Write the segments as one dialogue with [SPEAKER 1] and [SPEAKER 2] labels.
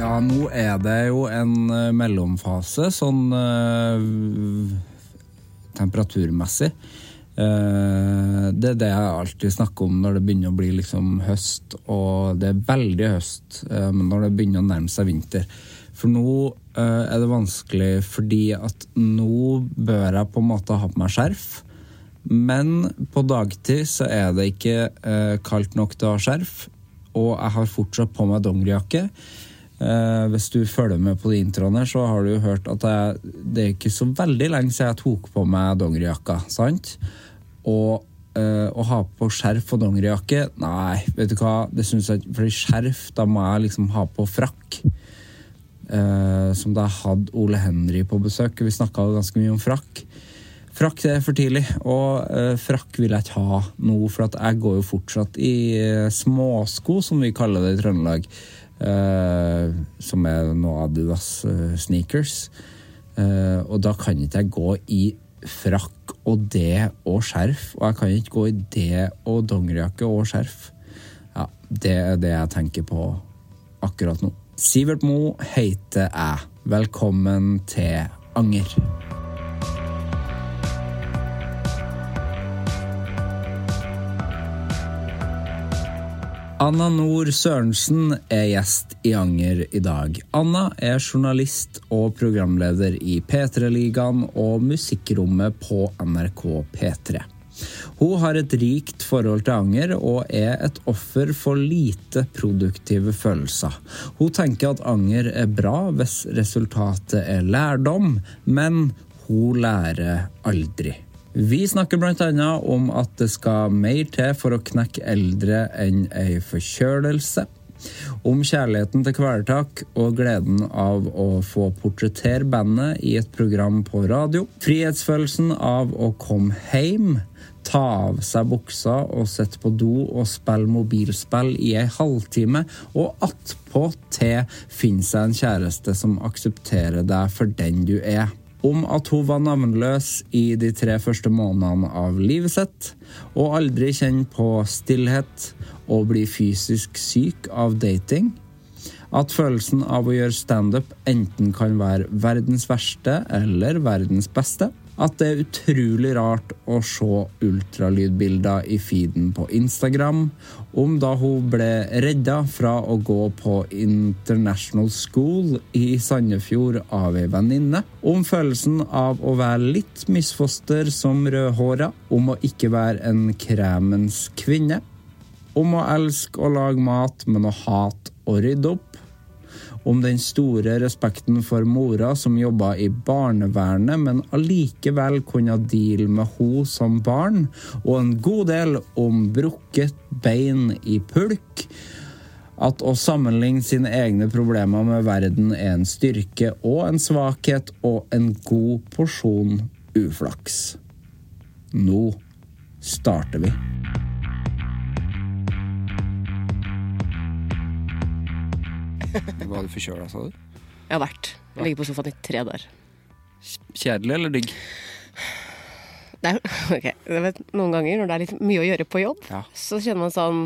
[SPEAKER 1] Ja, nå er det jo en eh, mellomfase sånn eh, temperaturmessig. Eh, det er det jeg alltid snakker om når det begynner å bli liksom høst, og det er veldig høst eh, men når det begynner å nærme seg vinter. For nå eh, er det vanskelig fordi at nå bør jeg på en måte ha på meg skjerf. Men på dagtid så er det ikke eh, kaldt nok til å ha skjerf, og jeg har fortsatt på meg dongerijakke. Eh, hvis du følger med på de introene, så har du jo hørt at jeg, det er ikke så veldig lenge siden jeg tok på meg dongerijakka, sant? Og eh, å ha på skjerf og dongerijakke, nei, vet du hva, det syns jeg ikke. For skjerf, da må jeg liksom ha på frakk. Eh, som da jeg hadde Ole Henry på besøk. Vi snakka ganske mye om frakk. Frakk det er for tidlig, og eh, frakk vil jeg ikke ha nå, for at jeg går jo fortsatt i eh, småsko, som vi kaller det i Trøndelag. eh, som er noe Adidas eh, sneakers. Eh, og da kan ikke jeg gå i frakk og det og skjerf, og jeg kan ikke gå i det og dongerijakke og skjerf. Ja, det er det jeg tenker på akkurat nå. Sivert Mo heter jeg. Velkommen til Anger. Anna Nord Sørensen er gjest i Anger i dag. Anna er journalist og programleder i P3-ligaen og Musikkrommet på NRK P3. Hun har et rikt forhold til anger og er et offer for lite produktive følelser. Hun tenker at anger er bra hvis resultatet er lærdom, men hun lærer aldri. Vi snakker bl.a. om at det skal mer til for å knekke eldre enn ei forkjølelse. Om kjærligheten til kvelertak og gleden av å få portrettere bandet i et program på radio. Frihetsfølelsen av å komme hjem, ta av seg buksa og sitte på do og spille mobilspill i ei halvtime, og attpåtil finne seg en kjæreste som aksepterer deg for den du er om at hun var navnløs i de tre første månedene av livet sitt, og aldri kjenne på stillhet og bli fysisk syk av dating. At følelsen av å gjøre standup enten kan være verdens verste eller verdens beste. At det er utrolig rart å se ultralydbilder i feeden på Instagram. Om da hun ble redda fra å gå på International School i Sandefjord av ei venninne. Om følelsen av å være litt misfoster som rødhåra. Om å ikke være en kremens kvinne. Om å elske å lage mat, men å hate å rydde opp. Om den store respekten for mora som jobba i barnevernet, men allikevel kunne deale med ho som barn. Og en god del om brukket bein i pulk. At å sammenligne sine egne problemer med verden er en styrke og en svakhet og en god porsjon uflaks. Nå starter vi.
[SPEAKER 2] Var du forkjøla, sa du?
[SPEAKER 3] Jeg har vært. Jeg ligger på sofaen i tre dager.
[SPEAKER 2] Kjedelig eller digg?
[SPEAKER 3] Det er, ok, jeg vet, Noen ganger når det er litt mye å gjøre på jobb,
[SPEAKER 2] Ja.
[SPEAKER 3] så kjenner man sånn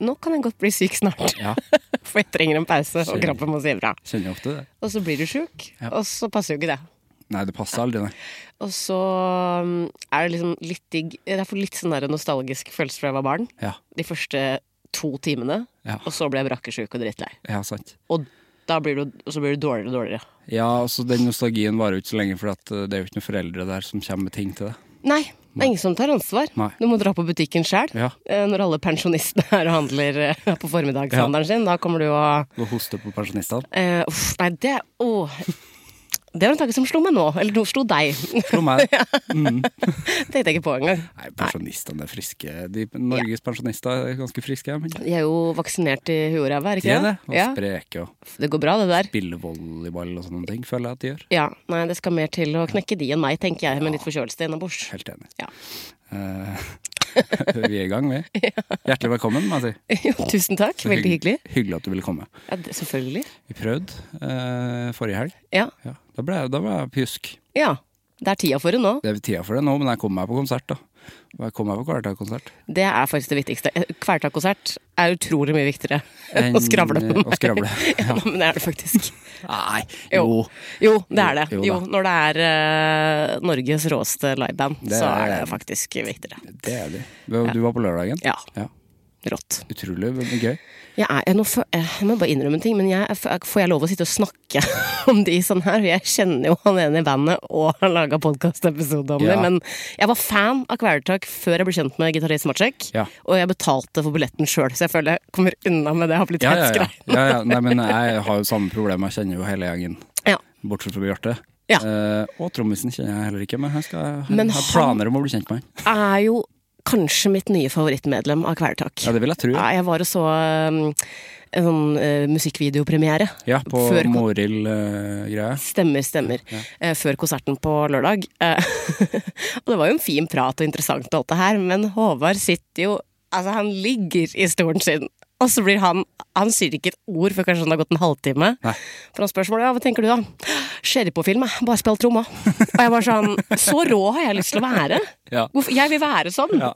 [SPEAKER 3] Nå kan jeg godt bli syk snart.
[SPEAKER 2] Ja.
[SPEAKER 3] For jeg trenger en pause, og
[SPEAKER 2] Skjønner.
[SPEAKER 3] kroppen må si ifra.
[SPEAKER 2] Kjenner ofte det.
[SPEAKER 3] Og så blir du sjuk,
[SPEAKER 2] Ja.
[SPEAKER 3] og så passer jo ikke det.
[SPEAKER 2] Nei, det passer aldri, nei.
[SPEAKER 3] Og så mm, er det liksom litt digg Jeg får litt sånn der nostalgisk følelse fra jeg var barn.
[SPEAKER 2] Ja,
[SPEAKER 3] De første to timene,
[SPEAKER 2] Ja.
[SPEAKER 3] og så ble jeg brakkesjuk og drittlei.
[SPEAKER 2] ja sant.
[SPEAKER 3] Og da blir du, og så blir du dårligere og dårligere.
[SPEAKER 2] Ja, altså Den nostalgien varer jo ikke så lenge, for at eh, det er jo ikke noen foreldre der som kommer med ting til deg.
[SPEAKER 3] Nei, det er ingen som tar ansvar.
[SPEAKER 2] Nei.
[SPEAKER 3] Du må dra på butikken sjøl.
[SPEAKER 2] Ja.
[SPEAKER 3] Eh, Når alle pensjonistene er og handler eh, på formiddagshandelen sin, da kommer du og
[SPEAKER 2] Gå og hoste på pensjonistene.
[SPEAKER 3] eh, Uff, nei, det åh. Det var en tanke som slo meg nå. Eller no, slo deg.
[SPEAKER 2] Slå meg.
[SPEAKER 3] Tenkte jeg ikke på engang.
[SPEAKER 2] Nei, pensjonistene er friske. De, Norges pensjonister er ganske friske. Men det
[SPEAKER 3] De er jo vaksinert i huet og ræva, er ikke
[SPEAKER 2] er det. Og
[SPEAKER 3] Ja.
[SPEAKER 2] spreke og
[SPEAKER 3] Det går bra, det der.
[SPEAKER 2] spille volleyball og sånne ting, føler jeg at de gjør.
[SPEAKER 3] Ja, nei, det skal mer til å knekke de enn meg, tenker jeg, med litt forkjølelse innabords.
[SPEAKER 2] Helt enig.
[SPEAKER 3] Ja.
[SPEAKER 2] Eh, vi er i gang, vi. Hjertelig velkommen, må jeg si.
[SPEAKER 3] Jo, tusen takk.
[SPEAKER 2] Så
[SPEAKER 3] Veldig
[SPEAKER 2] hygg-
[SPEAKER 3] hyggelig.
[SPEAKER 2] Hyggelig at du ville komme.
[SPEAKER 3] Ja, det, selvfølgelig.
[SPEAKER 2] Vi prøvde eh, forrige helg.
[SPEAKER 3] Ja.
[SPEAKER 2] Ja, da, ble, jeg- da var jeg pjusk.
[SPEAKER 3] ja. Det er tida for det nå.
[SPEAKER 2] Det er tida for det nå, men jeg kom meg på konsert, da. Og jeg kom meg på Kvelertak-konsert.
[SPEAKER 3] Det er faktisk det viktigste. Eh, Kvelertak-konsert er utrolig mye viktigere enn å
[SPEAKER 2] Enn
[SPEAKER 3] skravle med
[SPEAKER 2] å skravle,
[SPEAKER 3] meg. Ja, men det er det faktisk.
[SPEAKER 2] Nei,
[SPEAKER 3] Jo. Jo, det er det.
[SPEAKER 2] Jo,
[SPEAKER 3] Jo,
[SPEAKER 2] jo da.
[SPEAKER 3] når det er eh, Norges råeste liveband,
[SPEAKER 2] Det
[SPEAKER 3] så
[SPEAKER 2] er
[SPEAKER 3] er det
[SPEAKER 2] det.
[SPEAKER 3] faktisk viktigere.
[SPEAKER 2] Det er det. Du du var på lørdagen?
[SPEAKER 3] Ja.
[SPEAKER 2] Ja.
[SPEAKER 3] Rått.
[SPEAKER 2] Utrolig gøy.
[SPEAKER 3] Jeg, er, jeg, nå får, jeg må bare innrømme en ting, men jeg, er- får jeg lov å sitte og snakke om de sånn her? Jeg kjenner jo han ene i bandet og har laga podkastepisode om
[SPEAKER 2] Ja.
[SPEAKER 3] det, men jeg var fan av Kvelertak før jeg ble kjent med gitarist Matsjek,
[SPEAKER 2] Ja.
[SPEAKER 3] og jeg betalte for billetten sjøl, så jeg føler jeg kommer unna med det
[SPEAKER 2] Ja, ja, ja.
[SPEAKER 3] habilitetsgreiene.
[SPEAKER 2] ja, ja. Nei, men jeg har jo samme problem, jeg kjenner jo hele gjengen.
[SPEAKER 3] Ja.
[SPEAKER 2] Bortsett fra Bjarte.
[SPEAKER 3] Ja.
[SPEAKER 2] Eh, og trommisen kjenner jeg heller ikke, men jeg skal
[SPEAKER 3] Men
[SPEAKER 2] jeg har
[SPEAKER 3] han-
[SPEAKER 2] planer om å bli kjent med han.
[SPEAKER 3] Er jo kanskje mitt nye favorittmedlem av Kvelertak.
[SPEAKER 2] Ja, det vil jeg tro.
[SPEAKER 3] Nei, jeg var og så um, en sånn eh, musikkvideopremiere.
[SPEAKER 2] Ja, på
[SPEAKER 3] Før kon-
[SPEAKER 2] Morild-greia.
[SPEAKER 3] Stemmer, stemmer. Eh, før konserten på lørdag. Eh, og det var jo en fin prat og interessant og alt det her, men Håvard sitter jo Altså, han ligger i stolen sin. Og så blir han Han sier ikke et ord før kanskje han har gått en halvtime.
[SPEAKER 2] Nei.
[SPEAKER 3] For han spørsmålet ja, hva tenker du da? Sherrypåfilm, jeg. Bare spill tromma. Og jeg var sånn Så rå har jeg lyst til å være.
[SPEAKER 2] Ja.
[SPEAKER 3] Hvorfor, jeg vil være sånn.
[SPEAKER 2] Ja.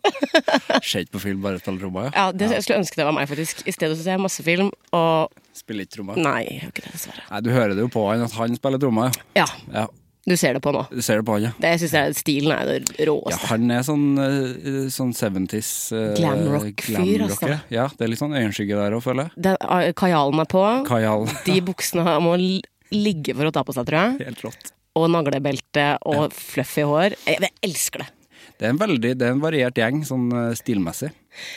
[SPEAKER 2] Skjer ikke på film, bare spiller tromma, ja.
[SPEAKER 3] Ja, det, Jeg skulle ønske det var meg, faktisk. I stedet så ser jeg masse film, og
[SPEAKER 2] Spiller ikke tromma.
[SPEAKER 3] Nei, jeg gjør ikke det, dessverre.
[SPEAKER 2] Nei, du hører det jo på han at han spiller tromma, ja.
[SPEAKER 3] Ja,
[SPEAKER 2] ja.
[SPEAKER 3] du ser det på nå.
[SPEAKER 2] Du ser det på han, ja.
[SPEAKER 3] Det synes jeg Stilen er det
[SPEAKER 2] Ja,
[SPEAKER 3] råeste.
[SPEAKER 2] han er sånn, eh, sånn 70s eh,
[SPEAKER 3] Glamrock-fyr,
[SPEAKER 2] glamrocker.
[SPEAKER 3] altså.
[SPEAKER 2] Ja, det er litt sånn øyenskygge der òg, føler jeg.
[SPEAKER 3] Den, ah, kajalen er på.
[SPEAKER 2] Kajal.
[SPEAKER 3] De buksene her må l- ligge for å ta på seg, tror jeg.
[SPEAKER 2] Helt rått.
[SPEAKER 3] Og naglebelte og fluffy hår. Jeg, jeg elsker det.
[SPEAKER 2] Det er en veldig, det er en variert gjeng, sånn eh, stilmessig.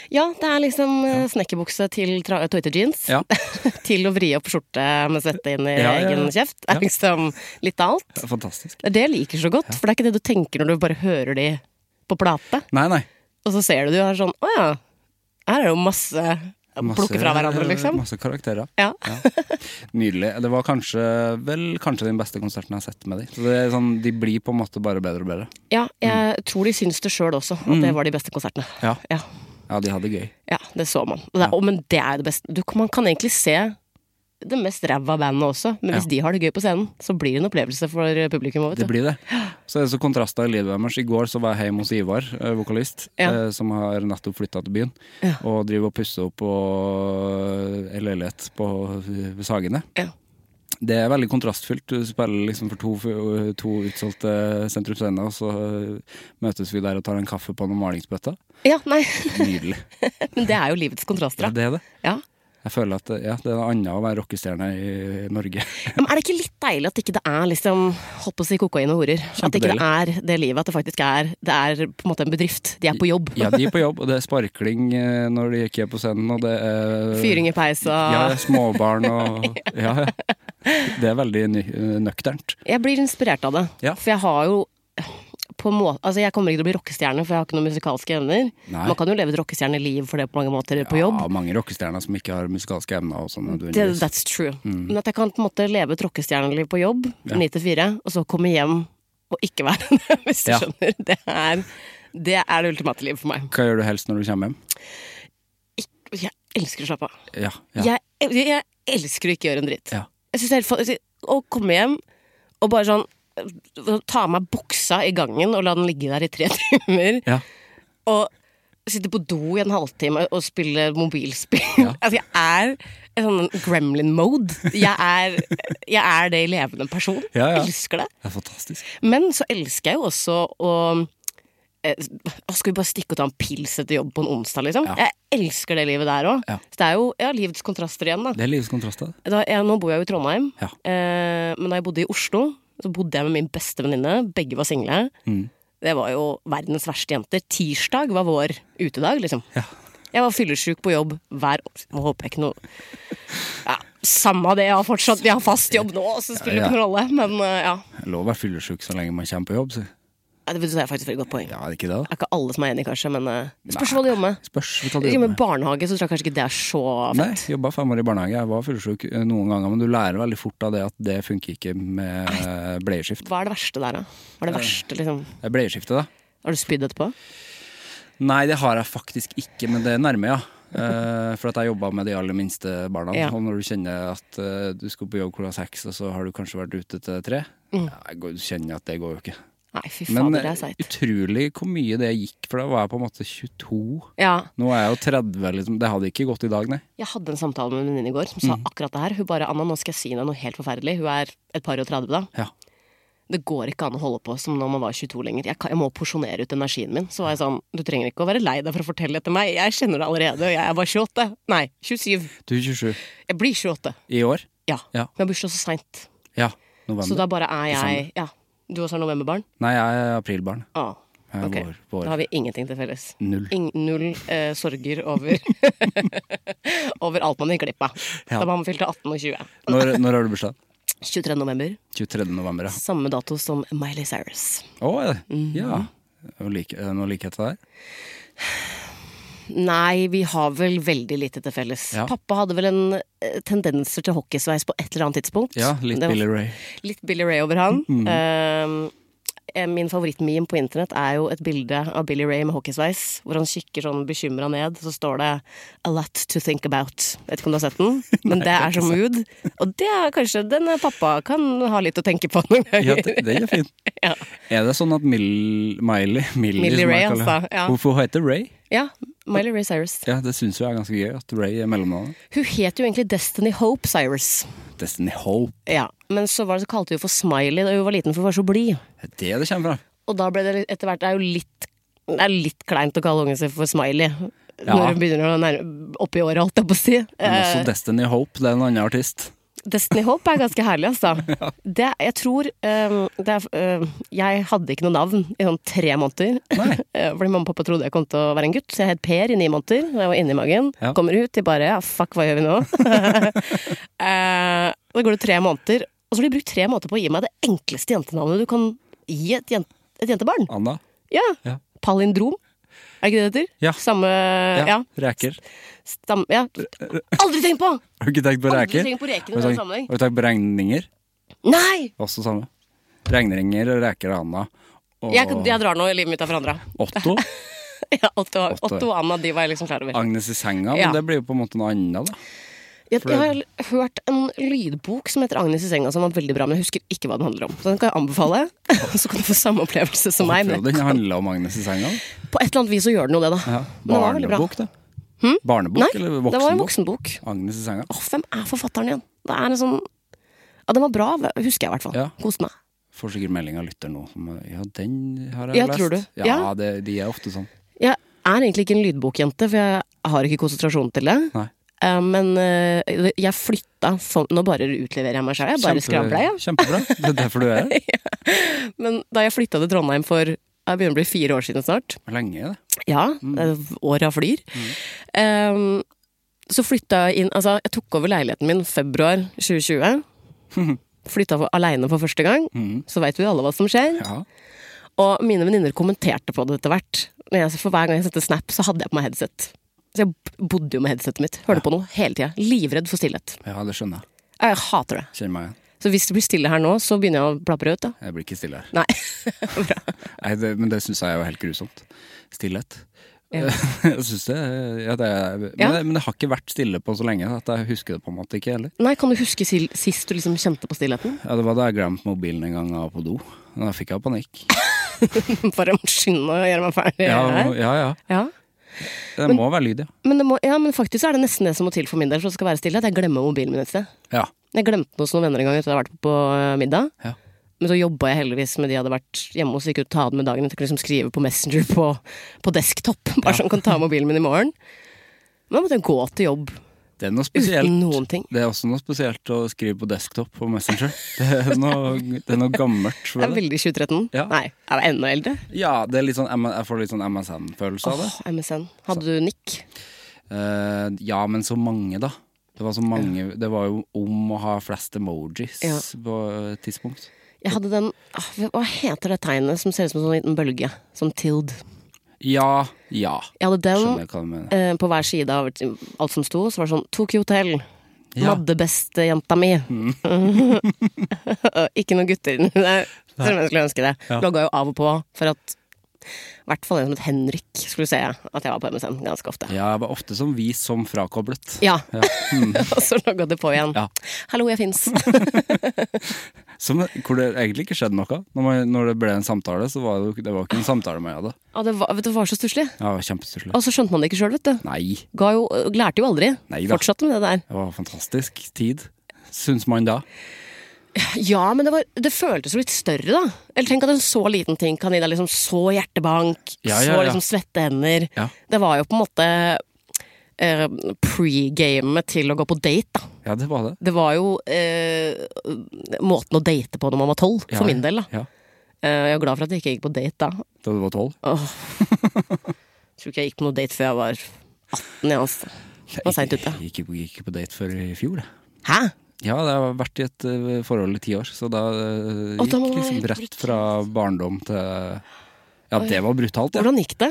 [SPEAKER 3] Ja, det er liksom eh, snekkerbukse til tra- tøyte jeans.
[SPEAKER 2] Ja.
[SPEAKER 3] til å vri opp skjorte med svette inn i
[SPEAKER 2] Ja, ja, ja.
[SPEAKER 3] egen kjeft. Det
[SPEAKER 2] Ja.
[SPEAKER 3] er liksom litt av alt.
[SPEAKER 2] Det er Fantastisk.
[SPEAKER 3] Det er det jeg liker så godt, for det er ikke det du tenker når du bare hører de på plate.
[SPEAKER 2] Nei, nei.
[SPEAKER 3] Og så ser du det, og er sånn Å ja, her er jo masse, Plukke fra hverandre, liksom.
[SPEAKER 2] Masse karakterer.
[SPEAKER 3] Ja.
[SPEAKER 2] Nydelig. Det var kanskje vel kanskje den beste konserten jeg har sett med dem. Så det er sånn, de blir på en måte bare bedre og bedre.
[SPEAKER 3] ja, jeg tror de syns det sjøl også, at det var de beste konsertene.
[SPEAKER 2] Mm. Ja.
[SPEAKER 3] Ja,
[SPEAKER 2] Ja, de hadde det gøy.
[SPEAKER 3] ja det så man. Og det, er- å, men det er jo det beste. Du, kan- man kan egentlig se det mest ræva bandet også, men hvis
[SPEAKER 2] Ja.
[SPEAKER 3] de har det gøy på scenen, så blir det en opplevelse for eh, publikum òg,
[SPEAKER 2] Det
[SPEAKER 3] vet du.
[SPEAKER 2] blir det. Så er det så kontraster i livet deres. I går så var jeg hjemme hos Ivar, eh, vokalist,
[SPEAKER 3] Ja.
[SPEAKER 2] eh, som har nettopp flytta til byen. Og driver og pusser opp på en leilighet på eh, ved Sagene.
[SPEAKER 3] Ja.
[SPEAKER 2] Det er veldig kontrastfylt. Du spiller liksom for to, to utsolgte Sentrum Scene, og så eh, møtes vi der og tar en kaffe på noen malingsbøtter.
[SPEAKER 3] Ja, nei,
[SPEAKER 2] Nydelig.
[SPEAKER 3] men det er jo livets kontraster,
[SPEAKER 2] Ja,
[SPEAKER 3] da.
[SPEAKER 2] det er det.
[SPEAKER 3] Ja.
[SPEAKER 2] Jeg føler at eh, ja, det er noe annet å være rockestjerne i Norge.
[SPEAKER 3] Ja, Men er det ikke litt deilig at ikke det er liksom, holdt på å si kokain og horer? At ikke det er det livet, at det faktisk er Det er på en måte en bedrift. De er på jobb.
[SPEAKER 2] Ja, de er på jobb, og det er sparkling eh, når de ikke er på scenen, og det er
[SPEAKER 3] Fyring i peis og
[SPEAKER 2] Ja, småbarn og Ah. Ja, ja. Det er veldig ny- eh, nøkternt.
[SPEAKER 3] Jeg blir inspirert av det.
[SPEAKER 2] Ja.
[SPEAKER 3] For jeg har jo på må altså, jeg kommer ikke til å bli rockestjerne, for jeg har ikke noen musikalske evner.
[SPEAKER 2] Nei.
[SPEAKER 3] Man kan jo leve et rockestjerneliv for det på mange måter på jobb.
[SPEAKER 2] Ja, mange rockestjerner som ikke har musikalske evner. og sånn
[SPEAKER 3] Det,
[SPEAKER 2] nødvendigvis.
[SPEAKER 3] that's true.
[SPEAKER 2] Mm.
[SPEAKER 3] Men at jeg kan på en måte leve et rockestjerneliv på jobb, ni til fire, og så komme hjem og ikke være det, hvis du
[SPEAKER 2] Ja.
[SPEAKER 3] skjønner. Det er det, er det ultimate livet for meg.
[SPEAKER 2] Hva gjør du helst når du kommer hjem?
[SPEAKER 3] Jeg elsker å slappe av.
[SPEAKER 2] Ja, ja.
[SPEAKER 3] Jeg, jeg, jeg elsker å ikke gjøre en dritt.
[SPEAKER 2] Ja.
[SPEAKER 3] Jeg synes det er helt fantastisk Å komme hjem og bare sånn øh, Ta av meg buksa i gangen og la den ligge der i tre timer.
[SPEAKER 2] Ja.
[SPEAKER 3] Og sitte på do i en halvtime og spille mobilspill. altså, jeg er en sånn gremlin-mode. Jeg, er- jeg er det i levende person.
[SPEAKER 2] Ja, ja.
[SPEAKER 3] Elsker det.
[SPEAKER 2] Det er fantastisk.
[SPEAKER 3] Men så elsker jeg jo også å eh, å, Skal vi bare stikke og ta en pils etter jobb på en onsdag, liksom?
[SPEAKER 2] Ja.
[SPEAKER 3] Jeg elsker det livet der òg.
[SPEAKER 2] Ja.
[SPEAKER 3] Så det er jo ja, livets kontraster igjen, da.
[SPEAKER 2] Det er livets kontraster.
[SPEAKER 3] da jeg, nå bor jeg jo i Trondheim,
[SPEAKER 2] Ja.
[SPEAKER 3] eh, men da jeg bodde i Oslo, så bodde jeg med min beste venninne. Begge var single.
[SPEAKER 2] Mm.
[SPEAKER 3] Det var jo verdens verste jenter. Tirsdag var vår utedag, liksom.
[SPEAKER 2] Ja.
[SPEAKER 3] Jeg var fyllesyk på jobb hver Nå håper jeg ikke noe ja, Samme det, jeg har fortsatt Jeg har fast jobb nå, så det spiller
[SPEAKER 2] Ja, ja.
[SPEAKER 3] ikke noen rolle. Men eh, ja.
[SPEAKER 2] Det er Lov å være fyllesyk så lenge man kommer på jobb. Så.
[SPEAKER 3] Ja, Det er faktisk et veldig godt poeng.
[SPEAKER 2] Ja, er det ikke det? da?
[SPEAKER 3] Det er ikke alle som er enig, kanskje, men eh, det spørs hva du jobber med.
[SPEAKER 2] Spørs hva
[SPEAKER 3] Hvis
[SPEAKER 2] du
[SPEAKER 3] du
[SPEAKER 2] jobber
[SPEAKER 3] jobber med
[SPEAKER 2] med.
[SPEAKER 3] barnehage, så tror jeg kanskje ikke det er så
[SPEAKER 2] Nei, jobba fem år i barnehage. Jeg var fyllesyk eh, noen ganger, men du lærer veldig fort av det at det funker ikke med eh, bleieskift.
[SPEAKER 3] Hva er det verste der, da? Hva er det verste, liksom?
[SPEAKER 2] Det er Bleieskiftet, da?
[SPEAKER 3] Har du spydd etterpå?
[SPEAKER 2] Nei, det har jeg faktisk ikke, men det er nærme, ja. Eh, for at jeg jobba med de aller minste barna.
[SPEAKER 3] Ja.
[SPEAKER 2] Og når du kjenner at eh, du skal på jobb klokka seks, og så har du kanskje vært ute til tre, ja, jeg går- kjenner at det går jo ikke.
[SPEAKER 3] Nei, fy Mm.
[SPEAKER 2] Men eh,
[SPEAKER 3] fader, det er seigt.
[SPEAKER 2] utrolig hvor mye det gikk, for da var jeg på en måte 22.
[SPEAKER 3] Ja,
[SPEAKER 2] Nå er jeg jo 30, liksom. Det hadde ikke gått i dag, nei.
[SPEAKER 3] jeg hadde en samtale med en venninne i går som sa
[SPEAKER 2] Mm.
[SPEAKER 3] akkurat det her. Hun bare 'Anna, nå skal jeg si deg noe helt forferdelig'. Hun er et par og 30 da.
[SPEAKER 2] Ja.
[SPEAKER 3] Det går ikke an å holde på som når man var 22 lenger. Jeg, kan, jeg må porsjonere ut energien min. Så var jeg sånn 'Du trenger ikke å være lei deg for å fortelle dette til meg. Jeg kjenner det allerede, og jeg er bare 28'. Nei, 27.
[SPEAKER 2] Du er 27
[SPEAKER 3] Jeg blir 28.
[SPEAKER 2] i år?
[SPEAKER 3] Ja.
[SPEAKER 2] Ja.
[SPEAKER 3] Men jeg har bursdag så seint.
[SPEAKER 2] Ja. November.
[SPEAKER 3] Så da bare er jeg ja. Du også er novemberbarn?
[SPEAKER 2] Nei, jeg er aprilbarn.
[SPEAKER 3] Ah.
[SPEAKER 2] Jeg er
[SPEAKER 3] ok.
[SPEAKER 2] vår, vår.
[SPEAKER 3] Da har vi ingenting til felles.
[SPEAKER 2] Null.
[SPEAKER 3] Ing, null eh, sorger over Over alt man gikk glipp av.
[SPEAKER 2] Ja.
[SPEAKER 3] Da man fylte 18 og 20.
[SPEAKER 2] Når, når har du bursdag?
[SPEAKER 3] 23. november.
[SPEAKER 2] 23. november, ja.
[SPEAKER 3] Samme dato som Miley Cyrus.
[SPEAKER 2] Å, er det?
[SPEAKER 3] Mhm.
[SPEAKER 2] ja. Og like- Er det noe likhet til deg?
[SPEAKER 3] Nei, vi har vel veldig lite til felles.
[SPEAKER 2] Ja.
[SPEAKER 3] Pappa hadde vel en eh, tendenser til hockeysveis på et eller annet tidspunkt.
[SPEAKER 2] Ja, litt
[SPEAKER 3] Det var-
[SPEAKER 2] Billy Ray.
[SPEAKER 3] Litt Billy Ray over han. Eh, min favorittmeme på internett er jo et bilde av Billy Ray med hockeysveis, hvor han kikker sånn bekymra ned. Så står det 'A lot to think about'. Jeg vet ikke om du har sett den, men det er så mood. Og det er kanskje den pappa kan ha litt å tenke på noen ganger.
[SPEAKER 2] Ja, det, det er fint.
[SPEAKER 3] Ja.
[SPEAKER 2] Er det sånn at Mil Miley Miley,
[SPEAKER 3] Miley
[SPEAKER 2] som jeg
[SPEAKER 3] Ray,
[SPEAKER 2] kaller
[SPEAKER 3] altså,
[SPEAKER 2] henne.
[SPEAKER 3] ja.
[SPEAKER 2] Hvorfor hun heter Ray?
[SPEAKER 3] Ja, Miley Ray Cyrus.
[SPEAKER 2] Ja, Det syns jeg er ganske gøy at Ray er mellomnavnet.
[SPEAKER 3] Hun het jo egentlig Destiny Hope Cyrus.
[SPEAKER 2] Destiny Hope.
[SPEAKER 3] Ja, Men så var det så kalte hun for Smiley da hun var liten, for hun var så blid.
[SPEAKER 2] Det er det det kommer fra.
[SPEAKER 3] Og da ble det litt- etter hvert Det er jo litt, det er litt kleint å kalle ungen sin for Smiley.
[SPEAKER 2] Ja.
[SPEAKER 3] Når hun begynner å nærme oppi året, holdt jeg på å si.
[SPEAKER 2] Men
[SPEAKER 3] Eh,
[SPEAKER 2] også Destiny Hope, det er en annen artist.
[SPEAKER 3] Destiny Hope er ganske herlig, altså. Det, jeg tror eh, det er, eh, Jeg hadde ikke noe navn i sånn tre måneder.
[SPEAKER 2] Nei.
[SPEAKER 3] Eh, Fordi mamma og pappa trodde jeg kom til å være en gutt, så jeg het Per i ni måneder. Da jeg var inni magen.
[SPEAKER 2] Ja.
[SPEAKER 3] Kommer ut, de bare ja, fuck, hva gjør vi nå? Eh, Da går det tre måneder, og så har de brukt tre måneder på å gi meg det enkleste jentenavnet du kan gi et, jen et jentebarn.
[SPEAKER 2] Anna?
[SPEAKER 3] Ja.
[SPEAKER 2] Ja.
[SPEAKER 3] Palindrom. Er ikke det det heter?
[SPEAKER 2] Ja.
[SPEAKER 3] Samme Ja. Eh, ja.
[SPEAKER 2] Reker.
[SPEAKER 3] Stam, ja. Aldri tenkt på!
[SPEAKER 2] Har du ikke tenkt på
[SPEAKER 3] Aldri
[SPEAKER 2] reker?
[SPEAKER 3] tenkt på reker i
[SPEAKER 2] Har du
[SPEAKER 3] den
[SPEAKER 2] tenkt-
[SPEAKER 3] sammenheng.
[SPEAKER 2] Har du tenkt på regninger?
[SPEAKER 3] Nei!
[SPEAKER 2] Også samme. Regninger og reker og Anna. Og
[SPEAKER 3] Jeg, jeg drar nå livet mitt er forandra.
[SPEAKER 2] Otto.
[SPEAKER 3] Ja, Otto,
[SPEAKER 2] Otto. Ah,
[SPEAKER 3] Otto og Anna, de var jeg liksom klar over.
[SPEAKER 2] Agnes i senga, men
[SPEAKER 3] Ja.
[SPEAKER 2] det blir jo på en måte noe annet, da.
[SPEAKER 3] Jeg, jeg har hørt en lydbok som heter 'Agnes i senga', som var veldig bra, men jeg husker ikke hva den handler om. Så den kan jeg anbefale. Så kan du få samme opplevelse som meg. Men
[SPEAKER 2] Jeg tror den handler om Agnes i senga.
[SPEAKER 3] på et eller annet vis så gjør den jo det, da.
[SPEAKER 2] Ja.
[SPEAKER 3] Men det var veldig bra. Hm?
[SPEAKER 2] Barnebok, da. Barnebok
[SPEAKER 3] Nei,
[SPEAKER 2] eller
[SPEAKER 3] det var en
[SPEAKER 2] voksenbok?
[SPEAKER 3] voksenbok.
[SPEAKER 2] Agnes i senga.
[SPEAKER 3] Åh, hvem er forfatteren igjen? Det er en sånn Ja, den var bra, husker jeg i hvert fall.
[SPEAKER 2] Ja.
[SPEAKER 3] Koste meg.
[SPEAKER 2] Får sikkert melding av lytter nå som Ja, den har jeg
[SPEAKER 3] Ja,
[SPEAKER 2] lest.
[SPEAKER 3] tror du?
[SPEAKER 2] Ja,
[SPEAKER 3] Ja.
[SPEAKER 2] Det, de er ofte sånn.
[SPEAKER 3] Jeg er egentlig ikke en lydbokjente, for jeg har ikke konsentrasjon til det.
[SPEAKER 2] Nei.
[SPEAKER 3] Eh, Men eh, jeg flytta for, Nå bare utleverer jeg meg sjøl, jeg bare skravler, jeg.
[SPEAKER 2] Kjempebra. Det er derfor du er her.
[SPEAKER 3] Men da jeg flytta til Trondheim for jeg begynner å bli fire år siden snart,
[SPEAKER 2] Hvor lenge er det?
[SPEAKER 3] ja, mm. åra flyr, Ehm, så flytta jeg inn Altså, jeg tok over leiligheten min februar 2020. Flytta for, aleine for første gang. Så veit vi alle hva som skjer.
[SPEAKER 2] Ja.
[SPEAKER 3] Og mine venninner kommenterte på det etter hvert. Men jeg- For hver gang jeg sendte snap, så hadde jeg på meg headset. Så jeg b- bodde jo med headsetet mitt. Hørte på noe hele tida. Livredd for stillhet.
[SPEAKER 2] Ja, det skjønner jeg.
[SPEAKER 3] Jeg hater det.
[SPEAKER 2] Kjenner meg igjen.
[SPEAKER 3] Så hvis det blir stille her nå, så begynner jeg å plapre ut, da.
[SPEAKER 2] Jeg blir ikke stille her.
[SPEAKER 3] Nei.
[SPEAKER 2] Nei, det, men det syns jeg er jo helt grusomt. Stillhet.
[SPEAKER 3] Ja.
[SPEAKER 2] Jeg synes det, ja, det er, men,
[SPEAKER 3] Ja.
[SPEAKER 2] det, men det har ikke vært stille på så lenge at jeg husker det på en måte ikke heller.
[SPEAKER 3] Nei, kan du huske sil- sist du liksom kjente på stillheten?
[SPEAKER 2] Ja, det var da jeg glemte mobilen en gang jeg var på do. Da fikk jeg panikk.
[SPEAKER 3] Bare skynde og gjøre meg ferdig
[SPEAKER 2] Ja,
[SPEAKER 3] her.
[SPEAKER 2] ja. ja.
[SPEAKER 3] Ja.
[SPEAKER 2] Det må være lyd, ja.
[SPEAKER 3] Men, det må, ja, men faktisk så er det nesten det som må til for min del for at det skal være stille. At jeg glemmer mobilen min et sted.
[SPEAKER 2] ja.
[SPEAKER 3] Jeg glemte den hos noen venner en gang etter at jeg hadde vært på eh, middag.
[SPEAKER 2] Ja.
[SPEAKER 3] Men så jobba jeg heldigvis med de jeg hadde vært hjemme hos, så jeg kunne ta den med dagen. Jeg kunne liksom skrive på Messenger på, på desktop, bare sånn kan ta mobilen min i morgen. Men da måtte jeg gå til jobb
[SPEAKER 2] Det er noe
[SPEAKER 3] uten
[SPEAKER 2] spesielt.
[SPEAKER 3] noen ting.
[SPEAKER 2] Det er også noe spesielt å skrive på desktop på Messenger. Det er noe, det er noe gammelt.
[SPEAKER 3] Det er
[SPEAKER 2] Vel?
[SPEAKER 3] veldig 2013.
[SPEAKER 2] Ja.
[SPEAKER 3] Nei, jeg var enda eldre.
[SPEAKER 2] Ja, det er litt sånn, M- jeg får litt sånn MSN-følelse av det.
[SPEAKER 3] Åh, MSN. Hadde du nikk?
[SPEAKER 2] Eh, ja, men så mange, da. Det var så mange Det var jo om å ha flest emojis
[SPEAKER 3] Ja.
[SPEAKER 2] på et tidspunkt.
[SPEAKER 3] Jeg hadde den ah, Hva heter det tegnet som ser ut som en sånn liten bølge? Som tilde.
[SPEAKER 2] Ja, ja.
[SPEAKER 3] Jeg hadde den
[SPEAKER 2] Skjønner hva du mener.
[SPEAKER 3] eh, på hver side av alt som sto, så var det sånn Tokyo Hotel.
[SPEAKER 2] Ja. Mm.
[SPEAKER 3] Madde beste jenta mi. ikke noen gutter inni der, selv om jeg skulle ønske det. Logga jo av og på for at i hvert fall en som het Henrik skulle se at jeg var på MSN ganske ofte.
[SPEAKER 2] Ja, jeg var ofte som vist som frakoblet.
[SPEAKER 3] Ja. og så logga det på igjen.
[SPEAKER 2] Ja.
[SPEAKER 3] Hallo, jeg fins.
[SPEAKER 2] Som, hvor det egentlig ikke skjedde noe. Når, man, når det ble en samtale, så var det, jo- det var ikke en samtale med jeg hadde.
[SPEAKER 3] Og det var, vet du, det var så stusslig.
[SPEAKER 2] Ja, det var kjempestusslig.
[SPEAKER 3] Og så skjønte man det ikke sjøl, vet du.
[SPEAKER 2] Nei,
[SPEAKER 3] Ga jo, lærte jo aldri.
[SPEAKER 2] Nei da.
[SPEAKER 3] Fortsatte med det der.
[SPEAKER 2] det var fantastisk tid. Syns man da.
[SPEAKER 3] Ja, men det, var, det føltes jo litt større, da. Eller tenk at en så liten ting kan gi deg liksom så hjertebank,
[SPEAKER 2] Ja, ja,
[SPEAKER 3] så
[SPEAKER 2] ja.
[SPEAKER 3] liksom svette hender.
[SPEAKER 2] Ja.
[SPEAKER 3] Det var jo på en måte eh, pre-gamet til å gå på date, da.
[SPEAKER 2] Ja, det var det.
[SPEAKER 3] Det var jo eh, måten å date på når man var tolv,
[SPEAKER 2] Ja,
[SPEAKER 3] for min del, da.
[SPEAKER 2] Ja,
[SPEAKER 3] Eh, jeg er glad for at jeg ikke gikk på date da.
[SPEAKER 2] Da du var tolv?
[SPEAKER 3] Åh. Tror ikke jeg gikk på noe date før jeg var 18, jeg, altså. Var seint ute.
[SPEAKER 2] Jeg gikk, gikk på date før i fjor, det.
[SPEAKER 3] Hæ?
[SPEAKER 2] Ja, det har vært i et eh, forhold i ti år, så da eh,
[SPEAKER 3] Å,
[SPEAKER 2] gikk
[SPEAKER 3] da må man
[SPEAKER 2] liksom
[SPEAKER 3] være
[SPEAKER 2] rett fra barndom til Ja, det var brutalt, ja.
[SPEAKER 3] Hvordan gikk det?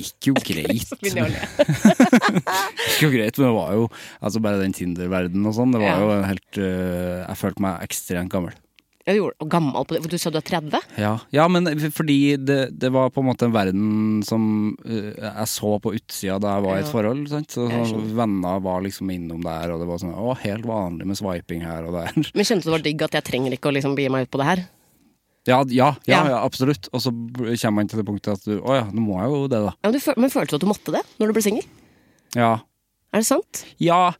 [SPEAKER 2] Gikk jo greit.
[SPEAKER 3] Begynner jeg å le.
[SPEAKER 2] gikk jo greit, men det var jo altså bare den Tinder-verdenen og sånn, det
[SPEAKER 3] Ja.
[SPEAKER 2] var jo helt eh, Jeg følte meg ekstremt gammel.
[SPEAKER 3] Jeg gjorde gammel på det, for du sa du er 30?
[SPEAKER 2] Ja, ja men f- fordi det, det var på en måte en verden som eh, jeg så på utsida da jeg var i
[SPEAKER 3] Ja.
[SPEAKER 2] et forhold. Sant? Så,
[SPEAKER 3] Jeg
[SPEAKER 2] så venner var liksom innom der, og det var sånn Å, helt vanlig med swiping her og der.
[SPEAKER 3] Men kjente du det var digg at jeg trenger ikke å liksom begi meg ut på det her?
[SPEAKER 2] Ja, ja, ja,
[SPEAKER 3] Ja.
[SPEAKER 2] ja absolutt. Og så b- kommer man til det punktet at du Å ja, nå må jeg jo det, da.
[SPEAKER 3] Ja, men, du, føl- men følte du at du måtte det når du ble singel?
[SPEAKER 2] Ja,
[SPEAKER 3] Er det sant?
[SPEAKER 2] Ja,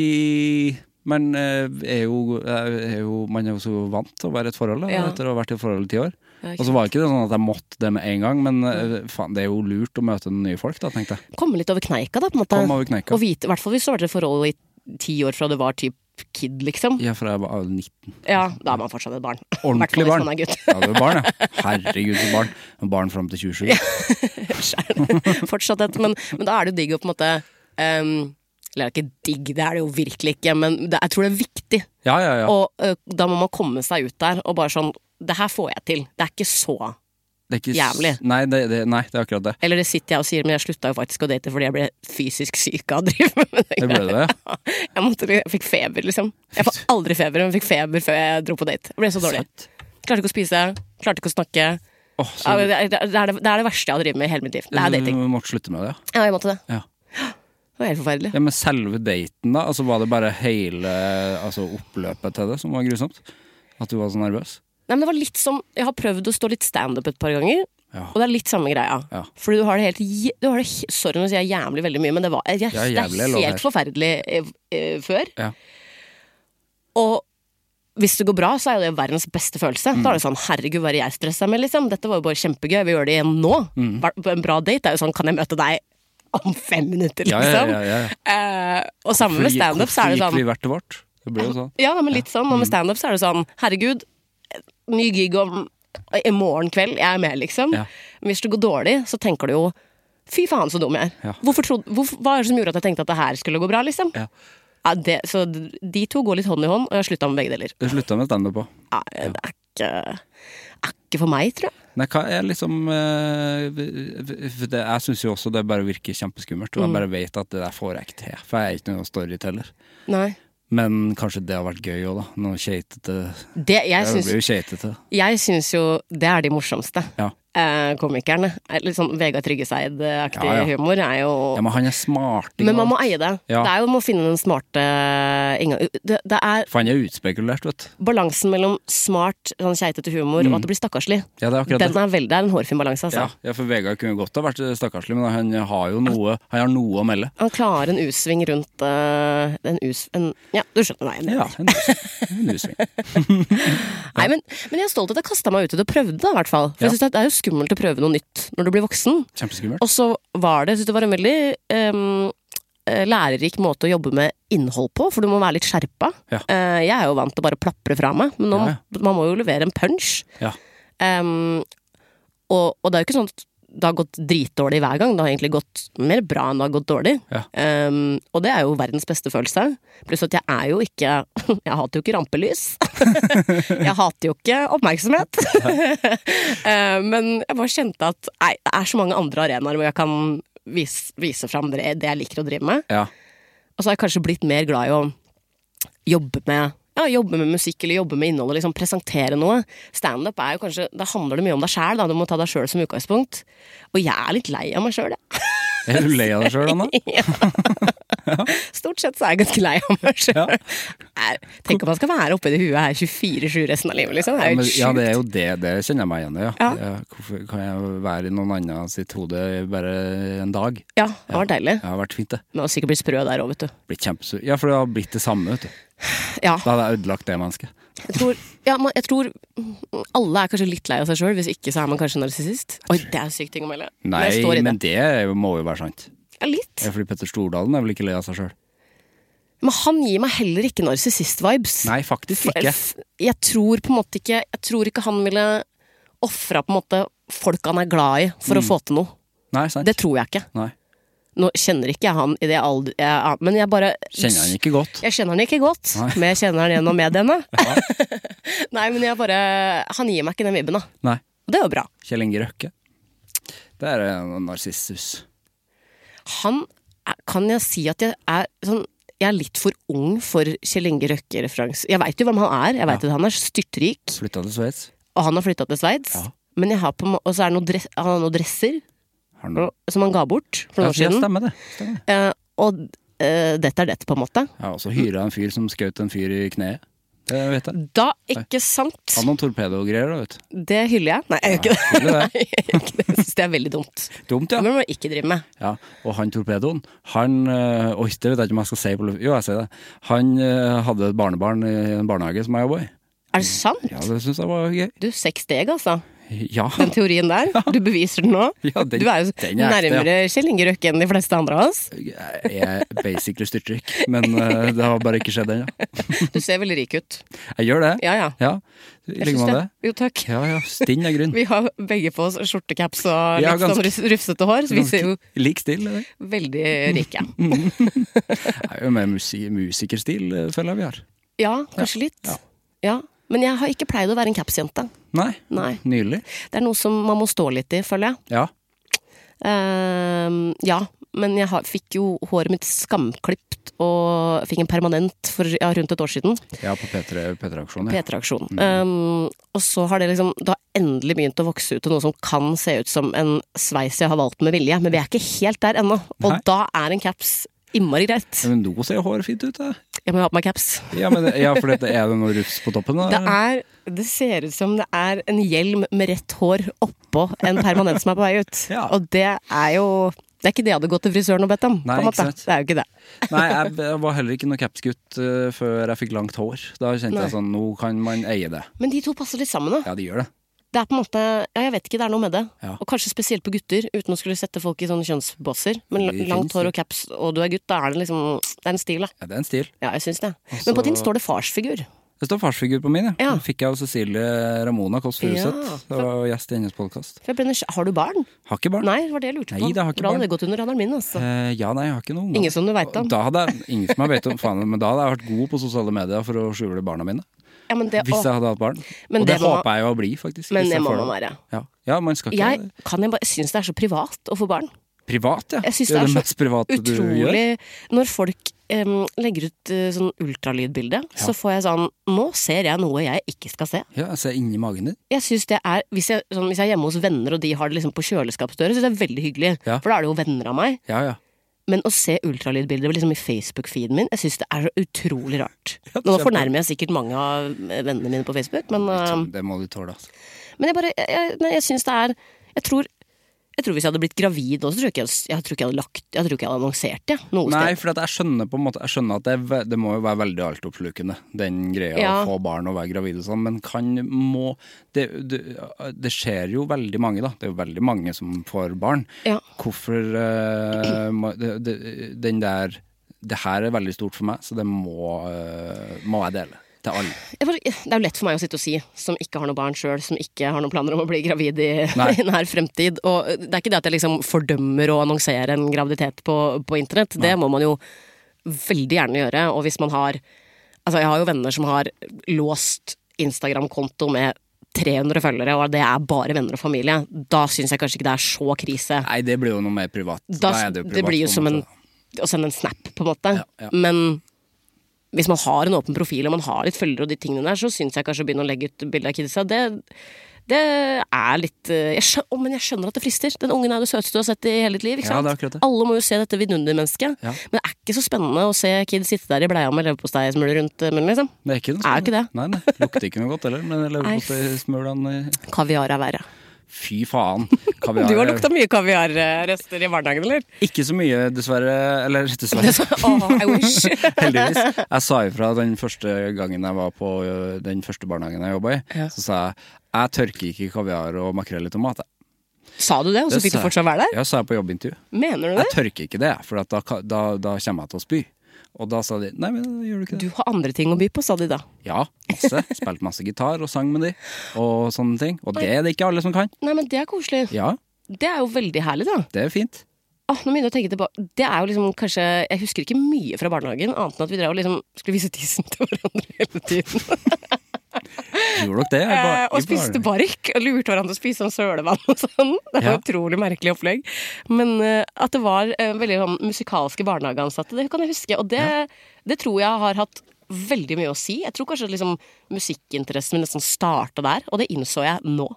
[SPEAKER 2] fordi man eh, er jo, eh, er jo, man er jo så vant til å være i et forhold da,
[SPEAKER 3] Ja.
[SPEAKER 2] etter å ha vært i et forhold i ti år.
[SPEAKER 3] Ja, ikke
[SPEAKER 2] Og så var ikke det sånn at jeg måtte det med en gang, men eh, faen, det er jo lurt å møte nye folk, da, tenkte jeg.
[SPEAKER 3] Komme litt over kneika, da, på en måte.
[SPEAKER 2] Kom over kneika.
[SPEAKER 3] Og vite, I hvert fall hvis du har vært i et forhold i ti år fra du var typ kid, liksom.
[SPEAKER 2] Ja, for jeg var 19.
[SPEAKER 3] Ja, da er man fortsatt et barn. Hvert fall
[SPEAKER 2] Ordentlig
[SPEAKER 3] hvis
[SPEAKER 2] barn.
[SPEAKER 3] man er gutt.
[SPEAKER 2] Ja, du er barn, ja. Herregud, så barn. Barn fram til 27.
[SPEAKER 3] Skjønner. fortsatt et, men, men da er det jo digg å på en måte ehm, Eller det er ikke digg, det er det jo virkelig ikke, men det, jeg tror det er viktig.
[SPEAKER 2] Ja, ja, ja.
[SPEAKER 3] Og ø, da må man komme seg ut der og bare sånn Det her får jeg til. Det er ikke så
[SPEAKER 2] Det er ikke s-
[SPEAKER 3] jævlig.
[SPEAKER 2] Nei det, det, nei, det er akkurat det.
[SPEAKER 3] Eller det sitter jeg og sier, men jeg slutta jo faktisk å date fordi jeg ble fysisk syk av å drive med det.
[SPEAKER 2] Det ble det, ja.
[SPEAKER 3] Jeg, måtte, jeg fikk feber, liksom. Jeg får aldri feber, men jeg fikk feber før jeg dro på date. Jeg ble så dårlig.
[SPEAKER 2] Sant.
[SPEAKER 3] Klarte ikke å spise, klarte ikke å snakke.
[SPEAKER 2] Åh,
[SPEAKER 3] Ja,
[SPEAKER 2] så Mm.
[SPEAKER 3] men Det er det, er det, det er det verste jeg har drevet med i hele mitt liv. Det er
[SPEAKER 2] du
[SPEAKER 3] dating.
[SPEAKER 2] måtte slutte med det, ja.
[SPEAKER 3] Ja, jeg måtte det.
[SPEAKER 2] Ja.
[SPEAKER 3] Det var helt forferdelig.
[SPEAKER 2] ja. Men selve daten, da? Altså, var det bare hele altså, oppløpet til det som var grusomt? At du var så nervøs?
[SPEAKER 3] Nei, men det var litt som, Jeg har prøvd å stå litt standup et par ganger,
[SPEAKER 2] Ja.
[SPEAKER 3] og det er litt samme greia.
[SPEAKER 2] Ja.
[SPEAKER 3] Fordi du har det helt je- du har det, he- Sorry nå sier jeg jævlig veldig mye, men det, var, jeg,
[SPEAKER 2] Ja, jævlig
[SPEAKER 3] det
[SPEAKER 2] er
[SPEAKER 3] er
[SPEAKER 2] lov
[SPEAKER 3] helt
[SPEAKER 2] her.
[SPEAKER 3] forferdelig eh, eh, før.
[SPEAKER 2] Ja.
[SPEAKER 3] Og hvis det går bra, så er jo det verdens beste følelse. Da
[SPEAKER 2] Mm.
[SPEAKER 3] er det sånn 'herregud, hva er det jeg stressa med', liksom. Dette var jo bare kjempegøy, vi gjør det igjen nå.
[SPEAKER 2] Mm.
[SPEAKER 3] Hver- På en bra date er jo sånn 'kan jeg møte deg om fem minutter',
[SPEAKER 2] Ja, ja,
[SPEAKER 3] liksom.
[SPEAKER 2] ja, ja, ja.
[SPEAKER 3] Eh, og sammen med standup så er det
[SPEAKER 2] Hvorfor
[SPEAKER 3] sånn
[SPEAKER 2] gikk vi hvert til vårt? Det blir jo sånn.
[SPEAKER 3] Ja, men litt sånn. Og med standup så er det sånn Herregud, ny gig om i morgen kveld. Jeg er med, liksom.
[SPEAKER 2] Ja.
[SPEAKER 3] Men hvis det går dårlig, så tenker du jo Fy faen, så dum jeg er.
[SPEAKER 2] Ja.
[SPEAKER 3] Hvorfor trodde, hvorfor, hva er det som gjorde at jeg tenkte at det her skulle gå bra, liksom?
[SPEAKER 2] Ja.
[SPEAKER 3] Ja, det, så d- de to går litt hånd i hånd, og jeg slutta med begge deler.
[SPEAKER 2] Du slutta med standup òg.
[SPEAKER 3] Ja, det er ikke, er ikke for meg, tror jeg.
[SPEAKER 2] Nei, hva er liksom eh, v- v- det, Jeg syns jo også det bare virker kjempeskummelt,
[SPEAKER 3] Mm.
[SPEAKER 2] og jeg bare vet at det der får jeg ikke til. For jeg er ikke noen storyteller.
[SPEAKER 3] Nei.
[SPEAKER 2] Men kanskje det har vært gøy òg, da. Noe keitete.
[SPEAKER 3] Det, jeg
[SPEAKER 2] Jeg
[SPEAKER 3] syns
[SPEAKER 2] blir jo keitete.
[SPEAKER 3] Jeg syns jo det er de morsomste
[SPEAKER 2] Ja.
[SPEAKER 3] eh, komikerne. Eh, Litt sånn Vegard Tryggeseid-aktig
[SPEAKER 2] Ja, ja.
[SPEAKER 3] humor er jo
[SPEAKER 2] Ja, men han er smart. ikke
[SPEAKER 3] Men man må
[SPEAKER 2] sant?
[SPEAKER 3] eie det.
[SPEAKER 2] Ja.
[SPEAKER 3] Det er jo om å finne den smarte eh, inngang... Det, det er
[SPEAKER 2] For han er utspekulert, vet du.
[SPEAKER 3] balansen mellom smart, sånn keitete humor og at det blir stakkarslig.
[SPEAKER 2] Mm. Ja, det er akkurat det.
[SPEAKER 3] Den er veldig, det er en hårfin balanse, altså.
[SPEAKER 2] Ja, ja, for Vegard kunne godt ha vært stakkarslig, men han har jo noe, han har noe å melde.
[SPEAKER 3] Han klarer en U-sving rundt eh, en U en, Ja, du skjønner hva jeg mener.
[SPEAKER 2] Ja, en us- en usving.
[SPEAKER 3] Nei, men, men jeg er stolt av at jeg kasta meg ut i det og prøvde, da, i hvert fall. For
[SPEAKER 2] Ja.
[SPEAKER 3] jeg synes det er jo skummelt å prøve noe nytt når du blir voksen.
[SPEAKER 2] Kjempeskummelt.
[SPEAKER 3] Og så var det, jeg synes det var en veldig ehm, eh, lærerik måte å jobbe med innhold på, for du må være litt skjerpa.
[SPEAKER 2] Ja.
[SPEAKER 3] Eh, jeg er jo vant til å bare plapre fra meg, men nå,
[SPEAKER 2] Ja,
[SPEAKER 3] man må jo levere en punch.
[SPEAKER 2] Ja.
[SPEAKER 3] Ehm, og, og det er jo ikke sånn at det har gått dritdårlig hver gang, det har egentlig gått mer bra enn det har gått dårlig.
[SPEAKER 2] Ja.
[SPEAKER 3] Ehm, og det er jo verdens beste følelse. Pluss at jeg er jo ikke Jeg hater jo ikke rampelys. jeg hater jo ikke oppmerksomhet. Eh, men jeg bare kjente at nei, det er så mange andre arenaer hvor jeg kan vise, vise fram det det jeg liker å drive med.
[SPEAKER 2] Ja.
[SPEAKER 3] Og så har jeg kanskje blitt mer glad i å jobbe med ja, jobbe med musikk eller jobbe med innhold og liksom presentere noe. Standup er jo kanskje Da handler det mye om deg sjæl, da. Du må ta deg sjøl som utgangspunkt. Og jeg er litt lei av meg sjøl, jeg.
[SPEAKER 2] Er du lei av deg sjøl, Anna?
[SPEAKER 3] Stort sett så er jeg ganske lei av meg sjøl. Tenk om man skal være oppi det huet her 24-7 resten av livet, liksom. Det
[SPEAKER 2] Ja,
[SPEAKER 3] er jo
[SPEAKER 2] men,
[SPEAKER 3] helt
[SPEAKER 2] ja, det
[SPEAKER 3] sjukt.
[SPEAKER 2] er jo det. Det kjenner jeg meg igjen i. Ja.
[SPEAKER 3] Ja.
[SPEAKER 2] Ja, Hvorfor kan jeg være i noen andre sitt hode bare en dag?
[SPEAKER 3] Ja, det var deilig.
[SPEAKER 2] Det har vært fint, det.
[SPEAKER 3] Men jeg har sikkert blitt sprø der òg, vet du.
[SPEAKER 2] Blitt kjempesur. Ja, for det har blitt det samme, vet du.
[SPEAKER 3] Ja.
[SPEAKER 2] Da hadde jeg ødelagt det mennesket.
[SPEAKER 3] Jeg tror, ja, man, jeg tror alle er kanskje litt lei av seg sjøl, hvis ikke så er man kanskje narsissist. Oi, det er en syk ting å melde.
[SPEAKER 2] Nei,
[SPEAKER 3] men jeg står i det.
[SPEAKER 2] men det er jo- må jo være sant.
[SPEAKER 3] Ja, litt.
[SPEAKER 2] Ja, Fordi Petter Stordalen er vel ikke lei av seg sjøl?
[SPEAKER 3] Men han gir meg heller ikke narsissist-vibes.
[SPEAKER 2] Nei, faktisk
[SPEAKER 3] For-
[SPEAKER 2] ikke.
[SPEAKER 3] f- Jeg tror på en måte ikke Jeg tror ikke han ville ofra på en måte folk han er glad i, for å
[SPEAKER 2] Mm.
[SPEAKER 3] få til noe.
[SPEAKER 2] Nei, sant.
[SPEAKER 3] Det tror jeg ikke.
[SPEAKER 2] Nei.
[SPEAKER 3] Nå kjenner ikke jeg han i det alder jeg, Men jeg bare
[SPEAKER 2] Kjenner han ikke godt.
[SPEAKER 3] Jeg kjenner han ikke godt,
[SPEAKER 2] Nei.
[SPEAKER 3] men jeg kjenner han gjennom mediene. Nei, men jeg bare Han gir meg ikke den vibben, da.
[SPEAKER 2] Nei.
[SPEAKER 3] Og det er jo bra.
[SPEAKER 2] Kjell Inge Røkke. Det er en narsissus.
[SPEAKER 3] han er- Kan jeg si at jeg er sånn jeg er litt for ung for Kjell Inge Røkke-referanse. Jeg veit jo hvem han er. Jeg vet at Han er styrtrik,
[SPEAKER 2] Flytta til Sveits.
[SPEAKER 3] og han har flytta til Sveits.
[SPEAKER 2] Ja.
[SPEAKER 3] Men jeg har på, en må- Og så er det noen dress, han har noen dresser
[SPEAKER 2] Har han-
[SPEAKER 3] og- som han ga bort for
[SPEAKER 2] Ja,
[SPEAKER 3] noen år
[SPEAKER 2] det
[SPEAKER 3] siden.
[SPEAKER 2] stemmer, det. Stemmer.
[SPEAKER 3] Eh, og eh, dette er dette, på en måte.
[SPEAKER 2] Jeg har også hyra en fyr som skjøt en fyr i kneet. Det vet jeg.
[SPEAKER 3] Da, ikke sant?
[SPEAKER 2] Han har noen torpedogreier, da, vet du.
[SPEAKER 3] Det hyller jeg. Nei, jeg gjør ikke det.
[SPEAKER 2] Hyller det.
[SPEAKER 3] Nei, jeg gjør ikke det. Jeg syns det er veldig dumt.
[SPEAKER 2] Dumt,
[SPEAKER 3] Det
[SPEAKER 2] ja.
[SPEAKER 3] må man ikke drive med.
[SPEAKER 2] ja. Og han torpedoen, han øh, Oi, det vet jeg ikke om jeg skal si på luft. Jo, jeg sier det. Han øh, hadde et barnebarn i en barnehage som jeg jobba i.
[SPEAKER 3] Er det sant?
[SPEAKER 2] Mm. Ja, det syns jeg var gøy.
[SPEAKER 3] Du, seks steg, altså.
[SPEAKER 2] Ja.
[SPEAKER 3] Den teorien der. Du beviser den nå.
[SPEAKER 2] Ja, den-
[SPEAKER 3] du er jo
[SPEAKER 2] den er ekte, ja.
[SPEAKER 3] nærmere Kjell Inge Røkke enn de fleste andre av oss.
[SPEAKER 2] Jeg er basically styrtrik, men øh, det har bare ikke skjedd ennå.
[SPEAKER 3] Du ser veldig rik ut.
[SPEAKER 2] Jeg gjør det.
[SPEAKER 3] Ja, ja.
[SPEAKER 2] Ja. I
[SPEAKER 3] Jeg
[SPEAKER 2] like
[SPEAKER 3] syns
[SPEAKER 2] måte.
[SPEAKER 3] Jo, takk.
[SPEAKER 2] Ja ja, stinn er grunn.
[SPEAKER 3] Vi har begge på oss skjortecaps og
[SPEAKER 2] Ja,
[SPEAKER 3] litt sånn
[SPEAKER 2] ganske-
[SPEAKER 3] rus- rufsete hår, så vi ser jo
[SPEAKER 2] Sånn Lik stil. eller?
[SPEAKER 3] veldig rike ut.
[SPEAKER 2] Det er jo mer musi musikerstil, øh, føler jeg vi har.
[SPEAKER 3] Ja, kanskje litt. Ja. Men jeg har ikke pleid å være en capsjente.
[SPEAKER 2] Nei.
[SPEAKER 3] Nei.
[SPEAKER 2] Nydelig.
[SPEAKER 3] Det er noe som man må stå litt i, føler jeg.
[SPEAKER 2] Ja.
[SPEAKER 3] Ehm, ja, men jeg har, fikk jo håret mitt skamklipt og fikk en permanent for ja, rundt et år siden.
[SPEAKER 2] Ja, på P3 P3-aksjonen. Ja.
[SPEAKER 3] P3-aksjon. Um, og så har det liksom Det har endelig begynt å vokse ut til noe som kan se ut som en sveis jeg har valgt med vilje, men vi er ikke helt der ennå. Og
[SPEAKER 2] Nei.
[SPEAKER 3] da er en caps innmari greit.
[SPEAKER 2] Ja, Men nå ser jo håret fint ut, da.
[SPEAKER 3] Jeg må ha på meg caps.
[SPEAKER 2] Ja, men, ja for dette er det noe rufs på toppen? Da?
[SPEAKER 3] Det er Det ser ut som det er en hjelm med rett hår oppå en permanent som er på vei ut.
[SPEAKER 2] Ja.
[SPEAKER 3] Og det er jo Det er ikke det jeg hadde gått til frisøren og bedt om.
[SPEAKER 2] Nei,
[SPEAKER 3] på en
[SPEAKER 2] ikke
[SPEAKER 3] måte.
[SPEAKER 2] sant.
[SPEAKER 3] Det er jo ikke det.
[SPEAKER 2] Nei, jeg b- jeg var heller ikke noe capsgutt eh, før jeg fikk langt hår. Da kjente
[SPEAKER 3] Nei.
[SPEAKER 2] jeg sånn, nå kan man eie det.
[SPEAKER 3] Men de to passer litt sammen, da.
[SPEAKER 2] Ja, de gjør det.
[SPEAKER 3] Det er på en måte, ja, jeg vet ikke, det er noe med det.
[SPEAKER 2] Ja.
[SPEAKER 3] Og kanskje spesielt på gutter, uten å skulle sette folk i sånne kjønnsbåser. Men
[SPEAKER 2] Det
[SPEAKER 3] langt
[SPEAKER 2] finnes
[SPEAKER 3] hår og caps, og du er gutt, da er det liksom Det er en stil, da.
[SPEAKER 2] Ja, det er en stil.
[SPEAKER 3] Ja, jeg syns det.
[SPEAKER 2] Og så-
[SPEAKER 3] Men på din står det farsfigur.
[SPEAKER 2] Det står farsfigur på min, ja.
[SPEAKER 3] Ja.
[SPEAKER 2] Den Fikk jeg av Cecilie Ramona Kåss Furuseth.
[SPEAKER 3] Ja.
[SPEAKER 2] Det var gjest i hennes podkast.
[SPEAKER 3] For jeg ble nysg- Har du barn?
[SPEAKER 2] Har ikke barn.
[SPEAKER 3] Nei, det var det jeg lurte på.
[SPEAKER 2] Nei, det har
[SPEAKER 3] Hvordan
[SPEAKER 2] ikke barn.
[SPEAKER 3] hadde det gått under radaren min, altså?
[SPEAKER 2] Eh, ja, nei, jeg har ikke noe ungdom.
[SPEAKER 3] Ingen som du veit om.
[SPEAKER 2] Da hadde jeg, ingen som jeg vet om, faen, men da hadde jeg vært god på sosiale medier for å skjule barna mine.
[SPEAKER 3] Ja, men det,
[SPEAKER 2] Hvis
[SPEAKER 3] å,
[SPEAKER 2] jeg hadde hatt barn.
[SPEAKER 3] Men
[SPEAKER 2] og det,
[SPEAKER 3] det må-
[SPEAKER 2] håper jeg jo å bli, faktisk.
[SPEAKER 3] men
[SPEAKER 2] hvis
[SPEAKER 3] det
[SPEAKER 2] jeg
[SPEAKER 3] må
[SPEAKER 2] får
[SPEAKER 3] man være.
[SPEAKER 2] Ja. ja, man skal ikke
[SPEAKER 3] Jeg, kan jeg bare synes det er så privat å få barn.
[SPEAKER 2] Privat, ja.
[SPEAKER 3] Jeg synes
[SPEAKER 2] det er det
[SPEAKER 3] det er
[SPEAKER 2] mest private du gjør.
[SPEAKER 3] Utrolig Når folk em, legger ut eh, sånn ultralydbilde, så får jeg sånn Nå ser jeg noe jeg ikke skal se.
[SPEAKER 2] Ja, jeg ser inni magen din.
[SPEAKER 3] Jeg synes det er hvis jeg, sånn, hvis jeg er hjemme hos venner, og de har det liksom på kjøleskapsdøra, syns jeg det er veldig hyggelig.
[SPEAKER 2] Ja.
[SPEAKER 3] For da er det jo venner av meg.
[SPEAKER 2] Ja, ja.
[SPEAKER 3] Men å se ultralydbilder liksom i Facebook-feeden min, jeg synes det er så utrolig rart.
[SPEAKER 2] Ja,
[SPEAKER 3] Nå
[SPEAKER 2] kjempe.
[SPEAKER 3] fornærmer jeg sikkert mange av eh, vennene mine på Facebook, men eh,
[SPEAKER 2] Det må du tåle, altså.
[SPEAKER 3] Men jeg bare, jeg, jeg, nei, jeg synes det er Jeg tror, jeg tror hvis jeg hadde blitt gravid nå, så tror jeg ikke jeg, jeg, tror ikke jeg hadde lagt Jeg tror ikke jeg hadde annonsert det noe
[SPEAKER 2] Nei,
[SPEAKER 3] sted.
[SPEAKER 2] for at jeg skjønner på en måte Jeg skjønner at det, er ve- det må jo være veldig altoppslukende, den greia
[SPEAKER 3] Ja.
[SPEAKER 2] å få barn og være gravid og sånn, men kan må det, det, det skjer jo veldig mange, da. Det er jo veldig mange som får barn.
[SPEAKER 3] Ja.
[SPEAKER 2] Hvorfor eh, må- det, det, Den der Det her er veldig stort for meg, så det må, eh, må jeg dele. Til alle.
[SPEAKER 3] Jeg bare, det er jo lett for meg å sitte og si, som ikke har noe barn sjøl, som ikke har noen planer om å bli gravid i,
[SPEAKER 2] Nei.
[SPEAKER 3] i nær fremtid. Og det er ikke det at jeg liksom fordømmer å annonsere en graviditet på, på internett. Det må man jo veldig gjerne gjøre. Og hvis man har Altså, jeg har jo venner som har låst Instagram-konto med 300 følgere, og det er bare venner og familie. Da syns jeg kanskje ikke det er så krise.
[SPEAKER 2] Nei, det blir jo noe mer privat.
[SPEAKER 3] da,
[SPEAKER 2] er
[SPEAKER 3] det,
[SPEAKER 2] jo
[SPEAKER 3] blir jo
[SPEAKER 2] på
[SPEAKER 3] som en,
[SPEAKER 2] måte.
[SPEAKER 3] å sende en snap, på en måte.
[SPEAKER 2] ja.
[SPEAKER 3] Men hvis man har en åpen profil og man har litt følgere, og de tingene der, så syns jeg kanskje å begynne å legge ut bilde av kidsa, det, det er litt eh, jeg skjønner, å, Men jeg skjønner at det frister. Den ungen er det søteste du har sett i hele ditt liv. ikke
[SPEAKER 2] Ja,
[SPEAKER 3] sant?
[SPEAKER 2] det er akkurat det.
[SPEAKER 3] Alle må jo se dette vidundermennesket.
[SPEAKER 2] Ja.
[SPEAKER 3] Men det er ikke så spennende å se kid sitte der i bleia med leverposteismuler rundt eh, munnen, liksom.
[SPEAKER 2] Det er ikke, noe sånn.
[SPEAKER 3] Er jo ikke det.
[SPEAKER 2] Nei, nei. Lukter ikke noe godt heller, men leverposteismulene
[SPEAKER 3] Kaviar er verre.
[SPEAKER 2] Fy faen. Kaviar.
[SPEAKER 3] Du har lukta mye kaviarrester i barnehagen, eller?
[SPEAKER 2] Ikke så mye, dessverre. Eller dessverre.
[SPEAKER 3] Åh, I wish.
[SPEAKER 2] Heldigvis. Jeg sa ifra den første gangen jeg var på ø, den første barnehagen jeg jobba i.
[SPEAKER 3] Ja.
[SPEAKER 2] Så sa jeg jeg tørker ikke kaviar og makrell i tomat. jeg».
[SPEAKER 3] Sa du det, og så
[SPEAKER 2] Det
[SPEAKER 3] fikk
[SPEAKER 2] sa
[SPEAKER 3] du
[SPEAKER 2] jeg.
[SPEAKER 3] fortsatt være der?
[SPEAKER 2] Ja, sa jeg på jobbintervju.
[SPEAKER 3] Mener du det?
[SPEAKER 2] Jeg tørker ikke det, for at da, ka- da, da kommer jeg til å spy. Og da sa de nei, men da gjør du ikke
[SPEAKER 3] Du
[SPEAKER 2] det?
[SPEAKER 3] har andre ting å by på, sa de da.
[SPEAKER 2] Ja, masse. Spilte masse gitar og sang med de, og sånne ting. Og det er det ikke alle som kan.
[SPEAKER 3] Nei, men det er koselig.
[SPEAKER 2] Ja,
[SPEAKER 3] Det er jo veldig herlig, da.
[SPEAKER 2] det er fint.
[SPEAKER 3] Åh, nå begynner jeg å tenke tilbake. Det er jo liksom kanskje Jeg husker ikke mye fra barnehagen, annet enn at vi drev og liksom skulle vise tissen til hverandre hele tiden.
[SPEAKER 2] Gjorde dere det? i bar-
[SPEAKER 3] Eh,
[SPEAKER 2] i
[SPEAKER 3] og spiste
[SPEAKER 2] barnehagen?
[SPEAKER 3] bark og lurte hverandre til å spise sånn sølevann og sånn. Det var
[SPEAKER 2] Ja.
[SPEAKER 3] utrolig merkelig opplegg. Men eh, at det var eh, veldig sånn musikalske barnehageansatte, det kan jeg huske. Og det, det tror jeg har hatt veldig mye å si. Jeg tror kanskje liksom musikkinteressen min nesten starta der, og det innså jeg nå.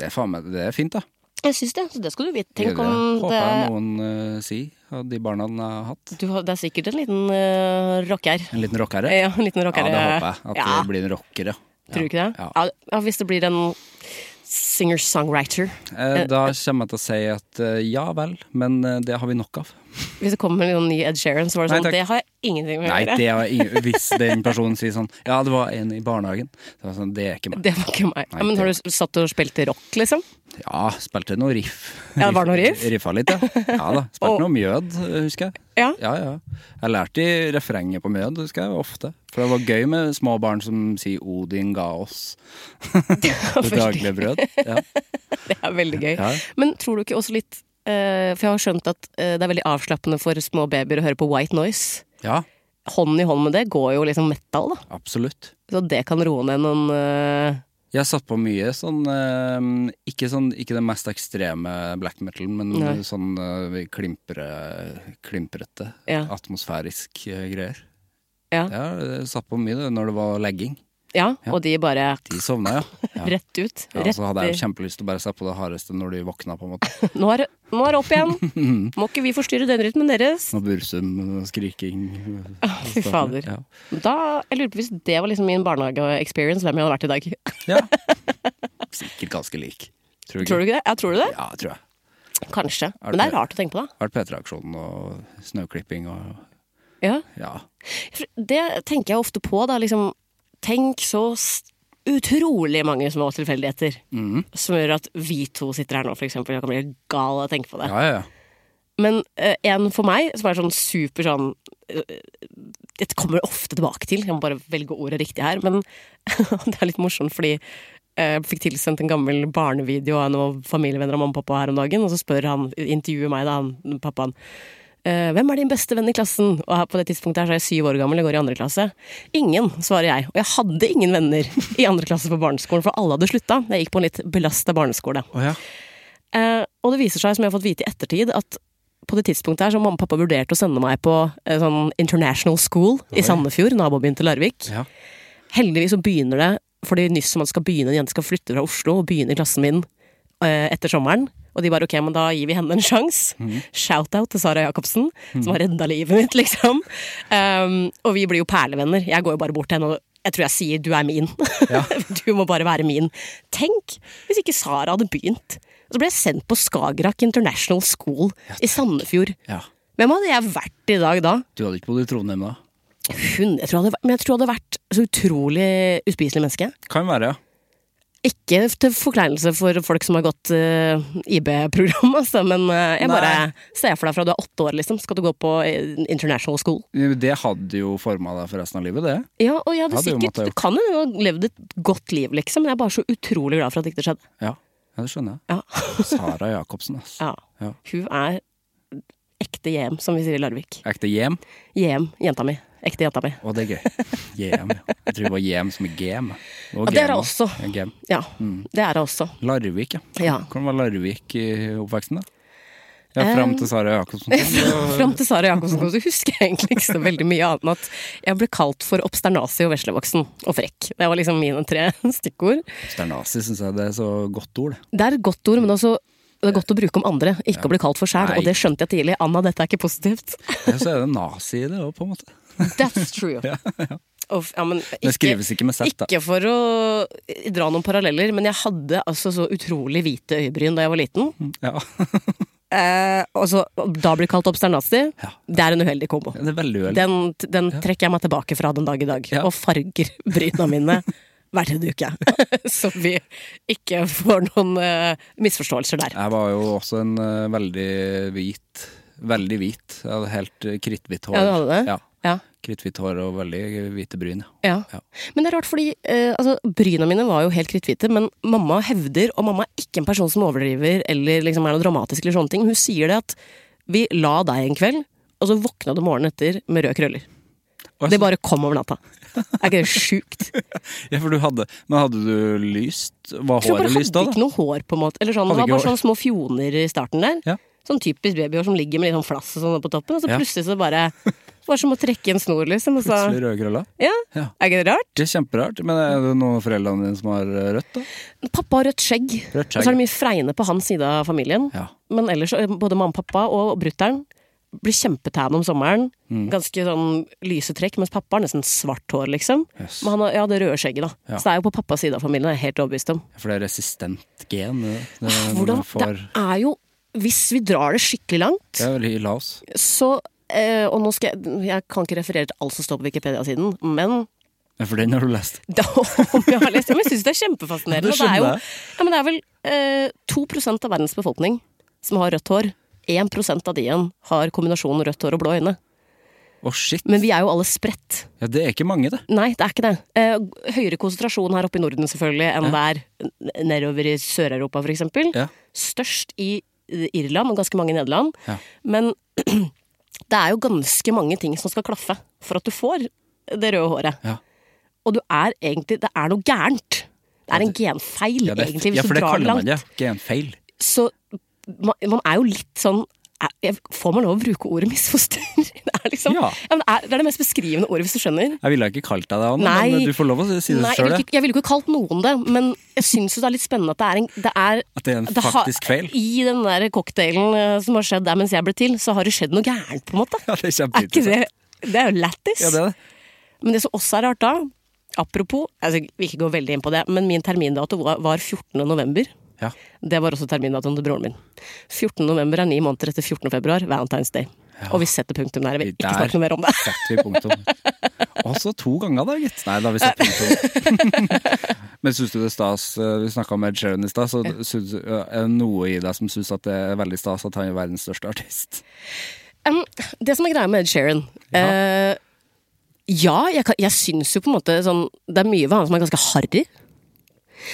[SPEAKER 2] Det er, faen meg, det er fint, da.
[SPEAKER 3] Jeg syns det, så det skal du vite. Tenk
[SPEAKER 2] det
[SPEAKER 3] om
[SPEAKER 2] håper
[SPEAKER 3] det
[SPEAKER 2] jeg noen ø, sier av de barna jeg har hatt.
[SPEAKER 3] Du, har- det er sikkert en liten uh, rocker.
[SPEAKER 2] En liten rockere?
[SPEAKER 3] Ja, en liten rocker.
[SPEAKER 2] Ja, det håper jeg. At
[SPEAKER 3] Ja,
[SPEAKER 2] det blir en rocker, ja.
[SPEAKER 3] Tror du ikke det?
[SPEAKER 2] Ja.
[SPEAKER 3] Ja. ja, hvis det blir en singer-songwriter.
[SPEAKER 2] Eh, Da kommer jeg til å si at eh, ja vel, men eh, det har vi nok av.
[SPEAKER 3] Hvis det kommer en ny Ed Sheeran, så var det
[SPEAKER 2] Nei,
[SPEAKER 3] sånn
[SPEAKER 2] takk.
[SPEAKER 3] Det har jeg ingenting med å
[SPEAKER 2] Nei,
[SPEAKER 3] gjøre.
[SPEAKER 2] det har ingen, hvis den personen sier sånn Ja, det var en i barnehagen. Så er det sånn, det er ikke meg.
[SPEAKER 3] Det var ikke meg.
[SPEAKER 2] Nei,
[SPEAKER 3] Ja, men
[SPEAKER 2] det-
[SPEAKER 3] har du satt og spilt rock, liksom?
[SPEAKER 2] Ja, spilte noe riff.
[SPEAKER 3] Ja, det var noe riff?
[SPEAKER 2] Riffa litt, ja. Ja da. Spilte
[SPEAKER 3] Og-
[SPEAKER 2] noe mjød, eh, husker jeg.
[SPEAKER 3] Ja.
[SPEAKER 2] Ja, ja. Jeg lærte i refrenget på mjød, husker jeg, ofte. For det var gøy med små barn som sier 'Odin ga oss' det daglige brød. Ja.
[SPEAKER 3] Det er veldig gøy.
[SPEAKER 2] Ja.
[SPEAKER 3] Men tror du ikke også litt eh, For jeg har skjønt at eh, det er veldig avslappende for små babyer å høre på White Noise.
[SPEAKER 2] ja,
[SPEAKER 3] Hånd i hånd med det går jo liksom metal, da.
[SPEAKER 2] absolutt.
[SPEAKER 3] Så det kan roe ned noen eh,
[SPEAKER 2] Jeg satt på mye sånn, eh, ikke, sånn Ikke den mest ekstreme black metal, men
[SPEAKER 3] Nei.
[SPEAKER 2] sånn eh, klimpre, klimprete,
[SPEAKER 3] Ja.
[SPEAKER 2] atmosfærisk eh, greier.
[SPEAKER 3] ja.
[SPEAKER 2] Ja, jeg satt på mye det, når det var legging.
[SPEAKER 3] ja, og de bare
[SPEAKER 2] De sovna, ja. ja.
[SPEAKER 3] rett ut.
[SPEAKER 2] Ja,
[SPEAKER 3] rett
[SPEAKER 2] så hadde
[SPEAKER 3] i-
[SPEAKER 2] jeg jo kjempelyst til å bare se på det hardeste når de våkna, på en måte.
[SPEAKER 3] Nå er, nå er det opp igjen. Må ikke vi forstyrre døgnrytmen deres?
[SPEAKER 2] Noe bursum, noe skriking Sånn,
[SPEAKER 3] Fy fader.
[SPEAKER 2] Ja.
[SPEAKER 3] Da, jeg lurer på hvis det var liksom min barnehage-experience, hvem jeg hadde vært i dag.
[SPEAKER 2] ja. Sikkert ganske lik. Tror
[SPEAKER 3] Tror
[SPEAKER 2] du ikke?
[SPEAKER 3] du ikke det? Ja, tror du det?
[SPEAKER 2] Ja, tror jeg.
[SPEAKER 3] Kanskje. Men det er rart å tenke på, da.
[SPEAKER 2] Vært P3-aksjonen og snauklipping og
[SPEAKER 3] Ja.
[SPEAKER 2] ja.
[SPEAKER 3] For Det tenker jeg ofte på, da. Liksom, tenk så s- utrolig mange små tilfeldigheter som gjør at vi to sitter her nå, for eksempel. Jeg kan bli gal av å tenke på det.
[SPEAKER 2] Ja, ja, ja.
[SPEAKER 3] Men eh, en for meg, som er sånn super sånn eh, dette kommer jeg ofte tilbake til, jeg må bare velge ordet riktig her, men det er litt morsomt fordi jeg fikk tilsendt en gammel barnevideo av noen familievenner av mamma og pappa her om dagen, og så spør han, intervjuer meg da, han, pappaen, «Eh, hvem er din beste venn i klassen? Og her på det tidspunktet her så er jeg syv år gammel, jeg går i andre klasse. Ingen, svarer jeg. Og jeg hadde ingen venner i andre klasse på barneskolen, for alle hadde slutta. Jeg gikk på en litt belasta barneskole. Eh, og det viser seg, som jeg har fått vite i ettertid, at på det tidspunktet her så mamma og pappa vurderte å sende meg på eh, sånn international school i Sandefjord, nabobyen til Larvik.
[SPEAKER 2] Ja.
[SPEAKER 3] Heldigvis så begynner det, for det er nyss som at skal begynne, en jente skal flytte fra Oslo og begynne i klassen min eh, etter sommeren. Og de bare ok, men da gir vi henne en sjanse. Shout-out til Sara Jacobsen, som har redda livet mitt, liksom. Um, og vi blir jo perlevenner. Jeg går jo bare bort til henne og jeg tror jeg sier du er min. du må bare være min. Tenk hvis ikke Sara hadde begynt. Og så ble jeg sendt på Skagerrak International School i Sandefjord.
[SPEAKER 2] Ja.
[SPEAKER 3] Hvem hadde jeg vært i dag da?
[SPEAKER 2] Du hadde ikke bodd i Trondheim da?
[SPEAKER 3] Hun, jeg tror jeg hadde, vært- men jeg tror jeg hadde vært så utrolig uspiselig menneske.
[SPEAKER 2] Kan være, ja.
[SPEAKER 3] Ikke til forkleinelse for folk som har gått eh, IB-program, altså, men eh, jeg bare ser for deg fra du er åtte år, liksom, skal du gå på eh, international school.
[SPEAKER 2] Det hadde jo forma deg for resten av livet, det.
[SPEAKER 3] Ja, og jeg hadde
[SPEAKER 2] Ja, det er jo
[SPEAKER 3] sikkert,
[SPEAKER 2] måte å-
[SPEAKER 3] det kan jo ha levd et godt liv, liksom, men jeg er bare så utrolig glad for at det ikke skjedde.
[SPEAKER 2] Ja, ja det skjønner jeg.
[SPEAKER 3] Ja.
[SPEAKER 2] Sara Jacobsen, ass.
[SPEAKER 3] ja.
[SPEAKER 2] Ja.
[SPEAKER 3] Hun er ekte JM, som vi sier i Larvik.
[SPEAKER 2] Ekte hjem,
[SPEAKER 3] JM, jenta mi. Ekte jenta mi.
[SPEAKER 2] og det er gøy. Hjem, ja. Jeg tror det var hjem som er game.
[SPEAKER 3] Ja, det er det også.
[SPEAKER 2] Game.
[SPEAKER 3] Ja,
[SPEAKER 2] Mm.
[SPEAKER 3] det er hun også.
[SPEAKER 2] Larvik, ja.
[SPEAKER 3] Ja.
[SPEAKER 2] Hvordan var Larvik i oppveksten, da? Ja,
[SPEAKER 3] Eh.
[SPEAKER 2] Fram til Sara Jacobsen.
[SPEAKER 3] Fram til Sara Jacobsen kom, så husker jeg egentlig ikke så veldig mye annet enn at jeg ble kalt for obsternasi og veslevoksen og frekk. Det var liksom mine tre stikkord.
[SPEAKER 2] Sternasi syns jeg det er så godt ord, det.
[SPEAKER 3] Det er et godt ord, men også det er godt å bruke om andre, ikke å bli kalt for sjæl.
[SPEAKER 2] Nei.
[SPEAKER 3] Og det skjønte jeg tidlig. Anna, dette er ikke positivt.
[SPEAKER 2] Ja, Så er det nazi i det òg, på en måte.
[SPEAKER 3] That's true. ja, men ikke,
[SPEAKER 2] Det skrives ikke med Z, da.
[SPEAKER 3] Ikke for å dra noen paralleller, men jeg hadde altså så utrolig hvite øyebryn da jeg var liten.
[SPEAKER 2] Ja.
[SPEAKER 3] Eh, og så da blir kalt obsternasi.
[SPEAKER 2] Ja.
[SPEAKER 3] Det er en uheldig kombo.
[SPEAKER 2] Det er veldig uheldig.
[SPEAKER 3] Den, den trekker jeg meg tilbake fra den dag i dag,
[SPEAKER 2] Ja.
[SPEAKER 3] og farger bryna mine hver tredje uke. Så vi ikke får noen eh, misforståelser der.
[SPEAKER 2] Jeg var jo også en eh, veldig hvit Veldig hvit. Jeg hadde helt eh, kritthvitt hår.
[SPEAKER 3] Ja, du hadde det?
[SPEAKER 2] Ja.
[SPEAKER 3] Ja.
[SPEAKER 2] Kritthvitt hår og veldig hvite bryn. ja.
[SPEAKER 3] Ja.
[SPEAKER 2] Ja.
[SPEAKER 3] Men det er rart, fordi eh, altså, bryna mine var jo helt kritthvite, men mamma hevder, og mamma er ikke en person som overdriver eller liksom er noe dramatisk eller sånne ting, hun sier det at vi la deg en kveld, og så våkna du morgenen etter med røde krøller.
[SPEAKER 2] Og
[SPEAKER 3] Det
[SPEAKER 2] jeg-
[SPEAKER 3] bare kom over natta. Er ikke det sjukt?
[SPEAKER 2] Ja, for du hadde Men hadde du lyst? Var
[SPEAKER 3] Jeg tror
[SPEAKER 2] håret
[SPEAKER 3] bare hadde
[SPEAKER 2] lyst da?
[SPEAKER 3] ikke
[SPEAKER 2] da?
[SPEAKER 3] noe hår, på en måte. Eller sånn,
[SPEAKER 2] Hadde
[SPEAKER 3] det var
[SPEAKER 2] ikke
[SPEAKER 3] bare
[SPEAKER 2] hår.
[SPEAKER 3] sånne små fjoner i starten der.
[SPEAKER 2] Ja.
[SPEAKER 3] Sånn typisk babyhår som ligger med litt sånn flass og sånn på toppen, og så
[SPEAKER 2] Ja.
[SPEAKER 3] plutselig så bare Det var som å trekke en snor, liksom. Og så,
[SPEAKER 2] Plutselig røde krøller?
[SPEAKER 3] ja,
[SPEAKER 2] Ja.
[SPEAKER 3] er ikke det rart?
[SPEAKER 2] Det er kjemperart. Men er det noen av foreldrene dine som har eh, rødt, da?
[SPEAKER 3] Pappa har rødt skjegg, og
[SPEAKER 2] Rødt
[SPEAKER 3] så er
[SPEAKER 2] skjegg.
[SPEAKER 3] det mye fregne på hans side av familien.
[SPEAKER 2] Ja.
[SPEAKER 3] Men ellers, eh, både mamma og pappa og brutter'n blir kjempetan om sommeren.
[SPEAKER 2] Mm.
[SPEAKER 3] Ganske sånn lyse trekk, mens pappa har nesten svart hår, liksom.
[SPEAKER 2] Yes.
[SPEAKER 3] Men han har ja, det røde skjegget, da.
[SPEAKER 2] Ja.
[SPEAKER 3] Så det er jo på pappas side av familien, det er jeg helt overbevist om.
[SPEAKER 2] For det er resistent gen. Det, det, når
[SPEAKER 3] Ah, Hvordan,
[SPEAKER 2] du får,
[SPEAKER 3] Det er jo Hvis vi drar det skikkelig langt,
[SPEAKER 2] det er veldig Laos.
[SPEAKER 3] Så eh, Og nå skal jeg Jeg kan ikke referere til alt som står på Wikipedia-siden, men
[SPEAKER 2] Ja, for den har du lest.
[SPEAKER 3] da, om jeg har lest det, men jeg syns det er kjempefascinerende. og det er
[SPEAKER 2] Det
[SPEAKER 3] jo
[SPEAKER 2] skjønner jeg.
[SPEAKER 3] ja, men det er vel eh, 2 av verdens befolkning som har rødt hår. 1 av de igjen har kombinasjonen rødt hår og blå øyne.
[SPEAKER 2] Å, shit.
[SPEAKER 3] Men vi er jo alle spredt.
[SPEAKER 2] Ja, det er ikke mange, det.
[SPEAKER 3] Nei, det er ikke det. Eh, høyere konsentrasjon her oppe i Norden selvfølgelig enn det er n- nedover i Sør-Europa for eksempel.
[SPEAKER 2] Ja.
[SPEAKER 3] Størst i eh, Irland og ganske mange i Nederland.
[SPEAKER 2] Ja.
[SPEAKER 3] Men det er jo ganske mange ting som skal klaffe for at du får det røde håret.
[SPEAKER 2] Ja.
[SPEAKER 3] Og du er egentlig, det er noe gærent. Det er en genfeil
[SPEAKER 2] Ja, det,
[SPEAKER 3] egentlig, hvis
[SPEAKER 2] ja for
[SPEAKER 3] du
[SPEAKER 2] det
[SPEAKER 3] drar det
[SPEAKER 2] kaller man
[SPEAKER 3] langt.
[SPEAKER 2] det. Genfeil.
[SPEAKER 3] Så man, man er jo litt sånn er- jeg- Får man lov å bruke ordet misfoster? Det er liksom,
[SPEAKER 2] Ja.
[SPEAKER 3] men det, er, det er det mest beskrivende ordet, hvis du skjønner.
[SPEAKER 2] Jeg ville ikke kalt deg det, Anne,
[SPEAKER 3] Nei.
[SPEAKER 2] men du får lov å si det
[SPEAKER 3] Nei, jeg
[SPEAKER 2] sjøl.
[SPEAKER 3] ville ikke, jeg ville ikke kalt noen det, men jeg syns jo det er litt spennende at det er en, det er,
[SPEAKER 2] At det er en
[SPEAKER 3] har-
[SPEAKER 2] faktisk feil.
[SPEAKER 3] I den der cocktailen eh, som har skjedd der mens jeg ble til, så har det skjedd noe gærent, på en måte.
[SPEAKER 2] Ja, det er
[SPEAKER 3] er ikke
[SPEAKER 2] kjempeinteressant.
[SPEAKER 3] det Det er jo lættis.
[SPEAKER 2] Ja, det er det.
[SPEAKER 3] Men det som også er rart da, apropos altså, Jeg vil ikke gå veldig inn på det, men min termindato var var 14. november.
[SPEAKER 2] Ja.
[SPEAKER 3] Det var også termindatoen til broren min. 14. november er ni måneder etter 14. februar, Valentine's Day. Og vi setter punktum der. Jeg vil
[SPEAKER 2] Der.
[SPEAKER 3] ikke snakke noe mer om det.
[SPEAKER 2] Setter vi punktum. Og så to ganger, da, gitt. Nei, da har vi satt punktum. Men syns du det er stas eh, Vi snakka med Ed Sheeran i stad, så syns, er det noe i deg som syns at det er veldig stas at han er verdens største artist?
[SPEAKER 3] Um, det som er greia med Ed Sheeran eh, Ja, jeg, kan- jeg syns jo på en måte sånn Det er mye ved han som er ganske harry.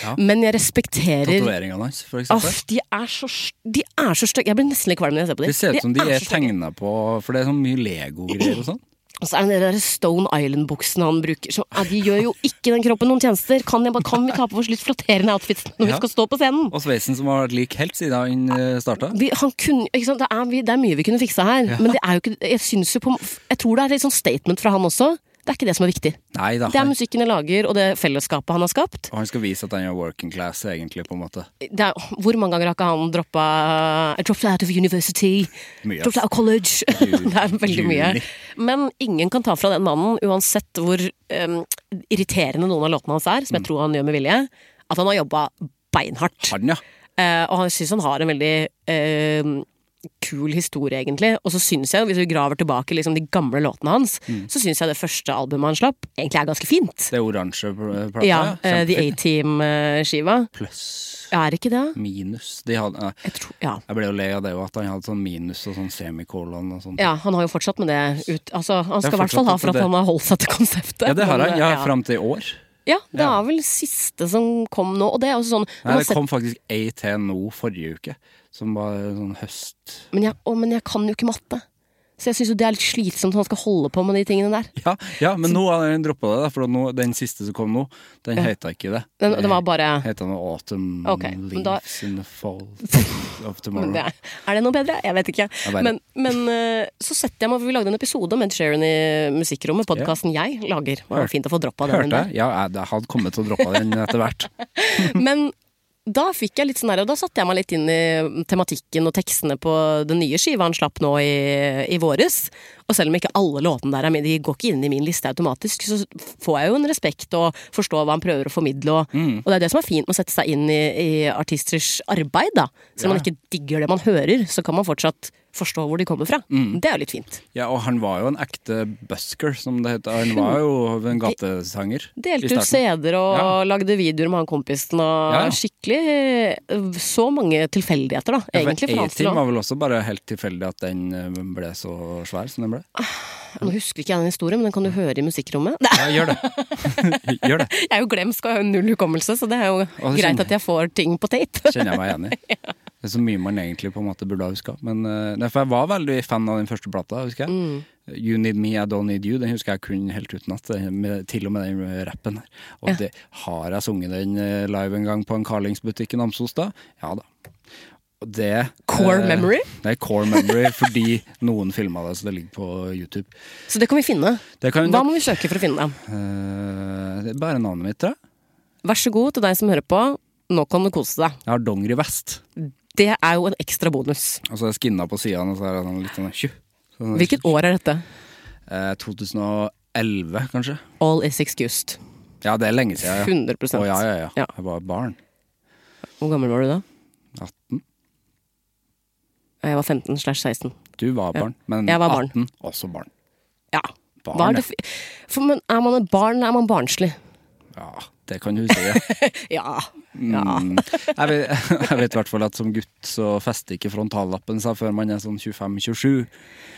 [SPEAKER 2] Ja.
[SPEAKER 3] Men jeg respekterer
[SPEAKER 2] Tatoveringene hans, for eksempel.
[SPEAKER 3] Aff, de er så st- De er så stygge. Jeg blir nesten litt kvalm når jeg ser på dem.
[SPEAKER 2] Det ser ut som de er
[SPEAKER 3] så stygge.
[SPEAKER 2] tegna på For det er sånn mye Lego-greier og sånn.
[SPEAKER 3] Og så er det den der Stone Island-buksene han bruker. Så, ja, de gjør jo ikke den kroppen noen tjenester. Kan, jeg, bare- kan vi ta på oss litt flatterende outfits når vi
[SPEAKER 2] Ja.
[SPEAKER 3] skal stå på scenen?
[SPEAKER 2] Og sveisen som har vært lik helt siden han eh, starta.
[SPEAKER 3] Vi, han kunne, ikke sant? Det, er, vi- det er mye vi kunne fiksa her, men det er jo ikke, jeg, synes jo på, jeg tror det er litt sånn statement fra han også. Det er ikke det som er viktig.
[SPEAKER 2] Nei da.
[SPEAKER 3] Det er
[SPEAKER 2] Han,
[SPEAKER 3] musikken jeg lager, og det fellesskapet han har skapt.
[SPEAKER 2] han skal vise at han er working class, egentlig, på en måte.
[SPEAKER 3] Det er, hvor mange ganger har ikke han droppa I dropped out of university.
[SPEAKER 2] Mye, ass.
[SPEAKER 3] dropped out of college. det er veldig mye.
[SPEAKER 2] Juli.
[SPEAKER 3] Men ingen kan ta fra den mannen, uansett hvor em, irriterende noen av låtene hans er, som jeg tror han gjør med vilje, at han har jobba beinhardt.
[SPEAKER 2] Mm. Han, ja.
[SPEAKER 3] Eh, og han syns han har en veldig em, kul historie, egentlig. Og så syns jeg, hvis vi graver tilbake liksom, de gamle låtene hans,
[SPEAKER 2] Mm.
[SPEAKER 3] så syns jeg det første albumet han slapp, egentlig er ganske fint.
[SPEAKER 2] Det er oransje pl- plata.
[SPEAKER 3] Ja, eh, The
[SPEAKER 2] Kjempefint.
[SPEAKER 3] A-Team-skiva.
[SPEAKER 2] Pluss,
[SPEAKER 3] Er det ikke det?
[SPEAKER 2] minus. De hadde, nei,
[SPEAKER 3] Jeg tror, ja.
[SPEAKER 2] jeg ble jo lei av det jo, at han hadde sånn minus og sånn semikolon og sånn.
[SPEAKER 3] Ja, han har jo fortsatt med det ut altså, Han skal i
[SPEAKER 2] fortsatt
[SPEAKER 3] hvert fall ha
[SPEAKER 2] med
[SPEAKER 3] for at
[SPEAKER 2] det.
[SPEAKER 3] han har holdt seg til konseptet.
[SPEAKER 2] Ja, det har
[SPEAKER 3] men, eh,
[SPEAKER 2] han. Ja,
[SPEAKER 3] ja.
[SPEAKER 2] fram til i år.
[SPEAKER 3] Ja, det er vel siste som kom nå, og det er også sånn når
[SPEAKER 2] Nei,
[SPEAKER 3] man
[SPEAKER 2] det
[SPEAKER 3] ser-
[SPEAKER 2] kom faktisk ei til nå forrige uke, som var sånn høst...
[SPEAKER 3] men, jeg, å, men jeg kan jo ikke matte. Så jeg syns jo det er litt slitsomt at han skal holde på med de tingene der.
[SPEAKER 2] Ja, ja men nå har den droppa det, da, for nå, den siste som kom nå, den heter ikke det.
[SPEAKER 3] Den, det var bare
[SPEAKER 2] Heter noe Autumn
[SPEAKER 3] Ok, men da-
[SPEAKER 2] Leaves in the Fall of Tomorrow.
[SPEAKER 3] det er, er det noe bedre? Jeg vet ikke.
[SPEAKER 2] vet
[SPEAKER 3] Men, men eh, så setter jeg meg for Vi lagde en episode med Ed Sheeran i Musikkrommet, podkasten jeg lager. Det var fint å få droppa den.
[SPEAKER 2] Hørte jeg? Ja, jeg jeg hadde kommet til å droppe den etter hvert.
[SPEAKER 3] Men da fikk jeg litt sånn der, og da satte jeg meg litt inn i tematikken og tekstene på den nye skiva han slapp nå i, i våres. Og selv om ikke alle låtene der er med, de går ikke inn i min liste automatisk, så får jeg jo en respekt og forstår hva han prøver å formidle. Og,
[SPEAKER 2] Mm.
[SPEAKER 3] og det er det som er fint med å sette seg inn i, i artisters arbeid, da. Så man ikke digger det man hører, så kan man fortsatt forstå hvor de kommer fra.
[SPEAKER 2] Mm.
[SPEAKER 3] Det er jo litt fint.
[SPEAKER 2] Ja, og han var jo en ekte busker, som det heter. Han var jo en gatesanger. i
[SPEAKER 3] Delte ut
[SPEAKER 2] starten.
[SPEAKER 3] CD-er og
[SPEAKER 2] Ja.
[SPEAKER 3] lagde videoer med han kompisen og
[SPEAKER 2] Ja, ja.
[SPEAKER 3] skikkelig øh, Så mange tilfeldigheter, da, egentlig. for hans del også.
[SPEAKER 2] A-Team var vel også bare helt tilfeldig at den eh, ble så svær som den ble.
[SPEAKER 3] Nå husker ikke jeg den historien, men den kan du høre i musikkrommet. Det
[SPEAKER 2] Ja, gjør det. gjør det.
[SPEAKER 3] jeg er jo glemsk og har jo null hukommelse, så det er jo
[SPEAKER 2] det
[SPEAKER 3] greit
[SPEAKER 2] kjenner-
[SPEAKER 3] at jeg får ting på tape.
[SPEAKER 2] Kjenner jeg meg igjen i. Det er så mye man egentlig på en måte burde ha huska. Men eh, nei, for jeg var veldig fan av den første plata, husker jeg.
[SPEAKER 3] Mm.
[SPEAKER 2] You Need Me, I Don't Need You, den husker jeg kun helt utenat. den med- Til og med den rappen her. Og det, har jeg sunget den eh, live en gang på en Carlingsbutikk i Namsos da? Ja da. Og Det,
[SPEAKER 3] Core
[SPEAKER 2] eh,
[SPEAKER 3] memory?
[SPEAKER 2] Det er core memory fordi noen filma det, så det ligger på YouTube.
[SPEAKER 3] Så det kan vi finne.
[SPEAKER 2] Det kan
[SPEAKER 3] Hva må vi søke for å finne det?
[SPEAKER 2] Eh, det er bare navnet mitt, tror jeg.
[SPEAKER 3] Vær så god til deg som hører på. Nå kan du kose deg.
[SPEAKER 2] Jeg har Dongeri Vest.
[SPEAKER 3] Det er jo en ekstra bonus.
[SPEAKER 2] Og så er jeg skinna på sidene, og så er jeg sånn litt sånn tju. Sånn,
[SPEAKER 3] Hvilket år er dette?
[SPEAKER 2] eh, 2011, kanskje?
[SPEAKER 3] All is excused.
[SPEAKER 2] Ja, det er lenge siden.
[SPEAKER 3] 100
[SPEAKER 2] Ja. Å, ja, ja, ja.
[SPEAKER 3] Ja.
[SPEAKER 2] Jeg var barn.
[SPEAKER 3] Hvor gammel var du da?
[SPEAKER 2] 18.
[SPEAKER 3] Jeg var 15 slash 16.
[SPEAKER 2] Du var barn, men
[SPEAKER 3] Jeg var barn.
[SPEAKER 2] 18 også barn.
[SPEAKER 3] Ja.
[SPEAKER 2] Barn,
[SPEAKER 3] Hva er det f- for, men er man et barn, er man barnslig.
[SPEAKER 2] Ja, det kan du si.
[SPEAKER 3] Ja. ja.
[SPEAKER 2] Mm. Jeg vet, jeg vet i hvert fall at som gutt så fester ikke frontallappen seg før man er sånn 25-27.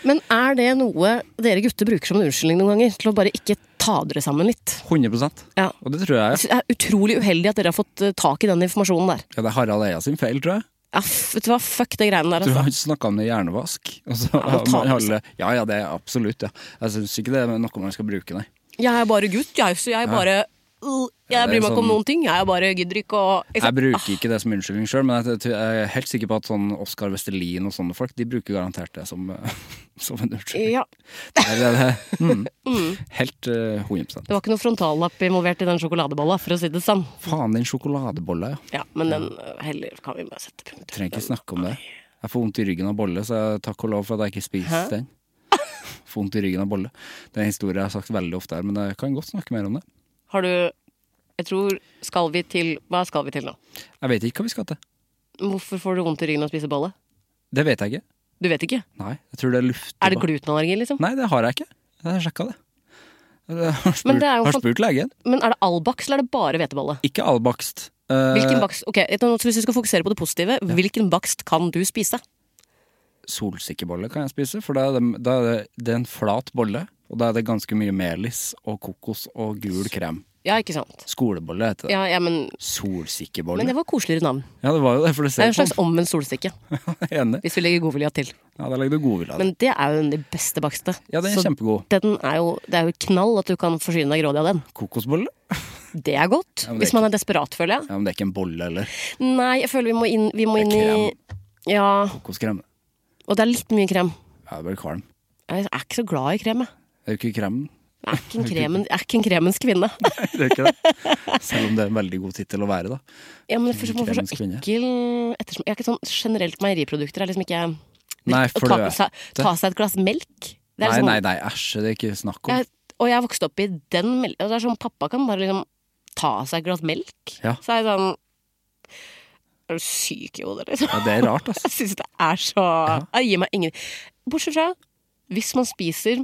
[SPEAKER 3] Men er det noe dere gutter bruker som en unnskyldning noen ganger? Til å bare ikke ta dere sammen litt?
[SPEAKER 2] 100
[SPEAKER 3] Ja.
[SPEAKER 2] Og det tror jeg.
[SPEAKER 3] Jeg synes Det er utrolig uheldig at dere har fått eh, tak i den informasjonen der.
[SPEAKER 2] Ja, det er Harald Eia sin feil, tror jeg.
[SPEAKER 3] Ja, f- vet du hva, fuck det greiene der,
[SPEAKER 2] Du har
[SPEAKER 3] altså.
[SPEAKER 2] ikke snakka om det hjernevask. Og så,
[SPEAKER 3] Ja, og ta- altså.
[SPEAKER 2] man holder- ja, ja, det er absolutt. Ja. Jeg syns ikke det er noe man skal bruke, nei.
[SPEAKER 3] Jeg er bare gutt, jeg, så jeg bare uh,
[SPEAKER 2] Ja,
[SPEAKER 3] Jeg
[SPEAKER 2] det er
[SPEAKER 3] bryr meg ikke om
[SPEAKER 2] sånn-
[SPEAKER 3] noen ting. Jeg er bare gidder ikke å ikke
[SPEAKER 2] Jeg
[SPEAKER 3] sant? Ah.
[SPEAKER 2] bruker ikke det som unnskyldning sjøl, men jeg jeg er helt sikker på at sånn Oskar Vestelin og sånne folk, de bruker garantert det som, eh, som en unnskyldning.
[SPEAKER 3] Ja,
[SPEAKER 2] Det er det. Mm. Helt eh, 100
[SPEAKER 3] Det var ikke noe frontallapp involvert i den sjokoladebolla, for å si det sånn.
[SPEAKER 2] Faen, den sjokoladebolla, ja.
[SPEAKER 3] Ja, Men den eh, heller kan vi bare sette punktum.
[SPEAKER 2] Trenger ikke snakke om det. Jeg får vondt i ryggen av bolle, så jeg- takk og lov for at jeg ikke spiser den. Får vondt i ryggen av bolle. Det er en historie jeg har sagt veldig ofte her, men jeg kan godt snakke mer om det.
[SPEAKER 3] Har du Jeg tror Skal vi til Hva skal vi til nå?
[SPEAKER 2] Jeg vet ikke hva vi skal til.
[SPEAKER 3] Hvorfor får du vondt i ryggen av å spise bolle?
[SPEAKER 2] Det vet jeg ikke.
[SPEAKER 3] Du vet ikke?
[SPEAKER 2] Nei, jeg tror det er luft
[SPEAKER 3] Er det glutenallergi, liksom?
[SPEAKER 2] Nei, det har jeg ikke. Jeg har sjekka det. Jeg har spurt,
[SPEAKER 3] Men det er jo
[SPEAKER 2] har
[SPEAKER 3] fan-
[SPEAKER 2] spurt legen.
[SPEAKER 3] Men er det all bakst, eller er det bare hvetebolle?
[SPEAKER 2] Ikke all bakst. Eh,
[SPEAKER 3] Hvilken bakst, ok, jeg tror- Hvis vi skal fokusere på det positive, hvilken bakst kan du spise?
[SPEAKER 2] Solsikkebolle kan jeg spise, for da er det, da er det, det er en flat bolle. Og da er det ganske mye melis og kokos og gul krem.
[SPEAKER 3] Ja, ikke sant.
[SPEAKER 2] Skolebolle heter det.
[SPEAKER 3] Ja, ja, men,
[SPEAKER 2] Solsikkebolle.
[SPEAKER 3] men det var koseligere navn.
[SPEAKER 2] Ja, det var jo det, for det
[SPEAKER 3] Det er
[SPEAKER 2] ser
[SPEAKER 3] en slags omvendt solstikke,
[SPEAKER 2] Enig.
[SPEAKER 3] hvis vi legger godvilja til.
[SPEAKER 2] Ja, da legger du godvilja di.
[SPEAKER 3] Men det er jo den de beste bakste.
[SPEAKER 2] Ja, den er
[SPEAKER 3] Så
[SPEAKER 2] kjempegod.
[SPEAKER 3] Den er jo, det er jo knall at du kan forsyne deg grådig av den.
[SPEAKER 2] Kokosbolle?
[SPEAKER 3] Det er godt.
[SPEAKER 2] men det er
[SPEAKER 3] hvis man er desperat, føler jeg.
[SPEAKER 2] Ja, men det er ikke en bolle heller.
[SPEAKER 3] Nei, jeg føler vi må inn, vi må inn i
[SPEAKER 2] Krem.
[SPEAKER 3] Ja,
[SPEAKER 2] Kokoskrem.
[SPEAKER 3] og det er litt mye krem.
[SPEAKER 2] Ja, det blir kvalm.
[SPEAKER 3] Jeg er ikke så glad i krem, jeg.
[SPEAKER 2] Det er jo ikke kremen.
[SPEAKER 3] Jeg er ikke en, kremen, jeg er ikke en kremens kvinne.
[SPEAKER 2] Det er ikke det. Selv om det er en veldig god tittel å være, da.
[SPEAKER 3] Ja, men for, hvorfor så
[SPEAKER 2] Kremens kvinne.
[SPEAKER 3] ekkel ettersom, Jeg er ikke sånn generelt meieriprodukter. Er liksom ikke
[SPEAKER 2] Nei,
[SPEAKER 3] Å ta,
[SPEAKER 2] fløte.
[SPEAKER 3] sa- ta seg et glass melk. Det er
[SPEAKER 2] Nei,
[SPEAKER 3] liksom,
[SPEAKER 2] nei, nei, æsj, det er ikke snakk om.
[SPEAKER 3] Jeg, og jeg er vokst opp i den melk... og Det er sånn, pappa kan bare liksom ta seg et glass melk.
[SPEAKER 2] Ja.
[SPEAKER 3] Så er jeg sånn Er du syk i hodet, liksom?
[SPEAKER 2] Ja, det er rart, altså.
[SPEAKER 3] Jeg syns det er så Jeg gir meg ingen Bortsett fra hvis man spiser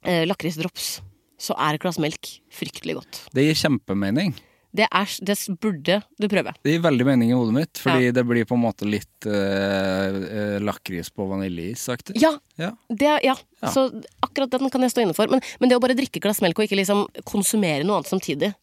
[SPEAKER 3] eh, lakrisdrops, så er et glass melk fryktelig godt.
[SPEAKER 2] Det gir kjempemening.
[SPEAKER 3] Det, er, det burde du prøve.
[SPEAKER 2] Det gir veldig mening i hodet mitt, fordi det blir på en måte litt eh, eh, lakris på vaniljeis-aktig.
[SPEAKER 3] Ja,
[SPEAKER 2] Ja.
[SPEAKER 3] det, ja.
[SPEAKER 2] Ja.
[SPEAKER 3] Så akkurat den kan jeg stå inne for. Men, men det å bare drikke et glass melk og ikke liksom konsumere noe annet samtidig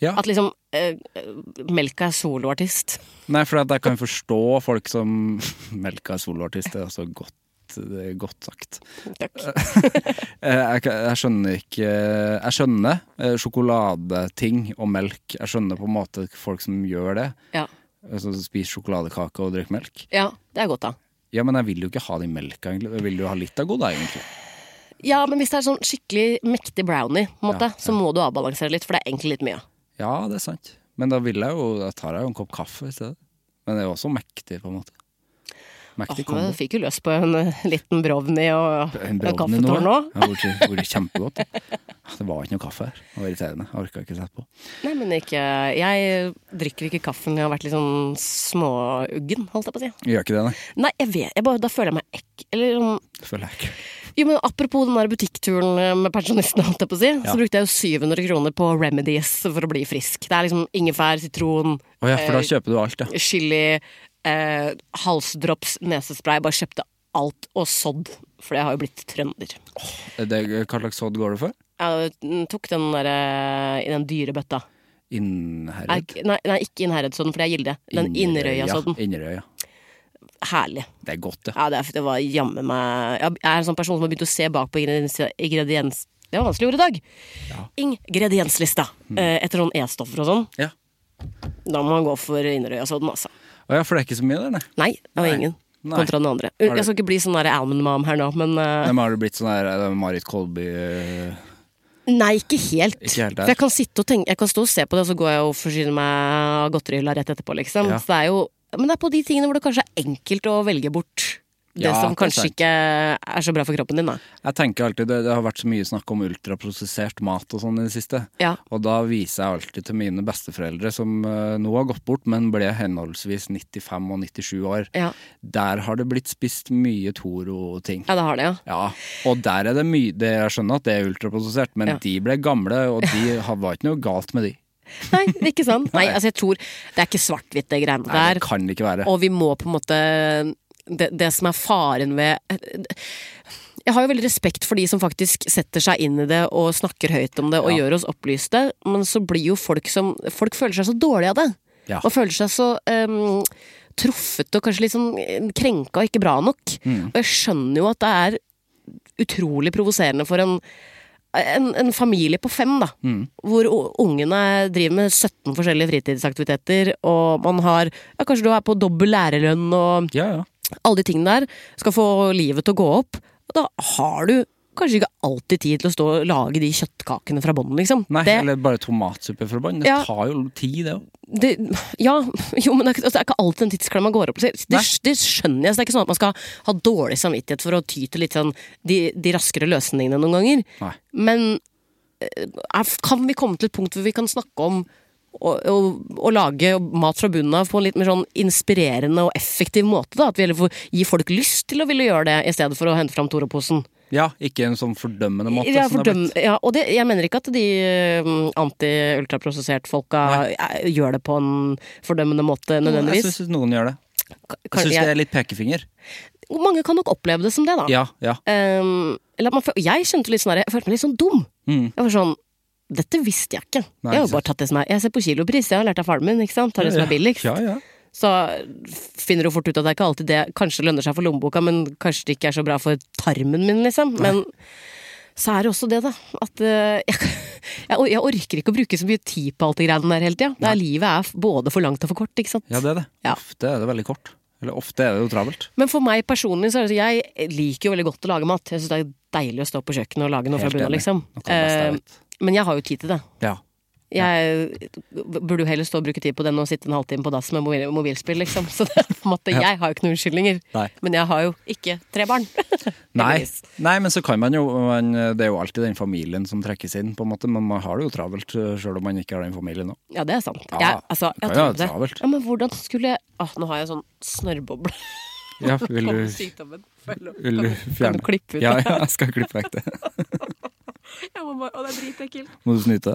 [SPEAKER 2] Ja.
[SPEAKER 3] At liksom eh, eh, melka er soloartist.
[SPEAKER 2] Nei, for at jeg kan forstå folk som melka er soloartist, det er også godt, det er godt sagt.
[SPEAKER 3] Takk.
[SPEAKER 2] Eh, Jeg, kan- jeg skjønner ikke Jeg skjønner eh, sjokoladeting og melk. Jeg skjønner på en måte folk som gjør det.
[SPEAKER 3] Ja.
[SPEAKER 2] eh, Som spiser sjokoladekake og drikker melk.
[SPEAKER 3] ja, det er godt, da.
[SPEAKER 2] Ja, men jeg vil jo ikke ha den melka, egentlig. Jeg vil jo ha litt av god, da, egentlig.
[SPEAKER 3] Ja, men hvis det er sånn skikkelig mektig brownie, på en måte, så må du avbalansere litt, for det er egentlig litt mye.
[SPEAKER 2] Ja, det er sant. Men da vil jeg jo Da tar jeg jo en kopp kaffe i stedet. Men det er jo også mektig, på en måte. Mektig
[SPEAKER 3] Åh, men
[SPEAKER 2] kombo.
[SPEAKER 3] jeg fikk jo løs på en eh, liten brownie og
[SPEAKER 2] En
[SPEAKER 3] og
[SPEAKER 2] brownie nå.
[SPEAKER 3] kaffetårn
[SPEAKER 2] ja.
[SPEAKER 3] òg.
[SPEAKER 2] Ja, Det hadde vært- vært kjempegodt. Det var ikke noe kaffe her. Det var irriterende. Jeg orka ikke sette på.
[SPEAKER 3] Nei, men ikke Jeg drikker ikke kaffe når jeg har vært litt sånn småuggen, holdt jeg på å si.
[SPEAKER 2] Gjør ikke det, nei.
[SPEAKER 3] Nei, jeg vet jeg bare, Da føler jeg meg ekk... Eller sånn
[SPEAKER 2] Det føler jeg ikke.
[SPEAKER 3] Jo, men apropos den der butikkturen eh, med pensjonistene, holdt jeg på å si,
[SPEAKER 2] Ja.
[SPEAKER 3] så brukte jeg jo 700 kroner på remedies for å bli frisk. Det er liksom ingefær, sitron,
[SPEAKER 2] Å ja, for da kjøper du alt, ja.
[SPEAKER 3] chili, eh, halsdrops, nesespray. Bare kjøpte alt og sådd, for jeg har jo blitt trønder.
[SPEAKER 2] Det, hva slags sodd går det for?
[SPEAKER 3] Jeg eh, tok den der eh, i den dyre bøtta. Nei,
[SPEAKER 2] Innherred?
[SPEAKER 3] ikke- nei, nei, ikke Innherredsodden, for det er gilde. Den Inderøya-sodden.
[SPEAKER 2] Inderøya.
[SPEAKER 3] Herlig.
[SPEAKER 2] Det er godt, ja.
[SPEAKER 3] Ja, det, er, det var jammen meg Jeg er en sånn person som har begynt å se bak på ingrediens... ingrediens det var vanskelig ord i dag. Ingredienslista.
[SPEAKER 2] Mm.
[SPEAKER 3] Eh, etter sånn E-stoffer og sånn.
[SPEAKER 2] Ja.
[SPEAKER 3] Da må man gå for Inderøya-sodden, altså.
[SPEAKER 2] Å ja, for det er ikke så mye der, nei.
[SPEAKER 3] Nei, det var ingen.
[SPEAKER 2] Nei.
[SPEAKER 3] Kontra den andre. Jeg skal ikke bli sånn der Almond Mom her nå, men eh,
[SPEAKER 2] Nei, men har du blitt sånn der eh, Marit Kolby eh,
[SPEAKER 3] Nei, ikke helt.
[SPEAKER 2] Ikke helt der.
[SPEAKER 3] For jeg kan sitte og tenke Jeg kan stå og se på det, og så går jeg og forsyner meg av godterihylla rett etterpå, liksom.
[SPEAKER 2] Ja.
[SPEAKER 3] Så det er jo Men det er på de tingene hvor det kanskje er enkelt å velge bort det
[SPEAKER 2] Ja,
[SPEAKER 3] som
[SPEAKER 2] det er
[SPEAKER 3] kanskje
[SPEAKER 2] sant.
[SPEAKER 3] ikke er så bra for kroppen din, da.
[SPEAKER 2] Jeg tenker alltid, det, det har vært så mye snakk om ultraprosessert mat og sånn i det siste.
[SPEAKER 3] Ja.
[SPEAKER 2] Og da viser jeg alltid til mine besteforeldre, som eh, nå har gått bort, men ble henholdsvis 95 og 97 år.
[SPEAKER 3] Ja.
[SPEAKER 2] Der har det blitt spist mye Toro-ting.
[SPEAKER 3] Ja, det har det, ja.
[SPEAKER 2] Ja, og der er det mye det, Jeg skjønner at det er ultraprosessert, men
[SPEAKER 3] Ja.
[SPEAKER 2] de ble gamle, og de ha- var ikke noe galt med de.
[SPEAKER 3] Nei, det er ikke sant. Nei, altså jeg tror Det er ikke svart-hvitt, det greiene
[SPEAKER 2] Nei,
[SPEAKER 3] der.
[SPEAKER 2] det kan det ikke være.
[SPEAKER 3] Og vi må på en måte det, det som er faren ved Jeg har jo veldig respekt for de som faktisk setter seg inn i det og snakker høyt om det og
[SPEAKER 2] Ja.
[SPEAKER 3] gjør oss opplyste, men så blir jo folk som Folk føler seg så dårlige av det.
[SPEAKER 2] Ja.
[SPEAKER 3] Og føler seg så em, truffet og kanskje litt sånn eh, krenka og ikke bra nok.
[SPEAKER 2] Mm.
[SPEAKER 3] Og jeg skjønner jo at det er utrolig provoserende for en en, en familie på fem, da, hvor u- ungene driver med 17 forskjellige fritidsaktiviteter, og man har ja, Kanskje du er på dobbel lærerlønn og
[SPEAKER 2] Ja, ja.
[SPEAKER 3] alle de tingene der. Skal få livet til å gå opp. Og da har du kanskje ikke alltid tid til å stå og lage de kjøttkakene fra bånn, liksom.
[SPEAKER 2] Nei,
[SPEAKER 3] det,
[SPEAKER 2] eller bare tomatsuppe fra bånn. Det
[SPEAKER 3] Ja.
[SPEAKER 2] tar jo tid, det òg.
[SPEAKER 3] det, ja, jo, men det er, ikke- altså, det er ikke alltid en tidsklemma går opp. Det, det, det skjønner jeg. Så det er ikke sånn at man skal ha dårlig samvittighet for å ty til litt sånn de, de raskere løsningene noen ganger.
[SPEAKER 2] Nei.
[SPEAKER 3] Men eh, er, kan vi komme til et punkt hvor vi kan snakke om å, å, å lage mat fra bunnen av på en litt mer sånn inspirerende og effektiv måte? da At vi heller får gi folk lyst til å ville gjøre det, i stedet for å hente fram Toro-posen?
[SPEAKER 2] Ja, ikke en sånn fordømmende måte.
[SPEAKER 3] Ja,
[SPEAKER 2] som det har
[SPEAKER 3] fordøm-
[SPEAKER 2] blitt.
[SPEAKER 3] ja, og det, jeg mener ikke at de eh, anti-ultraprosessert-folka eh, gjør det på en fordømmende måte,
[SPEAKER 2] Jeg
[SPEAKER 3] nødvendigvis.
[SPEAKER 2] syns noen gjør det.
[SPEAKER 3] Ka-
[SPEAKER 2] Jeg
[SPEAKER 3] kanskje
[SPEAKER 2] syns det
[SPEAKER 3] jeg-
[SPEAKER 2] er litt pekefinger.
[SPEAKER 3] Mange kan nok oppleve det som det, da.
[SPEAKER 2] Ja, ja.
[SPEAKER 3] Ehm, eller at man, føl- Jeg kjente litt sånn her, jeg følte meg litt sånn dum. Jeg var sånn Dette visste jeg ikke. jeg
[SPEAKER 2] Mm. Nei,
[SPEAKER 3] har
[SPEAKER 2] ikke
[SPEAKER 3] jo bare tatt det som er Jeg ser på kilopris, jeg har lært av faren min, ikke sant. Tar det som er billigst.
[SPEAKER 2] Ja, ja.
[SPEAKER 3] Så finner du fort ut at det er ikke alltid det kanskje lønner seg for lommeboka, men kanskje det ikke er så bra for tarmen min, liksom. Men så er det også det, da. At eh, jeg, jeg, jeg orker ikke å bruke så mye tid på alt det greiene der hele tida. Det er- Livet er f- både for langt og for kort, ikke sant.
[SPEAKER 2] Ja, det er det.
[SPEAKER 3] Ja.
[SPEAKER 2] Ofte er det veldig kort. Eller ofte er det jo travelt.
[SPEAKER 3] Men for meg personlig, så er det, så- jeg liker jo veldig godt å lage mat. Jeg syns det er deilig å stå på kjøkkenet og lage noe fra
[SPEAKER 2] Helt
[SPEAKER 3] bunnen av,
[SPEAKER 2] enig.
[SPEAKER 3] liksom.
[SPEAKER 2] Noe av det beste jeg
[SPEAKER 3] Eh,
[SPEAKER 2] vet.
[SPEAKER 3] men jeg har jo tid til det.
[SPEAKER 2] Ja.
[SPEAKER 3] Jeg eh, burde jo heller stå og bruke tid på den og sitte en halvtime på dass med mobil, mobilspill, liksom. Så det, er på en måte, jeg har jo ikke noen unnskyldninger.
[SPEAKER 2] Nei.
[SPEAKER 3] Men jeg har jo ikke tre barn.
[SPEAKER 2] Nei.
[SPEAKER 3] Heldigvis.
[SPEAKER 2] Nei, men så kan man jo man, Det er jo alltid den familien som trekkes inn, på en måte. Men man har det jo travelt sjøl om man ikke har den familien òg.
[SPEAKER 3] Ja, det er sant.
[SPEAKER 2] Ja,
[SPEAKER 3] jeg, altså,
[SPEAKER 2] du
[SPEAKER 3] jeg
[SPEAKER 2] kan jo
[SPEAKER 3] tror
[SPEAKER 2] ha
[SPEAKER 3] det.
[SPEAKER 2] det travelt.
[SPEAKER 3] Ja, men hvordan skulle jeg Åh, Nå har jeg sånn snørrboble
[SPEAKER 2] Ja, vil
[SPEAKER 3] på
[SPEAKER 2] du,
[SPEAKER 3] sykdommen. Føler-
[SPEAKER 2] vil du
[SPEAKER 3] Kan
[SPEAKER 2] fjerne
[SPEAKER 3] du klippe ut
[SPEAKER 2] Ja,
[SPEAKER 3] det?
[SPEAKER 2] ja, jeg skal klippe vekk det.
[SPEAKER 3] Jeg må bare- Å, det er dritekkelt.
[SPEAKER 2] Må du snyte?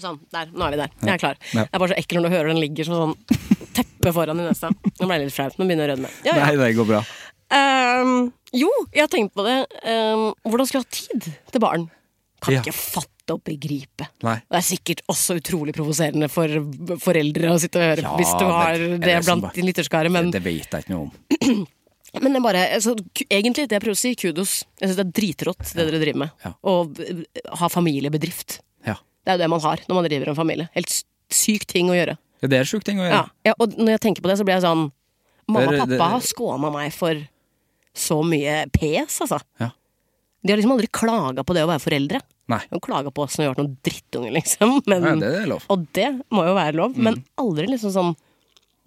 [SPEAKER 3] Sånn, der, nå er vi der. Jeg er klar.
[SPEAKER 2] Ja.
[SPEAKER 3] Det er bare så ekkelt når du hører den ligger som sånn teppe foran i nesa. Nå ble jeg litt flau. Nå begynner jeg å rødme. Ja, ja.
[SPEAKER 2] Nei, det går bra.
[SPEAKER 3] Ehm, jo, jeg har tenkt på det. Ehm, hvordan skal jeg ha tid til barn? Kan
[SPEAKER 2] Ja.
[SPEAKER 3] ikke fatte og begripe.
[SPEAKER 2] Nei.
[SPEAKER 3] Det er sikkert også utrolig provoserende for foreldre å sitte og høre
[SPEAKER 2] Ja,
[SPEAKER 3] hvis du
[SPEAKER 2] men
[SPEAKER 3] har
[SPEAKER 2] er
[SPEAKER 3] det,
[SPEAKER 2] det som
[SPEAKER 3] blant
[SPEAKER 2] bare-
[SPEAKER 3] din lytterskare, men,
[SPEAKER 2] Det vet jeg ikke noe om.
[SPEAKER 3] men det er bare, altså, ku- egentlig det jeg prøver å si, kudos. Jeg syns det er dritrått det dere driver med.
[SPEAKER 2] Ja.
[SPEAKER 3] Å b- ha familiebedrift.
[SPEAKER 2] Ja.
[SPEAKER 3] Det er jo det man har når man driver en familie. Helt s- syk ting å gjøre.
[SPEAKER 2] Ja, Det er sjukt ting å gjøre.
[SPEAKER 3] Ja. ja, og når jeg tenker på det, så blir jeg sånn Mamma og
[SPEAKER 2] Det er-
[SPEAKER 3] pappa
[SPEAKER 2] det-
[SPEAKER 3] har skåna meg for så mye pes, altså.
[SPEAKER 2] Ja.
[SPEAKER 3] De har liksom aldri klaga på det å være foreldre.
[SPEAKER 2] Nei.
[SPEAKER 3] De har klaga på oss når vi har vært noen drittunger, liksom. Men,
[SPEAKER 2] Nei, det Mm. er lov.
[SPEAKER 3] Og det må jo være lov, men aldri liksom sånn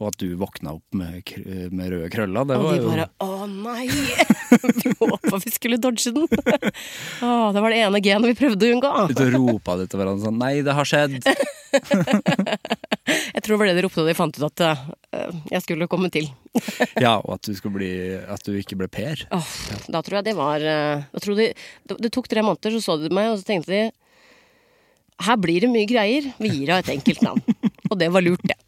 [SPEAKER 2] Og at du våkna opp med, kr- med røde krøller, det
[SPEAKER 3] Og
[SPEAKER 2] var
[SPEAKER 3] de
[SPEAKER 2] jo
[SPEAKER 3] bare Å nei! Vi håpa vi skulle dodge den. Å, det var det ene genet vi prøvde å unngå.
[SPEAKER 2] Ute og ropa det til hverandre sånn Nei, det har skjedd!
[SPEAKER 3] Jeg tror det var det de ropte da de fant ut at eh, jeg skulle komme til.
[SPEAKER 2] Ja, og at du, skulle bli, at du ikke ble Per.
[SPEAKER 3] Åh, da tror jeg det var eh, da tror de, det, det tok tre måneder, så så de meg, og så tenkte de Her blir det mye greier. Vi gir henne et enkelt navn. og det var lurt, det.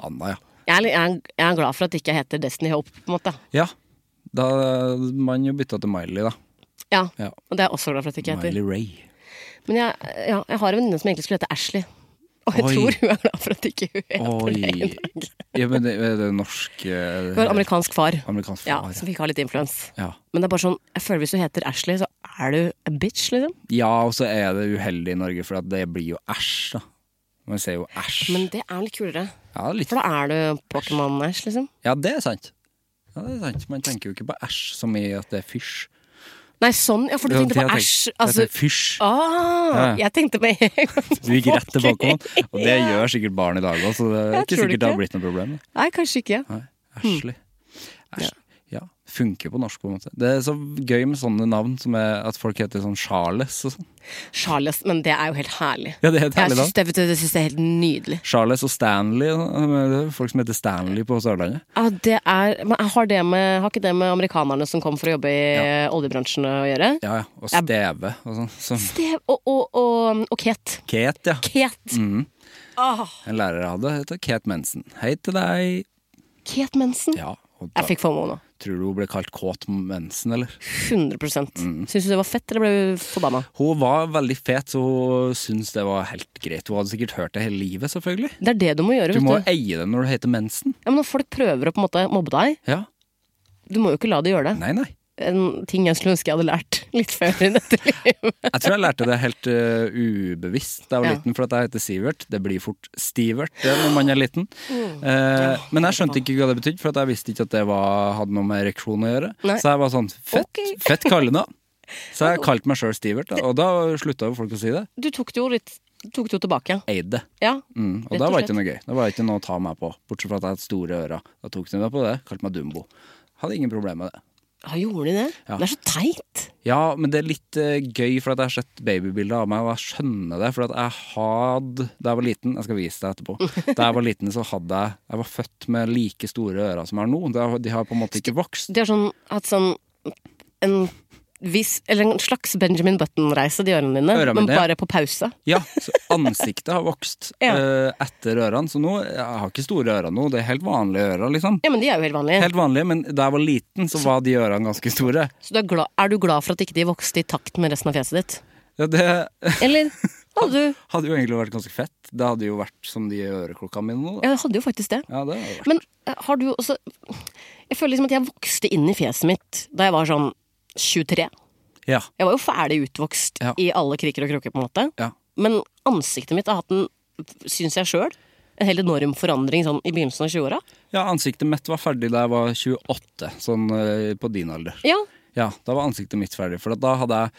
[SPEAKER 2] Anna, ja.
[SPEAKER 3] Jeg er, litt- jeg, er, jeg er glad for at det ikke heter Destiny Hope, på en måte.
[SPEAKER 2] Ja. Da man jo bytta til Miley, da.
[SPEAKER 3] Ja,
[SPEAKER 2] Ja.
[SPEAKER 3] Og det er jeg også glad for at det ikke heter.
[SPEAKER 2] Miley Ray.
[SPEAKER 3] Men jeg, ja, jeg har en venninne som egentlig skulle hete Ashley. Og jeg
[SPEAKER 2] Oi.
[SPEAKER 3] tror hun er glad for at ikke hun heter det. i
[SPEAKER 2] Oi.
[SPEAKER 3] dag.
[SPEAKER 2] Ja, men det, er det norsk eh,
[SPEAKER 3] Hun har amerikansk far,
[SPEAKER 2] Amerikansk
[SPEAKER 3] ja,
[SPEAKER 2] far.
[SPEAKER 3] som fikk ha litt influens.
[SPEAKER 2] Ja.
[SPEAKER 3] Men det er bare sånn, jeg føler hvis du heter Ashley, så er du a bitch, liksom.
[SPEAKER 2] ja, og så er det uheldig i Norge, for at det blir jo æsj, da. Man sier jo æsj.
[SPEAKER 3] Men det er litt kulere.
[SPEAKER 2] Ja, litt.
[SPEAKER 3] For da er du Pokémon-Ash, liksom.
[SPEAKER 2] ja, det er sant. Ja, det er sant. Man tenker jo ikke på æsj som i at det er fysj.
[SPEAKER 3] Nei, sånn, ja, for du tenkte
[SPEAKER 2] Det
[SPEAKER 3] på
[SPEAKER 2] er-
[SPEAKER 3] æsj.
[SPEAKER 2] det er
[SPEAKER 3] Altså,
[SPEAKER 2] Fysj.
[SPEAKER 3] ah,
[SPEAKER 2] Ja.
[SPEAKER 3] jeg tenkte på
[SPEAKER 2] Du gikk rett til bakhånd. Og det
[SPEAKER 3] Ja.
[SPEAKER 2] gjør sikkert barn i dag òg, så det er
[SPEAKER 3] Jeg
[SPEAKER 2] ikke
[SPEAKER 3] tror det
[SPEAKER 2] sikkert det har
[SPEAKER 3] ikke. Mm.
[SPEAKER 2] blitt noe problem.
[SPEAKER 3] Nei, kanskje ikke.
[SPEAKER 2] Nei, Ashley. Æsj. Ja. Funker på norsk, på en måte. Det er så gøy med sånne navn som er at folk heter sånn Charles og sånn.
[SPEAKER 3] Charles, men det er jo helt herlig.
[SPEAKER 2] Ja, det er helt
[SPEAKER 3] Jeg
[SPEAKER 2] herlig da.
[SPEAKER 3] syns det, vet du, det syns jeg er helt nydelig.
[SPEAKER 2] Charles og Stanley. det er Folk som heter Stanley på Sørlandet.
[SPEAKER 3] Ja, det er, men har, det med, har ikke det med amerikanerne som kom for å jobbe i oljebransjen å gjøre?
[SPEAKER 2] Ja, ja. Og Steve og sånn. Som
[SPEAKER 3] Det, og, og, og, og Kate.
[SPEAKER 2] Kate, ja.
[SPEAKER 3] Kate.
[SPEAKER 2] Mhm.
[SPEAKER 3] Ah, Åh,
[SPEAKER 2] En lærer jeg hadde, heter Kate Mensen. Hei til deg.
[SPEAKER 3] Kate Mensen.
[SPEAKER 2] Ja, og da,
[SPEAKER 3] Jeg fikk FOMO nå.
[SPEAKER 2] Tror du hun ble kalt Kåt Mensen, eller?
[SPEAKER 3] 100
[SPEAKER 2] Mhm.
[SPEAKER 3] Syns du det var fett, eller ble du forbanna?
[SPEAKER 2] Hun var veldig fet, så hun syntes det var helt greit. Hun hadde sikkert hørt det hele livet, selvfølgelig.
[SPEAKER 3] Det er det du må gjøre.
[SPEAKER 2] Du
[SPEAKER 3] vet
[SPEAKER 2] må
[SPEAKER 3] du.
[SPEAKER 2] eie det når du heter mensen.
[SPEAKER 3] Ja, men Når folk prøver å på en måte mobbe deg,
[SPEAKER 2] Ja.
[SPEAKER 3] du må jo ikke la de gjøre det.
[SPEAKER 2] Nei, nei.
[SPEAKER 3] en ting jeg skulle ønske jeg hadde lært litt før i dette livet.
[SPEAKER 2] Jeg tror jeg lærte det helt eh, ubevisst da jeg var
[SPEAKER 3] Ja.
[SPEAKER 2] liten, for at jeg heter Sivert. Det blir fort Stivert det, når man er liten.
[SPEAKER 3] Mm.
[SPEAKER 2] Eh, men jeg skjønte ikke hva det betydde, for at jeg visste ikke at det var, hadde noe med ereksjon å gjøre.
[SPEAKER 3] Nei.
[SPEAKER 2] Så jeg var sånn Fett,
[SPEAKER 3] Ok.
[SPEAKER 2] fett kallenavn! Så jeg kalte meg sjøl Stivert, da, og da slutta jo folk å si det.
[SPEAKER 3] Du tok det jo litt du tok det jo tilbake.
[SPEAKER 2] Eide.
[SPEAKER 3] Ja.
[SPEAKER 2] Mm, og
[SPEAKER 3] Rett
[SPEAKER 2] da
[SPEAKER 3] og
[SPEAKER 2] var
[SPEAKER 3] slett.
[SPEAKER 2] det ikke noe gøy. Da var det ikke noe å ta meg på, bortsett fra at jeg hadde store ører. Da tok de meg på det, kalte meg Dumbo. Hadde ingen problemer med det.
[SPEAKER 3] ja, gjorde de det?
[SPEAKER 2] Ja.
[SPEAKER 3] Det er så teit.
[SPEAKER 2] Ja, men det er litt eh, gøy, for at jeg har sett babybilder av meg, og jeg skjønner det. For at jeg hadde, da jeg var liten Jeg skal vise deg etterpå. Da jeg var liten, så hadde jeg Jeg var født med like store ører som jeg har nå. De har, de har på en måte ikke vokst.
[SPEAKER 3] De har sånn, hatt sånn en hvis, eller en slags Benjamin Button-reise til ørene dine,
[SPEAKER 2] Ørene
[SPEAKER 3] men
[SPEAKER 2] mine, ja.
[SPEAKER 3] bare på pause.
[SPEAKER 2] Ja, så ansiktet har vokst
[SPEAKER 3] Ja.
[SPEAKER 2] eh, etter ørene, så nå jeg har ikke store ører nå. Det er helt vanlige ører, liksom.
[SPEAKER 3] Ja, men de er jo helt vanlige.
[SPEAKER 2] Helt vanlige, men da jeg var liten, så var de ørene ganske store.
[SPEAKER 3] Så du er, glad, er du glad for at ikke de vokste i takt med resten av fjeset ditt?
[SPEAKER 2] Ja, det
[SPEAKER 3] Eller hadde du
[SPEAKER 2] hadde jo egentlig vært ganske fett. Det hadde jo vært som de øreklokkene mine nå. da.
[SPEAKER 3] Ja, jeg hadde jo faktisk det.
[SPEAKER 2] Ja, det hadde vært.
[SPEAKER 3] Men eh, har du også Jeg føler liksom at jeg vokste inn i fjeset mitt da jeg var sånn 23.
[SPEAKER 2] Ja.
[SPEAKER 3] Jeg var jo ferdig utvokst
[SPEAKER 2] Ja.
[SPEAKER 3] i alle kriker og kroker, på en måte.
[SPEAKER 2] Ja.
[SPEAKER 3] Men ansiktet mitt har hatt en, syns jeg sjøl, en helt enorm forandring sånn i begynnelsen av 20-åra.
[SPEAKER 2] ja, ansiktet mitt var ferdig da jeg var 28, sånn eh, på din alder.
[SPEAKER 3] Ja.
[SPEAKER 2] Ja, da var ansiktet mitt ferdig, for at da hadde jeg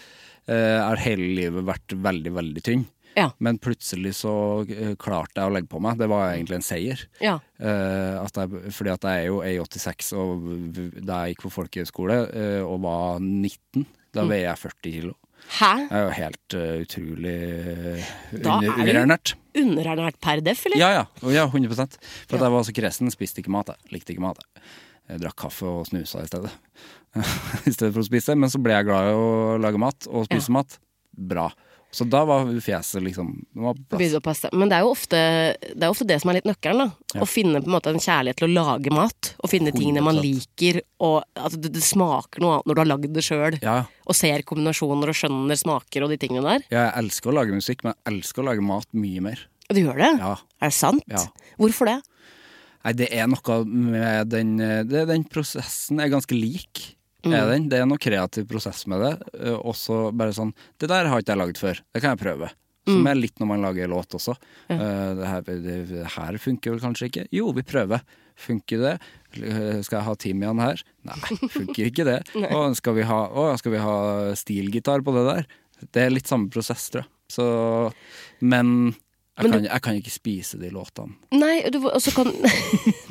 [SPEAKER 2] eh, er hele livet vært veldig, veldig tynn.
[SPEAKER 3] Ja.
[SPEAKER 2] Men plutselig så eh, klarte jeg å legge på meg. Det var egentlig en seier.
[SPEAKER 3] ja.
[SPEAKER 2] Eh, at jeg, fordi at jeg er jo A86, og v- da jeg gikk på folkehøyskole eh, og var 19,
[SPEAKER 3] Mm.
[SPEAKER 2] da veier jeg 40 kilo.
[SPEAKER 3] Hæ?
[SPEAKER 2] Jeg er jo helt eh, utrolig eh,
[SPEAKER 3] Da
[SPEAKER 2] under,
[SPEAKER 3] er du-
[SPEAKER 2] underernært.
[SPEAKER 3] Underernært per def, eller?
[SPEAKER 2] Ja, ja. Å, ja 100 For at jeg var så kresen, spiste ikke mat. Jeg likte ikke mat. Jeg. jeg drakk kaffe og snusa i stedet. I stedet for å spise. Men så ble jeg glad i å lage mat, og spise mat. Bra. Så da var fjeset liksom Det var på plass.
[SPEAKER 3] Begynner å passe. Men det er jo ofte det, er ofte det som er litt nøkkelen. da Å finne på en måte en kjærlighet til å lage mat. Å finne tingene man
[SPEAKER 2] 100%.
[SPEAKER 3] liker, og at det, det smaker noe annet når du har lagd det sjøl.
[SPEAKER 2] Ja, ja.
[SPEAKER 3] Og ser kombinasjoner og skjønner smaker og de tingene der.
[SPEAKER 2] Ja, Jeg elsker å lage musikk, men jeg elsker å lage mat mye mer.
[SPEAKER 3] Du gjør det?
[SPEAKER 2] Ja.
[SPEAKER 3] Er det sant?
[SPEAKER 2] Ja.
[SPEAKER 3] Hvorfor det?
[SPEAKER 2] Nei, det er noe med den det, Den prosessen er ganske lik. Er den. Det er noe kreativ prosess med det. eh, Også bare sånn Det der har ikke jeg lagd før. Det kan jeg prøve. Som er litt når man lager låt også. Eh, Det, her, det, det her funker vel kanskje ikke? Jo, vi prøver. Funker det? Eh, Skal jeg ha timian her? Nei, funker ikke det. Å, skal vi ha, å, skal vi ha stilgitar på det der? Det er litt samme prosess, tror jeg. Så, men jeg, kan, jeg kan ikke spise de låtene.
[SPEAKER 3] Nei, du og så kan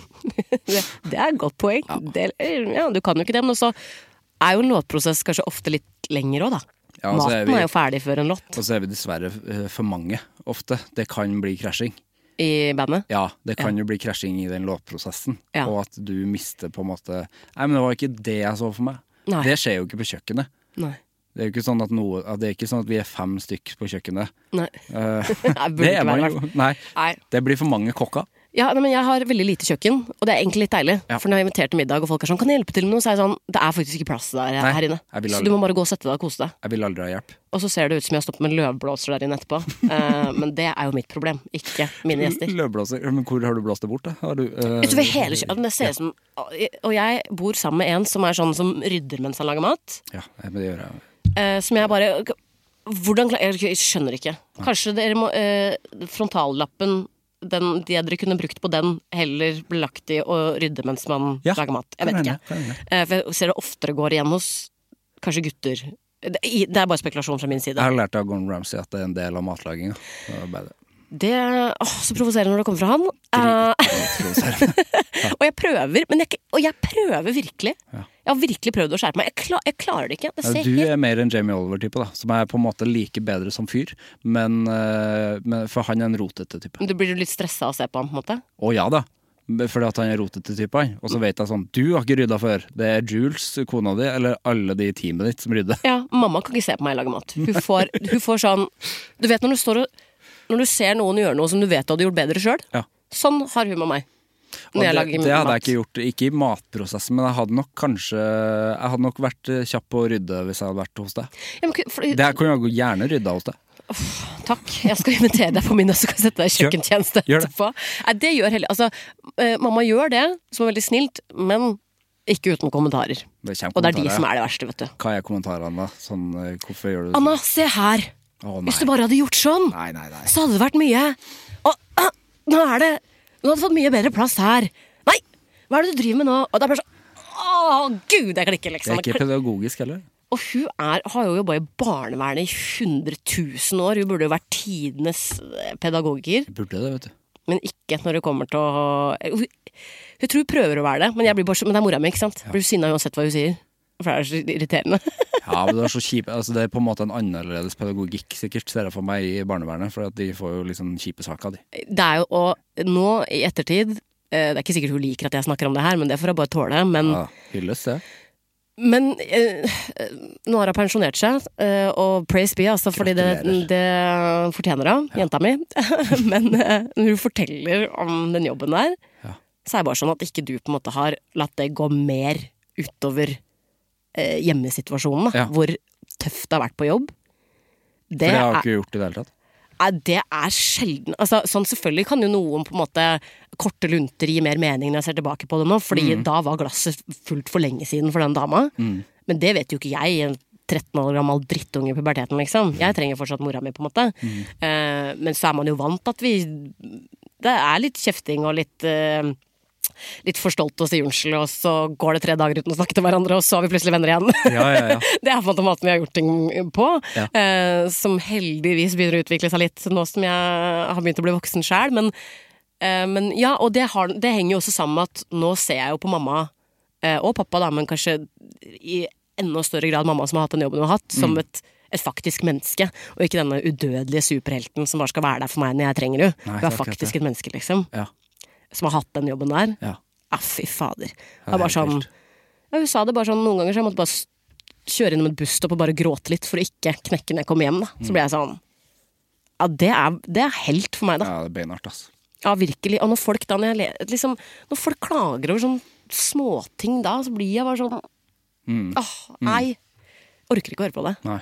[SPEAKER 3] det, det er et godt poeng. Ja. Det, ja, du kan jo ikke det, men også er jo en låtprosess kanskje ofte litt lengre òg, da.
[SPEAKER 2] Ja, og så er
[SPEAKER 3] Maten
[SPEAKER 2] vi-
[SPEAKER 3] er jo ferdig før en låt
[SPEAKER 2] Og så er vi dessverre eh, for mange ofte. Det kan bli krasjing.
[SPEAKER 3] i bandet.
[SPEAKER 2] Ja, det kan jo bli krasjing i den låtprosessen.
[SPEAKER 3] Ja.
[SPEAKER 2] Og at du mister på en måte Nei, men det var ikke det jeg så for meg.
[SPEAKER 3] Nei.
[SPEAKER 2] Det skjer jo ikke på kjøkkenet.
[SPEAKER 3] Nei.
[SPEAKER 2] Det er jo ikke sånn at, noe, at, det er ikke sånn at vi er fem stykk på kjøkkenet.
[SPEAKER 3] Nei.
[SPEAKER 2] Eh,
[SPEAKER 3] burde
[SPEAKER 2] det
[SPEAKER 3] ikke
[SPEAKER 2] er man
[SPEAKER 3] være
[SPEAKER 2] jo.
[SPEAKER 3] det.
[SPEAKER 2] Nei.
[SPEAKER 3] Nei.
[SPEAKER 2] Det blir for mange kokker.
[SPEAKER 3] Ja, nei, men Jeg har veldig lite kjøkken, og det er egentlig litt deilig.
[SPEAKER 2] Ja.
[SPEAKER 3] For når jeg inviterer til middag, og folk er sånn 'Kan jeg hjelpe til med noe?' så er jeg sånn 'Det er faktisk ikke plass der
[SPEAKER 2] Nei,
[SPEAKER 3] her inne'.
[SPEAKER 2] jeg vil
[SPEAKER 3] Så
[SPEAKER 2] aldri-
[SPEAKER 3] du må bare gå og sette deg og kose deg.
[SPEAKER 2] Jeg vil aldri ha hjelp.
[SPEAKER 3] Og så ser det ut som jeg har stått med løvblåser der inne etterpå. Eh, men det er jo mitt problem, ikke mine gjester.
[SPEAKER 2] Løvblåser. Men hvor har du blåst det bort, da? Har du, eh,
[SPEAKER 3] Utover hele kjø- men det altså, ser ut som Og jeg bor sammen med en som er sånn som rydder mens han lager mat.
[SPEAKER 2] Ja, nei, men det gjør jeg.
[SPEAKER 3] eh, som jeg bare Hvordan kla- Jeg skjønner ikke. Kanskje dere må eh, Frontallappen, den, de dere kunne brukt på den, heller ble lagt i å rydde mens man
[SPEAKER 2] Ja,
[SPEAKER 3] lager mat. Jeg
[SPEAKER 2] kan
[SPEAKER 3] vet
[SPEAKER 2] hende,
[SPEAKER 3] ikke.
[SPEAKER 2] kan hende.
[SPEAKER 3] Eh, for jeg ser det oftere går igjen hos kanskje gutter. Det, i- det er bare spekulasjon fra min
[SPEAKER 2] Jeg
[SPEAKER 3] side.
[SPEAKER 2] har lært av Gordon Ramsay at det er en del av matlaginga. Det er bare
[SPEAKER 3] Det åh, Så provoserende når det kommer fra han. Eh,
[SPEAKER 2] det.
[SPEAKER 3] Og jeg prøver, men jeg, og jeg prøver virkelig. Jeg har virkelig prøvd å skjerpe meg. Jeg, kla- jeg klarer det ikke. Det
[SPEAKER 2] Ja,
[SPEAKER 3] ser
[SPEAKER 2] Du
[SPEAKER 3] helt
[SPEAKER 2] er mer en Jamie Oliver-type, da som er på en måte like bedre som fyr. Men, eh, men For han er en rotete type.
[SPEAKER 3] Du blir litt stressa av å se på han, på en måte.
[SPEAKER 2] Å ja da, fordi at han er rotete type, han. Og så vet jeg sånn Du har ikke rydda før. Det er Jules, kona di, eller alle de i teamet ditt som rydder.
[SPEAKER 3] Ja, mamma kan ikke se på meg lage mat. Hun får, hun får sånn Du vet når du står og Når du ser noen gjøre noe som du vet du hadde gjort bedre sjøl,
[SPEAKER 2] Ja.
[SPEAKER 3] sånn har hun med meg. Når
[SPEAKER 2] Og
[SPEAKER 3] jeg
[SPEAKER 2] det,
[SPEAKER 3] lager
[SPEAKER 2] det hadde
[SPEAKER 3] mat.
[SPEAKER 2] jeg ikke gjort, ikke i matprosessen, men jeg hadde nok kanskje Jeg hadde nok vært eh, kjapp på å rydde hvis jeg hadde vært hos deg.
[SPEAKER 3] Ja, men, ku- for,
[SPEAKER 2] Det her kunne jeg gjerne rydda hos deg.
[SPEAKER 3] Takk, jeg skal invitere deg på middag, så kan jeg sette deg i
[SPEAKER 2] Gjør-
[SPEAKER 3] kjøkkentjeneste
[SPEAKER 2] gjør det.
[SPEAKER 3] etterpå. Nei, det gjør heller Altså, eh, mamma gjør det, som er veldig snilt, men ikke uten kommentarer.
[SPEAKER 2] Det kommer
[SPEAKER 3] Og det er de
[SPEAKER 2] kommentarer.
[SPEAKER 3] som er det verste, vet du.
[SPEAKER 2] Hva er kommentarene, da? Sånn, eh, hvorfor gjør du det?
[SPEAKER 3] Anna, se her!
[SPEAKER 2] Å, nei.
[SPEAKER 3] Hvis du bare hadde gjort sånn,
[SPEAKER 2] Nei, nei, nei.
[SPEAKER 3] så hadde det vært mye. Og ah, nå er det Nå hadde du fått mye bedre plass her. Nei! Hva er det du driver med nå? Og det er bare sånn Å, gud, jeg klikker,
[SPEAKER 2] Det
[SPEAKER 3] liksom.
[SPEAKER 2] er ikke pedagogisk heller.
[SPEAKER 3] Og hun er, har jo jobba i barnevernet i 100 000 år. Hun burde jo vært tidenes eh, pedagogiker,
[SPEAKER 2] Burde det, vet du.
[SPEAKER 3] men ikke når det kommer til å Hun, hun tror hun prøver å være det, men, jeg blir bare, så- men det er mora mi, ikke sant? Blir sinna uansett hva hun sier. For det er så irriterende.
[SPEAKER 2] Ja, men Det er så kjip, altså det er på en måte en annerledes pedagogikk, sikkert, ser jeg for meg, i barnevernet. For at de får jo liksom kjipe saker, de.
[SPEAKER 3] Det er jo, og nå i ettertid eh, Det er ikke sikkert hun liker at jeg snakker om det her, men det får jeg bare tåle. Men
[SPEAKER 2] Ja, hylles, det.
[SPEAKER 3] Men eh, eh, nå har hun pensjonert seg, eh, og praise be, altså, fordi det,
[SPEAKER 1] Gratulerer.
[SPEAKER 3] det fortjener hun, jenta mi. Men eh, når hun forteller om den jobben der, så er det bare sånn at ikke du på en måte har latt det gå mer utover eh, hjemmesituasjonen, da,
[SPEAKER 2] Ja.
[SPEAKER 3] hvor tøft det har vært på jobb.
[SPEAKER 2] For
[SPEAKER 3] Det
[SPEAKER 2] det har
[SPEAKER 3] er
[SPEAKER 2] jeg ikke gjort i det hele tatt.
[SPEAKER 3] Nei, det er sjelden altså, sånn Selvfølgelig kan jo noen på en måte korte lunter gi mer mening når jeg ser tilbake på det nå, fordi da var glasset fullt for lenge siden for den dama. Men det vet jo ikke jeg, en 13 år gammel drittunge i puberteten, liksom. Jeg trenger fortsatt mora mi, på en måte. Eh, men så er man jo vant at vi Det er litt kjefting og litt eh, Litt for stolt til å si unnskyld, og så går det tre dager uten å snakke til hverandre, og så er vi plutselig venner igjen.
[SPEAKER 2] Ja, ja, ja.
[SPEAKER 3] Det er på en måte måten vi har gjort ting på,
[SPEAKER 2] Ja.
[SPEAKER 3] eh, som heldigvis begynner å utvikle seg litt nå som jeg har begynt å bli voksen sjæl. Men, eh, men ja, og det, har, det henger jo også sammen med at nå ser jeg jo på mamma eh, og pappa, da, men kanskje i enda større grad mamma som har hatt den jobben hun har hatt, som
[SPEAKER 2] Mm.
[SPEAKER 3] et, et faktisk menneske. Og ikke denne udødelige superhelten som bare skal være der for meg når jeg trenger henne. Hun
[SPEAKER 2] Nei, det
[SPEAKER 3] er
[SPEAKER 2] er akkurat
[SPEAKER 3] faktisk
[SPEAKER 2] det.
[SPEAKER 3] et menneske, liksom.
[SPEAKER 2] Ja.
[SPEAKER 3] Som har hatt den jobben der.
[SPEAKER 2] Ja.
[SPEAKER 3] Ah, fy fader. Det
[SPEAKER 2] er
[SPEAKER 3] er bare
[SPEAKER 2] helt
[SPEAKER 3] sånn
[SPEAKER 2] vilt.
[SPEAKER 3] ja, Hun sa det bare sånn noen ganger, så jeg måtte bare s- kjøre innom et busstopp og bare gråte litt for å ikke knekke når jeg kom hjem. Da. Så ble jeg sånn Ja, det er, det er helt for meg, da.
[SPEAKER 2] ja, det er beinhardt, ass.
[SPEAKER 3] Ja, virkelig. Og når folk da, når jeg le- liksom Når folk klager over sånn småting da, så blir jeg bare sånn
[SPEAKER 2] Mm.
[SPEAKER 3] Åh, nei. Orker ikke å høre på det,
[SPEAKER 2] Nei.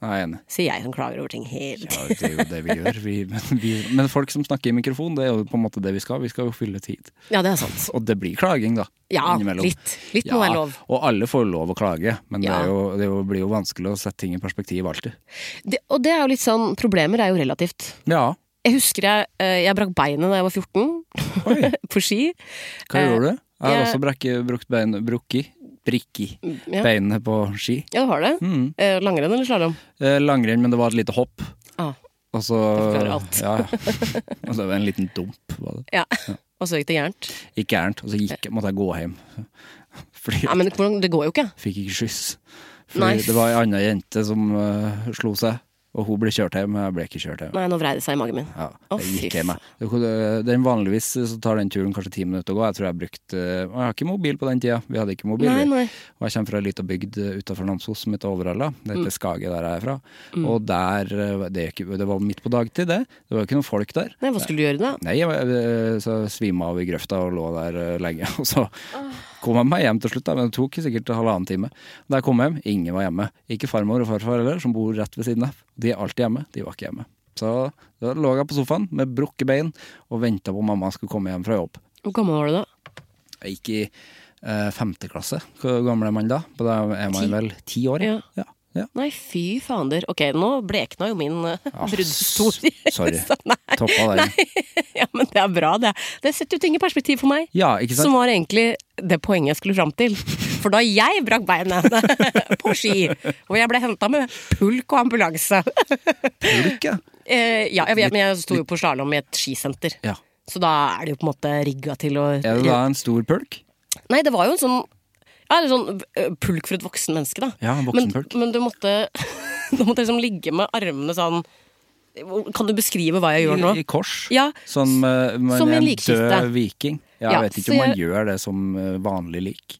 [SPEAKER 2] Nei, jeg er enig.
[SPEAKER 3] sier jeg som klager over ting hele tiden.
[SPEAKER 2] Ja, det er jo det vi gjør. Vi, men, vi, men folk som snakker i mikrofon, det er jo på en måte det vi skal. Vi skal jo fylle tid.
[SPEAKER 3] Ja, det er sant.
[SPEAKER 2] Og det blir klaging, da.
[SPEAKER 3] Ja,
[SPEAKER 2] innimellom.
[SPEAKER 3] litt. Litt må være lov.
[SPEAKER 2] Og alle får lov å klage, men det,
[SPEAKER 3] Ja.
[SPEAKER 2] er jo, det er jo, blir jo vanskelig å sette ting i perspektiv alltid.
[SPEAKER 3] Det, og det er jo litt sånn Problemer er jo relativt.
[SPEAKER 2] Ja.
[SPEAKER 3] Jeg husker jeg, eh, jeg brakk beinet da jeg var 14,
[SPEAKER 2] Oi,
[SPEAKER 3] på ski.
[SPEAKER 2] hva
[SPEAKER 3] Eh,
[SPEAKER 2] gjorde du? Jeg har
[SPEAKER 3] jeg- Mm,
[SPEAKER 2] også brekke, brukt bein, brukki, brikki,
[SPEAKER 3] ja.
[SPEAKER 2] beinene på ski.
[SPEAKER 3] Ja, du har det?
[SPEAKER 2] Mm.
[SPEAKER 3] Eh, langrenn eller slalåm?
[SPEAKER 2] Eh, langrenn, men det var et lite hopp.
[SPEAKER 3] Ah,
[SPEAKER 2] Og så
[SPEAKER 3] Det forklarer alt.
[SPEAKER 2] Ja, ja. Og så var det en liten dump. Var det.
[SPEAKER 3] ja. Og så gikk det gærent.
[SPEAKER 2] Gikk gærent. Og så gikk, måtte jeg gå hjem. Fordi
[SPEAKER 3] Nei, men hvordan- det går jo ikke.
[SPEAKER 2] fikk ikke skyss.
[SPEAKER 3] Nei.
[SPEAKER 2] Fordi det var ei anna jente som eh, slo seg, og hun ble kjørt hjem, men jeg ble ikke kjørt hjem.
[SPEAKER 3] Nei, nå vrei det seg i magen min.
[SPEAKER 2] Ja,
[SPEAKER 3] Å,
[SPEAKER 2] jeg
[SPEAKER 3] fy
[SPEAKER 2] gikk hjem, jeg. Det kunne- Den vanligvis eh, så tar den turen kanskje ti minutter å gå. Jeg tror jeg brukte Og jeg har ikke mobil på den tida. Vi hadde ikke mobil.
[SPEAKER 3] Nei,
[SPEAKER 2] vi.
[SPEAKER 3] nei.
[SPEAKER 2] Og jeg kommer fra ei lita bygd utafor Namsos som heter Overhalla. Det heter Skage der jeg er fra. Og der eh, det, er ikke- det var midt på dagtid, det. Det var jo ikke noen folk der.
[SPEAKER 3] Nei, hva skulle du gjøre da?
[SPEAKER 2] Nei, jeg, var- eh, så svima av i grøfta og lå der eh, lenge. Og så kom jeg meg hjem til slutt, da, men det tok sikkert halvannen time. Da jeg kom hjem, ingen var hjemme. Ikke farmor og farfar heller, som bor rett ved siden av. De er alltid hjemme, de var ikke hjemme. Så da lå jeg på sofaen med brukket bein og venta på mamma skulle komme hjem fra jobb.
[SPEAKER 3] Hvor gammel var du da?
[SPEAKER 2] Jeg gikk i eh, femte klasse. Hvor gammel er man da? På Da er man
[SPEAKER 3] Ti.
[SPEAKER 2] vel ti år?
[SPEAKER 3] Ja.
[SPEAKER 2] ja. ja.
[SPEAKER 3] Nei, fy fader. Ok, nå blekna jo min uh,
[SPEAKER 2] Ja,
[SPEAKER 3] bruddhistorie.
[SPEAKER 2] s- Ah, sorry.
[SPEAKER 3] Så nei.
[SPEAKER 2] Toppa den.
[SPEAKER 3] Nei. Ja, men det er bra, det. Det setter jo ting i perspektiv for meg.
[SPEAKER 2] Ja, ikke sant?
[SPEAKER 3] Som var egentlig det poenget jeg skulle fram til. For da jeg brakk beinet på ski, og jeg ble henta med pulk og ambulanse
[SPEAKER 2] Pulk, ja.
[SPEAKER 3] Eh, Ja, jeg vet, men jeg sto jo på slalåm i et skisenter.
[SPEAKER 2] ja.
[SPEAKER 3] Så da er det jo på en måte rigga til å
[SPEAKER 2] Er det da en stor pulk?
[SPEAKER 3] Nei, det var jo en sånn ja, en sånn øh, pulk for et voksen menneske, da.
[SPEAKER 2] Ja, en voksen pulk.
[SPEAKER 3] Men, men du måtte Du måtte liksom ligge med armene sånn Kan du beskrive hva jeg gjør nå?
[SPEAKER 2] I, i kors?
[SPEAKER 3] Ja.
[SPEAKER 2] Som, eh, men
[SPEAKER 3] Som i en
[SPEAKER 2] en
[SPEAKER 3] likkiste.
[SPEAKER 2] død viking? Ja, jeg
[SPEAKER 3] Ja,
[SPEAKER 2] vet
[SPEAKER 3] så
[SPEAKER 2] ikke om man
[SPEAKER 3] jeg-
[SPEAKER 2] gjør det som eh, vanlig lik.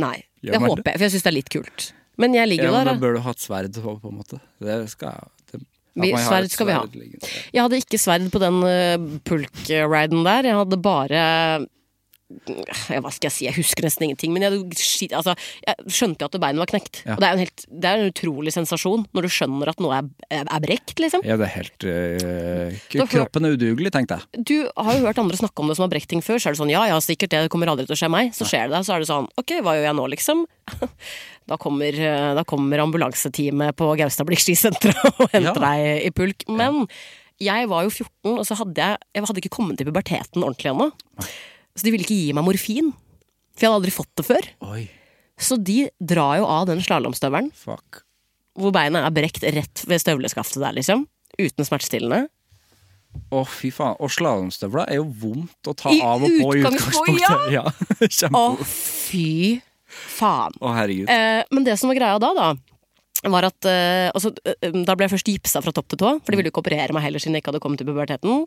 [SPEAKER 3] Nei.
[SPEAKER 2] Gjør
[SPEAKER 3] Det
[SPEAKER 2] man
[SPEAKER 3] håper
[SPEAKER 2] det?
[SPEAKER 3] jeg, for jeg syns det er litt kult. Men jeg ligger
[SPEAKER 2] Ja,
[SPEAKER 3] jo
[SPEAKER 2] men
[SPEAKER 3] der,
[SPEAKER 2] da
[SPEAKER 3] da.
[SPEAKER 2] bør du ha et sverd på, på en måte. Det skal jeg det, at
[SPEAKER 3] Vi-
[SPEAKER 2] man har
[SPEAKER 3] sverd
[SPEAKER 2] et
[SPEAKER 3] skal vi ha.
[SPEAKER 2] liggende.
[SPEAKER 3] Jeg hadde ikke sverd på den øh, pulk-riden der. Jeg hadde bare ja, Hva skal jeg si, jeg husker nesten ingenting. Men jeg, hadde skit- altså, jeg skjønte jo at beinet var knekt.
[SPEAKER 2] Ja.
[SPEAKER 3] Og det er, jo en helt, det er en utrolig sensasjon når du skjønner at noe er, er, er brekt, liksom.
[SPEAKER 2] Ja, det er helt eh, k-
[SPEAKER 3] Da får-
[SPEAKER 2] Kroppen er udugelig, tenkte jeg.
[SPEAKER 3] du har jo hørt andre snakke om det som har brekt ting før, så er det sånn ja, ja, sikkert, det kommer aldri til å skje meg. Så skjer det, så er det sånn ok, hva gjør jeg nå, liksom? Da kommer, eh, da kommer ambulanseteamet på Gaustablikk skisenter og henter
[SPEAKER 2] Ja.
[SPEAKER 3] deg i pulk. Men jeg var jo 14, og så hadde jeg, jeg hadde ikke kommet til puberteten ordentlig ennå. Så de ville ikke gi meg morfin, for jeg hadde aldri fått det før.
[SPEAKER 2] Oi,
[SPEAKER 3] Så de drar jo av den slalåmstøvelen
[SPEAKER 2] fuck.
[SPEAKER 3] hvor beinet er brekt rett ved støvleskaftet der, liksom. Uten smertestillende.
[SPEAKER 2] Å, fy faen. Og slalåmstøvla er jo vondt å ta
[SPEAKER 3] I
[SPEAKER 2] av og på i
[SPEAKER 3] utgangspunktet,
[SPEAKER 2] utgangspunktet. Ja. Kjempe...
[SPEAKER 3] Å,
[SPEAKER 2] Å,
[SPEAKER 3] fy faen.
[SPEAKER 2] herregud.
[SPEAKER 3] Eh, men det som var greia da, da var at, eh, altså, eh, da ble jeg først gipsa fra topp til tå, for de ville jo ikke operere meg heller siden jeg ikke hadde kommet til puberteten.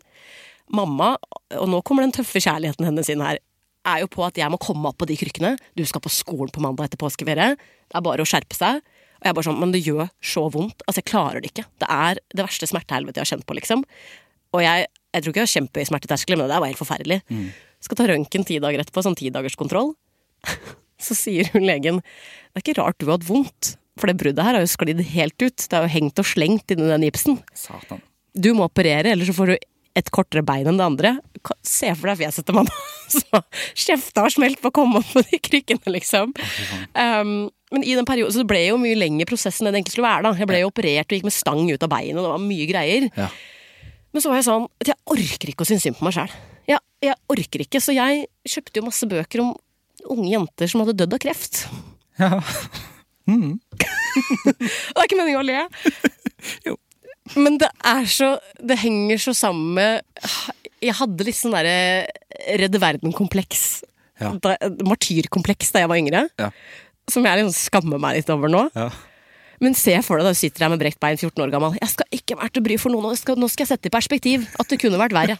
[SPEAKER 3] Mamma, og nå kommer den tøffe kjærligheten hennes inn her, er jo på at jeg må komme opp på de krykkene. Du skal på skolen på mandag etter påskeferie. Det er bare å skjerpe seg. Og jeg er bare sånn, Men det gjør så vondt. Altså, Jeg klarer det ikke. Det er det verste smertehelvetet jeg har kjent på, liksom. Og jeg, jeg tror ikke jeg har kjempehøy smerteterskel, men det der var helt forferdelig. Skal ta røntgen ti dager etterpå, sånn tidagerskontroll. Så sier hun legen det er ikke rart du har hatt vondt, for det bruddet her har jo sklidd helt ut. Det er jo hengt og slengt inni den gipsen
[SPEAKER 2] Satan.
[SPEAKER 3] du må operere, eller så får du et kortere bein enn det andre. Ka- Se for deg fjeset til mamma som kjefta har smelt på å komme opp på de krykkene, liksom. Um, men i den perioden, så det ble jo mye lengre prosess enn det egentlig skulle være. da. Jeg ble jo operert og gikk med stang ut av beinet, og det var mye greier.
[SPEAKER 2] Ja.
[SPEAKER 3] Men så var jeg sånn at jeg orker ikke å synes synd på meg sjæl. Jeg, jeg orker ikke, så jeg kjøpte jo masse bøker om unge jenter som hadde dødd av kreft.
[SPEAKER 2] Ja.
[SPEAKER 3] Det er ikke meningen å le.
[SPEAKER 2] Jo.
[SPEAKER 3] Men det er så Det henger så sammen med Jeg hadde litt sånn derre Redde Verden-kompleks.
[SPEAKER 2] Ja.
[SPEAKER 3] Da, martyrkompleks da jeg var yngre.
[SPEAKER 2] Ja.
[SPEAKER 3] Som jeg liksom skammer meg litt over nå.
[SPEAKER 2] Ja.
[SPEAKER 3] Men se for deg da du sitter her med brekt bein, 14 år gammel. Jeg skal ikke være til bry for noen, og jeg skal, nå skal jeg sette i perspektiv at det kunne vært verre.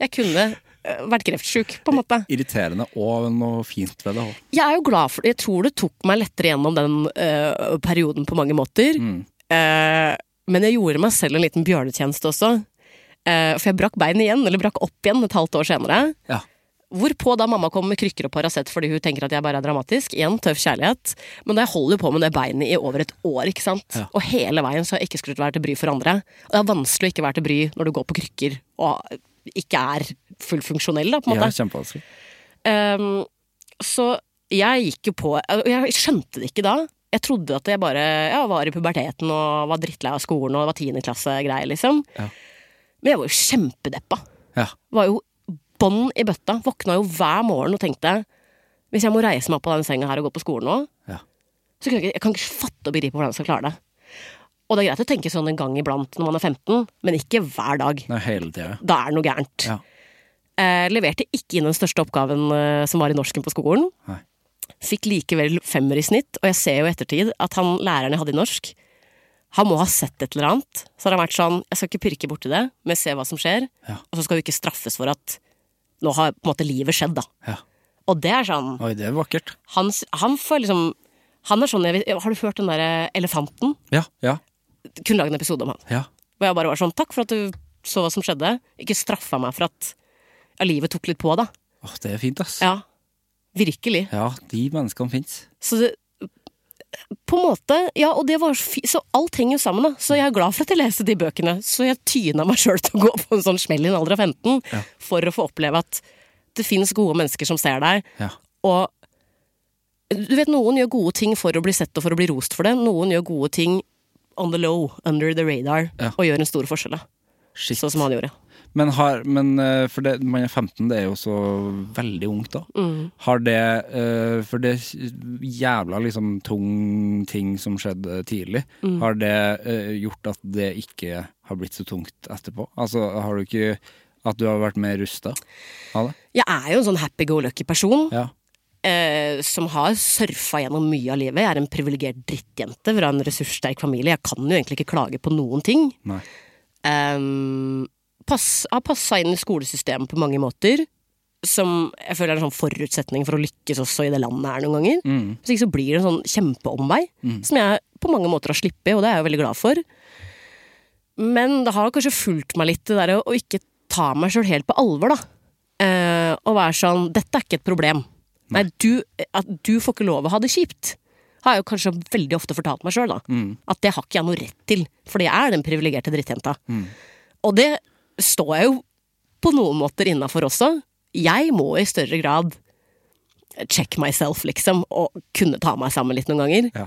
[SPEAKER 3] Jeg kunne eh, vært kreftsjuk, på en måte.
[SPEAKER 2] Irriterende og noe fint ved det òg.
[SPEAKER 3] Jeg er jo glad for det. Jeg tror det tok meg lettere gjennom den eh, perioden på mange måter.
[SPEAKER 2] Mm.
[SPEAKER 3] Eh, men jeg gjorde meg selv en liten bjørnetjeneste også. Eh, for jeg brakk beinet igjen, eller brakk opp igjen et halvt år senere.
[SPEAKER 2] Ja.
[SPEAKER 3] Hvorpå da mamma kom med krykker og Paracet fordi hun tenker at jeg bare er dramatisk. Igjen tøff kjærlighet. Men jeg holder jo på med det beinet i over et år, ikke sant. Og hele veien så har jeg ikke skullet være til bry for andre. Og det er vanskelig å ikke være til bry når du går på krykker og ikke er fullfunksjonell, da, på en måte.
[SPEAKER 2] Ja, kjempevanskelig.
[SPEAKER 3] Ehm, så jeg gikk jo på og Jeg skjønte det ikke da. Jeg trodde at jeg bare ja, var i puberteten og var drittlei av skolen og det var tiendeklassegreier, liksom.
[SPEAKER 2] Ja.
[SPEAKER 3] Men jeg var jo kjempedeppa.
[SPEAKER 2] Ja.
[SPEAKER 3] Var jo bånn i bøtta. Våkna jo hver morgen og tenkte hvis jeg må reise meg opp av den senga her og gå på skolen nå,
[SPEAKER 2] Ja.
[SPEAKER 3] så kan jeg, ikke, jeg kan ikke fatte og begripe hvordan jeg skal klare det. Og det er greit å tenke sånn en gang iblant når man er 15, men ikke hver dag.
[SPEAKER 2] Nei, hele tida.
[SPEAKER 3] Da er det noe gærent.
[SPEAKER 2] Ja.
[SPEAKER 3] Eh, leverte ikke inn den største oppgaven eh, som var i norsken på skolen.
[SPEAKER 2] Nei.
[SPEAKER 3] Fikk likevel femmer i snitt, og jeg ser jo i ettertid at han læreren jeg hadde i norsk, han må ha sett et eller annet. Så har han vært sånn, jeg skal ikke pirke borti det, men se hva som skjer.
[SPEAKER 2] Ja.
[SPEAKER 3] Og så skal du ikke straffes for at nå har på en måte livet skjedd, da.
[SPEAKER 2] Ja.
[SPEAKER 3] Og det er sånn,
[SPEAKER 2] Oi, det er vakkert.
[SPEAKER 3] han, s- han får liksom, han er sånn, jeg, vet- har du hørt den der eh, elefanten?
[SPEAKER 2] Ja, ja,
[SPEAKER 3] Kunne lage en episode om han.
[SPEAKER 2] ja.
[SPEAKER 3] Og jeg bare var sånn, takk for at du så hva som skjedde. Ikke straffa meg for at ja, livet tok litt på, da.
[SPEAKER 2] Åh, det er fint, ass.
[SPEAKER 3] Ja, virkelig.
[SPEAKER 2] Ja, de menneskene fins.
[SPEAKER 3] Så det På en måte, ja, og det var så fi- Så alt henger jo sammen, da. Så jeg er glad for at jeg leste de bøkene. Så jeg tyna meg sjøl til å gå på en sånn smell i en alder av 15 for å få oppleve at det fins gode mennesker som ser deg,
[SPEAKER 2] Ja.
[SPEAKER 3] og du vet, Noen gjør gode ting for å bli sett og for å bli rost for det. Noen gjør gode ting on the low, under the radar,
[SPEAKER 2] Ja.
[SPEAKER 3] og gjør en stor forskjell. da.
[SPEAKER 2] Shit.
[SPEAKER 3] Sånn som han gjorde.
[SPEAKER 2] Men, har, men eh, for det, man er 15, det er jo så veldig ungt da.
[SPEAKER 3] Mm.
[SPEAKER 2] Har det eh, For det jævla liksom tung ting som skjedde tidlig,
[SPEAKER 3] Mm.
[SPEAKER 2] har det eh, gjort at det ikke har blitt så tungt etterpå? Altså, har du ikke At du har vært mer rusta av det?
[SPEAKER 3] Jeg er jo en sånn happy go lucky person.
[SPEAKER 2] Ja.
[SPEAKER 3] eh, som har surfa gjennom mye av livet. Jeg er en privilegert drittjente fra en ressurssterk familie. Jeg kan jo egentlig ikke klage på noen ting.
[SPEAKER 2] Nei.
[SPEAKER 3] Um, pass, har passa inn i skolesystemet på mange måter. Som jeg føler er en sånn forutsetning for å lykkes også i det landet her noen ganger. Hvis ikke så blir det en sånn kjempeomvei, som jeg på mange måter har sluppet, og det er jeg jo veldig glad for. Men det har kanskje fulgt meg litt, det der å- å ikke ta meg sjøl helt på alvor, da. Eh, og være sånn Dette er ikke et problem. Nei, du, at du får ikke lov å ha det kjipt. Har jeg jo kanskje veldig ofte fortalt meg sjøl, da. At det har ikke jeg noe rett til. Fordi jeg er den privilegerte drittjenta. Og det står jeg jo på noen måter innafor også. Jeg må i større grad check myself, liksom. Og kunne ta meg sammen litt noen ganger
[SPEAKER 2] Ja.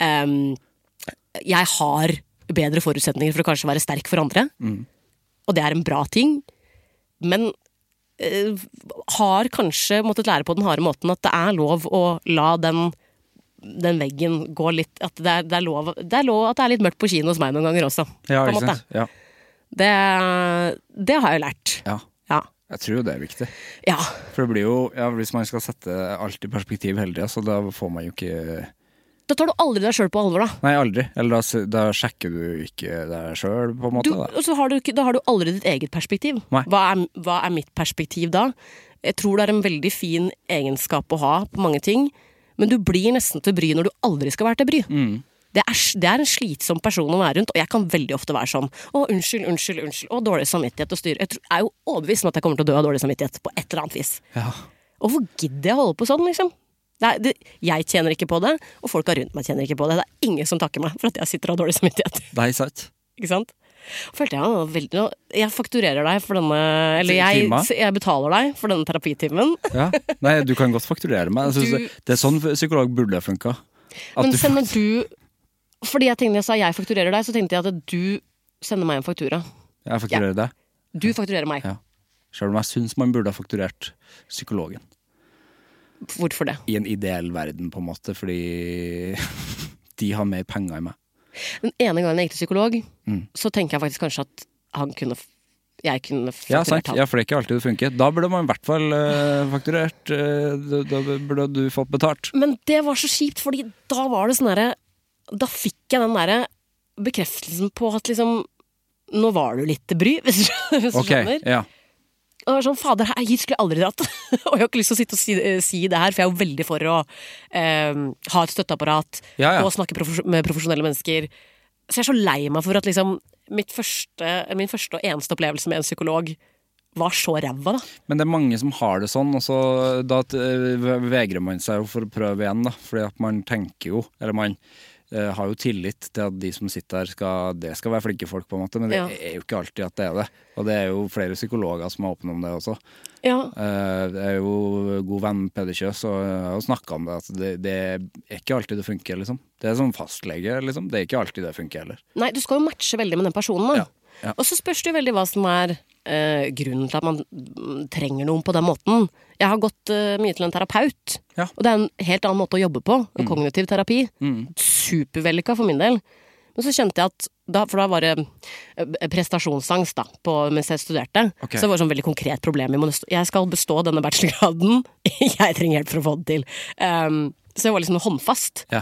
[SPEAKER 3] ehm, jeg har bedre forutsetninger for å kanskje være sterk for andre,
[SPEAKER 2] Mm.
[SPEAKER 3] og det er en bra ting, men eh, har kanskje måttet lære på den harde måten at det er lov å la den den veggen gå litt At det er, det, er lov, det er lov at det er litt mørkt på kino hos meg noen ganger også.
[SPEAKER 2] Ja,
[SPEAKER 3] på en
[SPEAKER 2] ikke
[SPEAKER 3] måte.
[SPEAKER 2] sant? Ja.
[SPEAKER 3] Det, det har jeg lært.
[SPEAKER 2] ja.
[SPEAKER 3] Ja.
[SPEAKER 2] Jeg tror jo det er viktig.
[SPEAKER 3] ja.
[SPEAKER 2] For det blir jo ja, Hvis man skal sette alt i perspektiv hele tida, så da får man jo ikke
[SPEAKER 3] Da tar du aldri deg sjøl på alvor, da.
[SPEAKER 2] Nei, aldri. Eller da, s- da sjekker du ikke deg sjøl, på en måte.
[SPEAKER 3] du,
[SPEAKER 2] da.
[SPEAKER 3] og så har du, ikke- da har du aldri ditt eget perspektiv.
[SPEAKER 2] Nei.
[SPEAKER 3] Hva er, hva er mitt perspektiv da? Jeg tror det er en veldig fin egenskap å ha på mange ting, men du blir nesten til bry når du aldri skal være til bry.
[SPEAKER 2] Mm.
[SPEAKER 3] Det, er, s- det er en slitsom person å være rundt, og jeg kan veldig ofte være sånn. Å, unnskyld, unnskyld, unnskyld. Å, dårlig samvittighet og styr. Jeg, tror, jeg er jo overbevist om at jeg kommer til å dø av dårlig samvittighet på et eller annet vis.
[SPEAKER 2] Ja.
[SPEAKER 3] Hvorfor gidder jeg å holde på sånn, liksom? Det er, det, jeg tjener ikke på det, og folka rundt meg tjener ikke på det. Det er ingen som takker meg for at jeg sitter og har dårlig samvittighet.
[SPEAKER 2] Det er sant.
[SPEAKER 3] Ikke sant? Følte jeg nå veldig nå- Jeg fakturerer deg for denne Eller jeg,
[SPEAKER 2] Timen?
[SPEAKER 3] jeg betaler deg for denne terapitimen.
[SPEAKER 2] Ja. Nei, du kan godt fakturere meg. Jeg synes
[SPEAKER 3] Du-
[SPEAKER 2] det, det er sånn psykolog burde funka. At
[SPEAKER 3] Men
[SPEAKER 2] du
[SPEAKER 3] sender du Fordi jeg tenkte jeg sa jeg fakturerer deg, så tenkte jeg at du sender meg en faktura.
[SPEAKER 2] jeg fakturerer deg.
[SPEAKER 3] Du fakturerer meg.
[SPEAKER 2] Ja. Selv om jeg syns man burde ha fakturert psykologen.
[SPEAKER 3] Hvorfor det?
[SPEAKER 2] I en ideell verden, på en måte, fordi de har mer penger enn meg.
[SPEAKER 3] Den ene gangen jeg gikk til psykolog,
[SPEAKER 2] Mm.
[SPEAKER 3] så tenker jeg faktisk kanskje at han kunne f- Jeg kunne
[SPEAKER 2] Ja,
[SPEAKER 3] fakturert
[SPEAKER 2] sant.
[SPEAKER 3] han.
[SPEAKER 2] Ja, for det er ikke alltid det funker. Da burde man i hvert fall eh, fakturert. eh, da, da burde du fått betalt.
[SPEAKER 3] Men det var så kjipt, fordi da var det sånn derre Da fikk jeg den derre bekreftelsen på at liksom Nå var du litt til bry, hvis du hvis du
[SPEAKER 2] Ok,
[SPEAKER 3] skjønner.
[SPEAKER 2] ja.
[SPEAKER 3] Og jeg var sånn, fader, her- hit skulle jeg aldri dratt. og jeg har ikke lyst til å sitte og si, eh, si det her, for jeg er jo veldig for å eh, ha et støtteapparat
[SPEAKER 2] Ja, ja.
[SPEAKER 3] og snakke profes med profesjonelle mennesker. Så jeg er så lei meg for at liksom, mitt første, min første og eneste opplevelse med en psykolog var så ræva, da.
[SPEAKER 2] Men det er mange som har det sånn, og så da t- ve- vegrer man seg jo for å prøve igjen, da. Fordi at man tenker jo, eller man eh, har jo tillit til at de som sitter der, skal, det skal være flinke folk, på en måte. Men det
[SPEAKER 3] Ja.
[SPEAKER 2] er jo ikke alltid at det er det. Og det er jo flere psykologer som er åpne om det også.
[SPEAKER 3] Ja,
[SPEAKER 2] Eh, Jeg er jo god venn med Peder Kjøs, og jeg har jo snakka om det. At det, det er ikke alltid det funker, liksom. Det er som fastlege, liksom. Det er ikke alltid det funker heller.
[SPEAKER 3] Nei, du skal jo matche veldig med den personen. Da.
[SPEAKER 2] Ja, ja.
[SPEAKER 3] Og så spørs det jo veldig hva som er eh, grunnen til at man mm, trenger noen på den måten. Jeg har gått eh, mye til en terapeut,
[SPEAKER 2] Ja. Mm.
[SPEAKER 3] og det er en helt annen måte å jobbe på. En kognitiv terapi. Supervellykka for min del. Men så kjente jeg at da, For da var det eh, prestasjonsangst da, på, mens jeg studerte.
[SPEAKER 2] Ok.
[SPEAKER 3] Så det var et sånn veldig konkret problem. Jeg, må, nest- jeg skal bestå denne bachelorgraden. jeg trenger hjelp for å få det til. Ehm, så jeg var liksom håndfast.
[SPEAKER 2] Ja.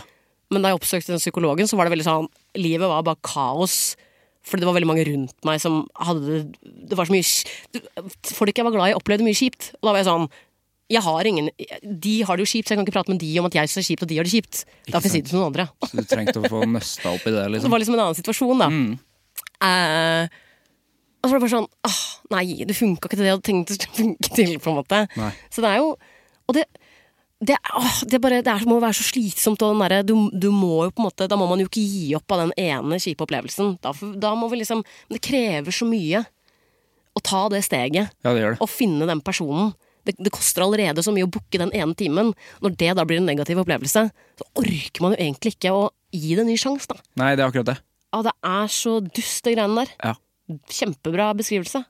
[SPEAKER 3] Men da jeg oppsøkte den psykologen, så var det veldig sånn Livet var bare kaos. Fordi det var veldig mange rundt meg som hadde det Det var så mye sk- Folk jeg var glad i, opplevde mye kjipt. Og da var jeg sånn Jeg har ingen De har det jo kjipt, så jeg kan ikke prate med de om at jeg syns det er kjipt, og de har det kjipt. Da får jeg si det til noen andre.
[SPEAKER 2] Så du trengte å få nøsta opp i det,
[SPEAKER 3] Det
[SPEAKER 2] liksom.
[SPEAKER 3] var liksom en annen situasjon, da. Eh, og så var det bare sånn Åh, nei, det funka ikke til det jeg hadde tenkt det skulle funke til, på en måte.
[SPEAKER 2] Nei.
[SPEAKER 3] Så det er jo Og det det, er- åh, det, er bare, det er, må være så slitsomt. Og den derre- du, du må jo på en måte, da må man jo ikke gi opp av den ene kjipe opplevelsen. Da, f- da må vi liksom Det krever så mye å ta det steget.
[SPEAKER 2] Ja, det gjør det.
[SPEAKER 3] Å finne den personen. Det, det koster allerede så mye å booke den ene timen. Når det da blir en negativ opplevelse, så orker man jo egentlig ikke å gi det en ny sjanse, da.
[SPEAKER 2] Nei, det er akkurat det.
[SPEAKER 3] Ja, det er så dust, det greiene der.
[SPEAKER 2] Ja.
[SPEAKER 3] Kjempebra beskrivelse.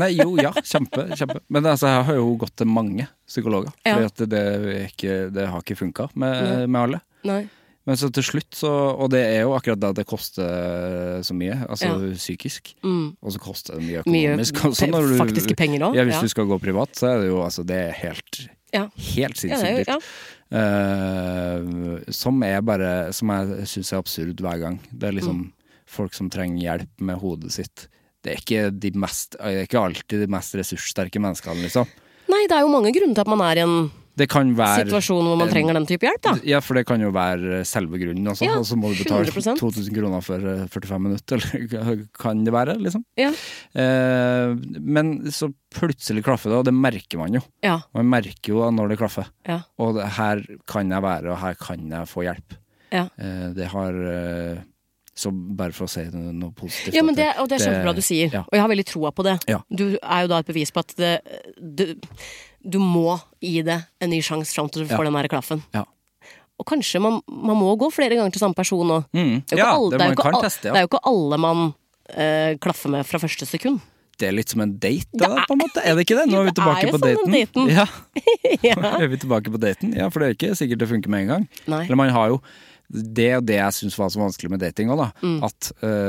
[SPEAKER 2] Nei, jo, ja, kjempe, kjempe. Men altså, jeg har jo gått til mange psykologer.
[SPEAKER 3] Ja.
[SPEAKER 2] Fordi at det, er ikke, det har ikke funka med, med alle.
[SPEAKER 3] Nei.
[SPEAKER 2] Men så til slutt, så, og det er jo akkurat da det koster så mye, altså
[SPEAKER 3] Ja.
[SPEAKER 2] psykisk.
[SPEAKER 3] Mm.
[SPEAKER 2] Og så koster det mye
[SPEAKER 3] Mye
[SPEAKER 2] økonomisk. også
[SPEAKER 3] pe
[SPEAKER 2] når du-
[SPEAKER 3] faktiske penger òg.
[SPEAKER 2] Ja, hvis du skal gå privat, så er det jo altså, det er helt,
[SPEAKER 3] Ja. ja,
[SPEAKER 2] helt
[SPEAKER 3] det er
[SPEAKER 2] sinnssykt
[SPEAKER 3] jo-
[SPEAKER 2] dyrt. Eh, som er bare Som jeg syns er absurd hver gang. Det er liksom
[SPEAKER 3] Mm.
[SPEAKER 2] folk som trenger hjelp med hodet sitt. Det er ikke, de mest, eh, det er ikke alltid de mest ressurssterke menneskene, liksom.
[SPEAKER 3] ja. Nei, det er jo mange grunner til at man er i en
[SPEAKER 2] Det kan være
[SPEAKER 3] situasjon hvor man
[SPEAKER 2] en-
[SPEAKER 3] trenger den type hjelp, da.
[SPEAKER 2] Ja, for det kan jo være selve grunnen, altså.
[SPEAKER 3] Ja,
[SPEAKER 2] og så må du betale
[SPEAKER 3] 100%.
[SPEAKER 2] 2000 kroner for eh, 45 minutter, eller kan det være, liksom.
[SPEAKER 3] Ja.
[SPEAKER 2] Eh, men så plutselig klaffer det, og det merker man jo.
[SPEAKER 3] Ja.
[SPEAKER 2] Man merker jo når det klaffer.
[SPEAKER 3] Ja.
[SPEAKER 2] Og det, her kan jeg være, og her kan jeg få hjelp.
[SPEAKER 3] Ja.
[SPEAKER 2] Eh, det har eh, Så bare for å si noe, noe positivt
[SPEAKER 3] Ja, men
[SPEAKER 2] at
[SPEAKER 3] det, og det er kjempebra du sier,
[SPEAKER 2] Ja.
[SPEAKER 3] og jeg har veldig troa på det.
[SPEAKER 2] Ja.
[SPEAKER 3] Du er jo da et bevis på at det, du, du må gi det en ny sjanse fram til du får den der klaffen.
[SPEAKER 2] Ja.
[SPEAKER 3] Og kanskje man, man må gå flere ganger til samme person nå.
[SPEAKER 2] Mm.
[SPEAKER 3] Det er jo
[SPEAKER 2] Ja,
[SPEAKER 3] ikke alle-
[SPEAKER 2] det,
[SPEAKER 3] det er jo
[SPEAKER 2] man
[SPEAKER 3] ikke
[SPEAKER 2] kan
[SPEAKER 3] al-
[SPEAKER 2] teste,
[SPEAKER 3] Det er
[SPEAKER 2] ja.
[SPEAKER 3] jo ikke alle man eh, klaffer med fra første sekund.
[SPEAKER 2] Det er litt som en date, da, på en måte. Er det ikke det? Nå er vi
[SPEAKER 3] Det er
[SPEAKER 2] tilbake
[SPEAKER 3] jo
[SPEAKER 2] på
[SPEAKER 3] som den
[SPEAKER 2] daten.
[SPEAKER 3] daten.
[SPEAKER 2] Ja.
[SPEAKER 3] ja.
[SPEAKER 2] Er vi tilbake på daten? Ja, for det er ikke sikkert det funker med en gang.
[SPEAKER 3] Nei.
[SPEAKER 2] Eller man har jo det og det jeg syns var så vanskelig med dating òg, da.
[SPEAKER 3] Mm.
[SPEAKER 2] At eh,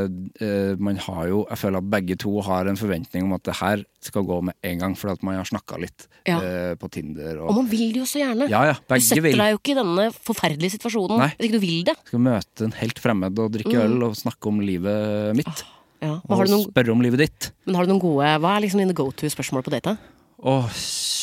[SPEAKER 2] eh, man har jo Jeg føler at begge to har en forventning om at det her skal gå med en gang, fordi at man har snakka litt
[SPEAKER 3] Ja.
[SPEAKER 2] eh, på Tinder og,
[SPEAKER 3] Og man vil det jo så gjerne.
[SPEAKER 2] Ja ja,
[SPEAKER 3] Du
[SPEAKER 2] begge
[SPEAKER 3] setter
[SPEAKER 2] vil.
[SPEAKER 3] deg jo ikke i denne forferdelige situasjonen
[SPEAKER 2] Nei.
[SPEAKER 3] hvis ikke du vil det.
[SPEAKER 2] Skal møte en helt fremmed og drikke øl og snakke om livet mitt.
[SPEAKER 3] Ja. Men,
[SPEAKER 2] Og
[SPEAKER 3] Mm. Ah, har du noen,
[SPEAKER 2] spørre om livet ditt.
[SPEAKER 3] men har du noen gode Hva er liksom dine go to-spørsmål på date?
[SPEAKER 2] Åh, s-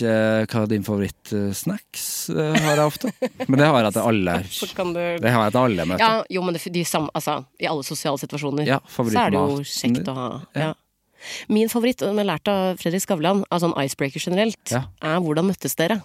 [SPEAKER 2] ikke eh, hva din favorittsnacks eh, har jeg ofte. Men det har jeg til alle.
[SPEAKER 3] Så kan du
[SPEAKER 2] Det har jeg til alle møter.
[SPEAKER 3] Ja, jo, men det, de samme, altså, i alle sosiale situasjoner
[SPEAKER 2] Ja,
[SPEAKER 3] så er det jo
[SPEAKER 2] favorittmaten
[SPEAKER 3] kjekt
[SPEAKER 2] din.
[SPEAKER 3] å ha. Ja. Min favoritt, og den har jeg lært av Fredrik Skavlan, av sånn icebreaker generelt,
[SPEAKER 2] Ja.
[SPEAKER 3] er 'hvordan møttes dere'?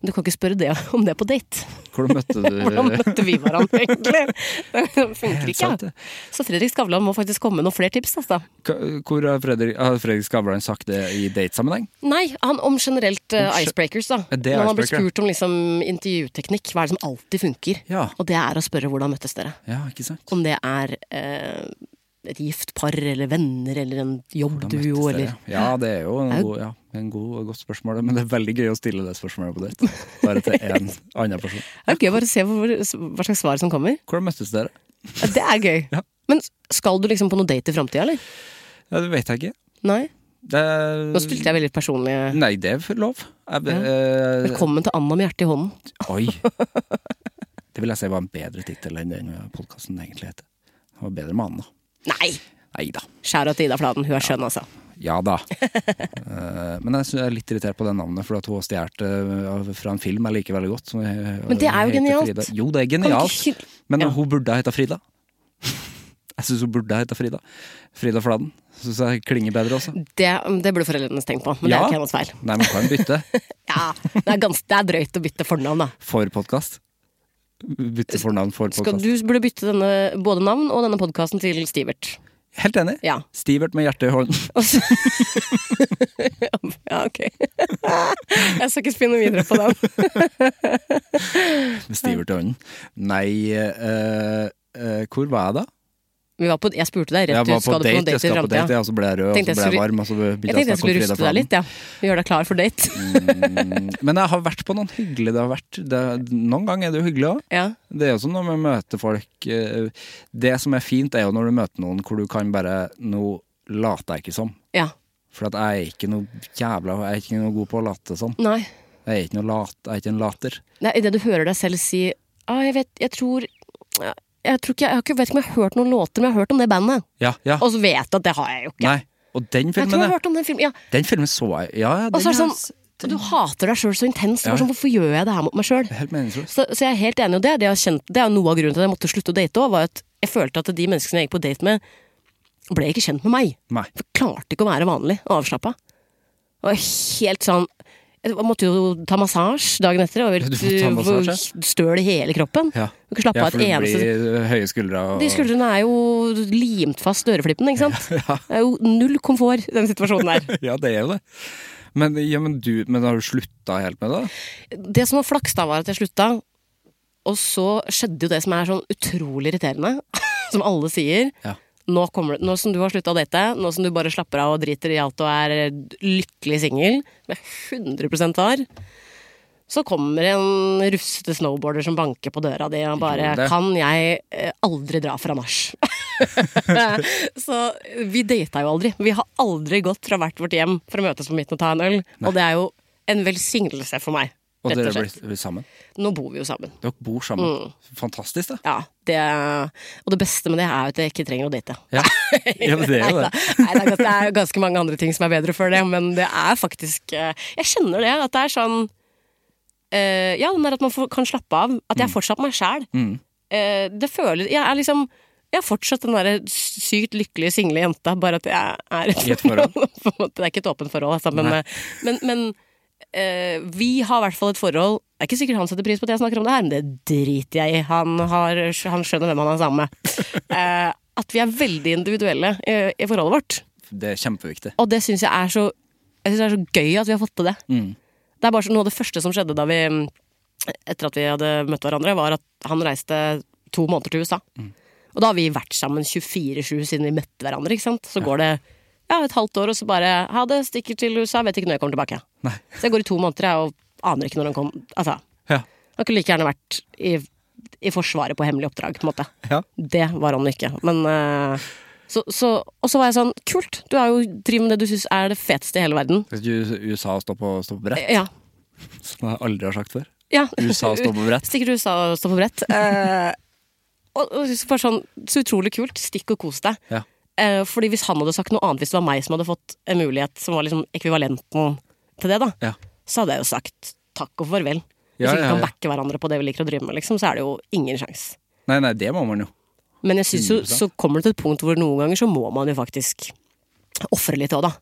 [SPEAKER 3] Men du kan ikke spørre det om det på date.
[SPEAKER 2] Hvordan møtte du
[SPEAKER 3] Hvordan møtte vi hverandre, egentlig? Det funker ikke.
[SPEAKER 2] sant, det.
[SPEAKER 3] ja. Så Fredrik Skavlan må faktisk komme med noen flere tips. Altså.
[SPEAKER 2] Hva- Hvor har Fredrik, har Fredrik Skavlan sagt det i datesammenheng?
[SPEAKER 3] Nei, han om generelt eh,
[SPEAKER 2] Om ge-
[SPEAKER 3] icebreakers, da.
[SPEAKER 2] Ja, det er
[SPEAKER 3] Når man blir
[SPEAKER 2] icebreaker.
[SPEAKER 3] spurt om liksom, intervjuteknikk, hva er det som alltid funker?
[SPEAKER 2] Ja.
[SPEAKER 3] Og det er å spørre 'hvordan møttes dere'?
[SPEAKER 2] Ja, ikke sant?
[SPEAKER 3] Om det er eh, et gift par eller venner eller en
[SPEAKER 2] Hvordan
[SPEAKER 3] jobbduo
[SPEAKER 2] møttes
[SPEAKER 3] eller
[SPEAKER 2] dere? Ja, det er jo en
[SPEAKER 3] er jo-
[SPEAKER 2] god, ja, en god og godt spørsmål, men det er veldig gøy å stille det spørsmålet på date. Bare til én annen person.
[SPEAKER 3] Det er gøy bare å se hvor, hva slags svar som kommer.
[SPEAKER 2] Hvordan møttes dere?
[SPEAKER 3] Det er gøy.
[SPEAKER 2] Ja.
[SPEAKER 3] Men skal du liksom på noe date i framtida, eller?
[SPEAKER 2] Ja, det vet jeg ikke.
[SPEAKER 3] Nei?
[SPEAKER 2] Det,
[SPEAKER 3] Nå spilte jeg veldig personlig. eh,
[SPEAKER 2] Nei, det er for lov. Jeg, be- eh,
[SPEAKER 3] Velkommen til Anna med hjertet i hånden.
[SPEAKER 2] Oi. Det vil jeg si var en bedre tittel enn den podkasten egentlig heter. Det var bedre med Anna.
[SPEAKER 3] Nei!
[SPEAKER 2] Nei da.
[SPEAKER 3] Skjæra til Ida Fladen, hun er skjønn, altså.
[SPEAKER 2] Ja da. Eh, men jeg synes jeg er litt irritert på det navnet, for at hun har stjålet eh, fra en film jeg liker veldig godt. som, eh,
[SPEAKER 3] Men det er jo
[SPEAKER 2] heter
[SPEAKER 3] genialt.
[SPEAKER 2] Frida. Jo, det er
[SPEAKER 3] Kan
[SPEAKER 2] genialt.
[SPEAKER 3] du ikke-
[SPEAKER 2] Men
[SPEAKER 3] Ja.
[SPEAKER 2] hun burde ha heta Frida. Jeg syns hun burde ha heta Frida. Frida Fladen. Syns jeg klinger bedre også.
[SPEAKER 3] Det, det burde foreldrene tenkt på, men det er
[SPEAKER 2] Ja.
[SPEAKER 3] ikke hennes feil.
[SPEAKER 2] Nei, man kan bytte.
[SPEAKER 3] Ja, det er, gans, det er drøyt å bytte fornavn, da.
[SPEAKER 2] For podkast. Bytte fornavn for
[SPEAKER 3] Skal,
[SPEAKER 2] podkast.
[SPEAKER 3] du burde bytte denne, både navn og denne podkasten til Stivert.
[SPEAKER 2] Helt enig.
[SPEAKER 3] Ja.
[SPEAKER 2] Stivert med hjertet i hånden.
[SPEAKER 3] Og så- ja, ok. Jeg skal ikke spinne videre på den.
[SPEAKER 2] Med Stivert i hånden. Nei eh, eh, Hvor var jeg da?
[SPEAKER 3] Vi var på, jeg spurte deg rett
[SPEAKER 2] Jeg var
[SPEAKER 3] ut,
[SPEAKER 2] på
[SPEAKER 3] skal du på noen
[SPEAKER 2] date, jeg
[SPEAKER 3] date i
[SPEAKER 2] skal på date,
[SPEAKER 3] framtida?
[SPEAKER 2] ja, og så ble jeg rød, og
[SPEAKER 3] Tenkte
[SPEAKER 2] så
[SPEAKER 3] jeg
[SPEAKER 2] ble jeg
[SPEAKER 3] skulle-
[SPEAKER 2] varm, og så
[SPEAKER 3] Jeg
[SPEAKER 2] begynte
[SPEAKER 3] tenkte
[SPEAKER 2] jeg å
[SPEAKER 3] jeg
[SPEAKER 2] snakke om
[SPEAKER 3] skulle
[SPEAKER 2] Frida
[SPEAKER 3] ruste deg
[SPEAKER 2] Fladen.
[SPEAKER 3] litt, ja. Gjøre deg klar for date.
[SPEAKER 2] Mm, Men jeg har vært på noen hyggelige det har vært. Det, noen ganger er det jo hyggelig òg.
[SPEAKER 3] Ja.
[SPEAKER 2] Det er jo sånn når man møter folk eh, Det som er fint, er jo når du møter noen hvor du kan bare Nå later jeg ikke som.
[SPEAKER 3] ja.
[SPEAKER 2] For at jeg er ikke noe jævla Jeg er ikke noe god på å late som.
[SPEAKER 3] Nei.
[SPEAKER 2] Jeg er ikke, noe lat, jeg er ikke en later.
[SPEAKER 3] Det er idet du hører deg selv si ah, jeg vet, jeg tror jeg, tror ikke, jeg, har ikke- vet ikke om jeg har hørt noen låter, men jeg har hørt om det bandet.
[SPEAKER 2] Ja, ja.
[SPEAKER 3] Og så vet du at det har jeg jo ikke.
[SPEAKER 2] Nei. Og den
[SPEAKER 3] jeg tror
[SPEAKER 2] filmen,
[SPEAKER 3] jeg har
[SPEAKER 2] er-
[SPEAKER 3] hørt om den filmen. Ja,
[SPEAKER 2] den filmen så jeg. Ja, ja,
[SPEAKER 3] Og så
[SPEAKER 2] den
[SPEAKER 3] er det
[SPEAKER 2] er-
[SPEAKER 3] sånn, og du hater deg sjøl så intenst.
[SPEAKER 2] Ja.
[SPEAKER 3] Bare Sånn, hvorfor gjør jeg det her mot meg sjøl?
[SPEAKER 2] Helt meningsløst.
[SPEAKER 3] Så, så jeg er helt enig, og det er, det, jeg har kjent, det er jo noe av grunnen til at jeg måtte slutte å date òg, var at jeg følte at de menneskene jeg gikk på date med, ble ikke kjent med meg.
[SPEAKER 2] Nei.
[SPEAKER 3] For jeg klarte ikke å være vanlig og avslappa. Og helt sånn Jeg måtte jo ta massasje dagen etter, og
[SPEAKER 2] Du måtte ta massasje,
[SPEAKER 3] var støl i hele kroppen.
[SPEAKER 2] Ja.
[SPEAKER 3] Du kan ikke slappe
[SPEAKER 2] Ja,
[SPEAKER 3] av
[SPEAKER 2] for
[SPEAKER 3] et
[SPEAKER 2] det
[SPEAKER 3] eneste
[SPEAKER 2] blir eh, høye skuldre og
[SPEAKER 3] De skuldrene er jo limt fast dørflippen, ikke sant? Det er jo null komfort i den situasjonen der.
[SPEAKER 2] Ja, det er jo det. Men, ja, men, du, men har du slutta helt med det? da?
[SPEAKER 3] Det som var flaks da, var at jeg slutta. Og så skjedde jo det som er sånn utrolig irriterende, som alle sier.
[SPEAKER 2] Ja.
[SPEAKER 3] Nå, kommer, det- nå som du har slutta å date, nå som du bare slapper av og driter i alt og er lykkelig singel, som jeg 100 har, så kommer en rufsete snowboarder som banker på døra di og
[SPEAKER 2] Gjorde
[SPEAKER 3] bare
[SPEAKER 2] det.
[SPEAKER 3] Kan jeg eh, aldri dra fra nach? så vi data jo aldri. Vi har aldri gått fra hvert vårt hjem for å møtes på midten og ta en øl. Og det er jo en velsignelse for meg.
[SPEAKER 2] Og
[SPEAKER 3] rett
[SPEAKER 2] dere
[SPEAKER 3] og slett. Mm.
[SPEAKER 2] blir, blir sammen?
[SPEAKER 3] Nå bor vi jo sammen.
[SPEAKER 2] Dere bor sammen. Fantastisk, da.
[SPEAKER 3] Ja, det, og det beste med det er jo at jeg ikke trenger å date.
[SPEAKER 2] Ja, ja men det er jo
[SPEAKER 3] Neida.
[SPEAKER 2] det.
[SPEAKER 3] Nei, det er gans- det er ganske mange andre ting som er bedre før det, men det er faktisk eh, Jeg kjenner det, at det er sånn eh, Ja, den der at man får, kan slappe av. At jeg er fortsatt meg sjæl. Eh, det føles Jeg er liksom jeg er fortsatt den derre sykt lykkelige single jenta, bare at jeg er
[SPEAKER 2] I et forhold.
[SPEAKER 3] på en måte. Det er ikke et åpent forhold, altså, men,
[SPEAKER 2] Nei.
[SPEAKER 3] eh, men, men eh, vi har i hvert fall et forhold. Det er ikke sikkert han setter pris på at jeg snakker om det her, men det driter jeg i. Han, har, han skjønner hvem han er sammen med. Eh, at vi er veldig individuelle i, i forholdet vårt.
[SPEAKER 2] Det er kjempeviktig.
[SPEAKER 3] Og det syns jeg er så Jeg synes det er så gøy at vi har fått til det. Det er bare så, Noe av det første som skjedde da vi etter at vi hadde møtt hverandre, var at han reiste to måneder til USA. Og da har vi vært sammen 24-7 siden vi møtte hverandre. ikke sant? Så går det ja, et halvt år, og så bare Ha det, stikker til USA, vet ikke når jeg kommer tilbake.
[SPEAKER 2] Nei.
[SPEAKER 3] Så jeg går i to måneder jeg, og aner ikke når han kom. Altså,
[SPEAKER 2] Ja.
[SPEAKER 3] han kunne like gjerne vært i, i Forsvaret på hemmelig oppdrag, på en måte.
[SPEAKER 2] Ja.
[SPEAKER 3] Det var han ikke. Men eh, så, så, Og så var jeg sånn Kult! Du er jo driver med det du syns er det feteste i hele verden. Eh,
[SPEAKER 2] Skal ikke USA stå på, stå på brett,
[SPEAKER 3] Ja.
[SPEAKER 2] som jeg aldri har sagt før?
[SPEAKER 3] ja.
[SPEAKER 2] USA står på brett.
[SPEAKER 3] Stikker til USA og står på brett. Eh, og, og så bare sånn Så utrolig kult. Stikk og kos deg.
[SPEAKER 2] Ja.
[SPEAKER 3] Eh, fordi hvis han hadde sagt noe annet, hvis det var meg som hadde fått en mulighet som var liksom ekvivalenten til det, da,
[SPEAKER 2] Ja.
[SPEAKER 3] så hadde jeg jo sagt takk og farvel. Hvis vi
[SPEAKER 2] Ja, ja,
[SPEAKER 3] ikke kan
[SPEAKER 2] ja.
[SPEAKER 3] backe hverandre på det vi liker å drive med, liksom, så er det jo ingen sjanse.
[SPEAKER 2] Nei, nei, det må man jo.
[SPEAKER 3] Men jeg synes jo,
[SPEAKER 2] 100%.
[SPEAKER 3] så kommer det til et punkt hvor noen ganger så må man jo faktisk ofre litt òg, da.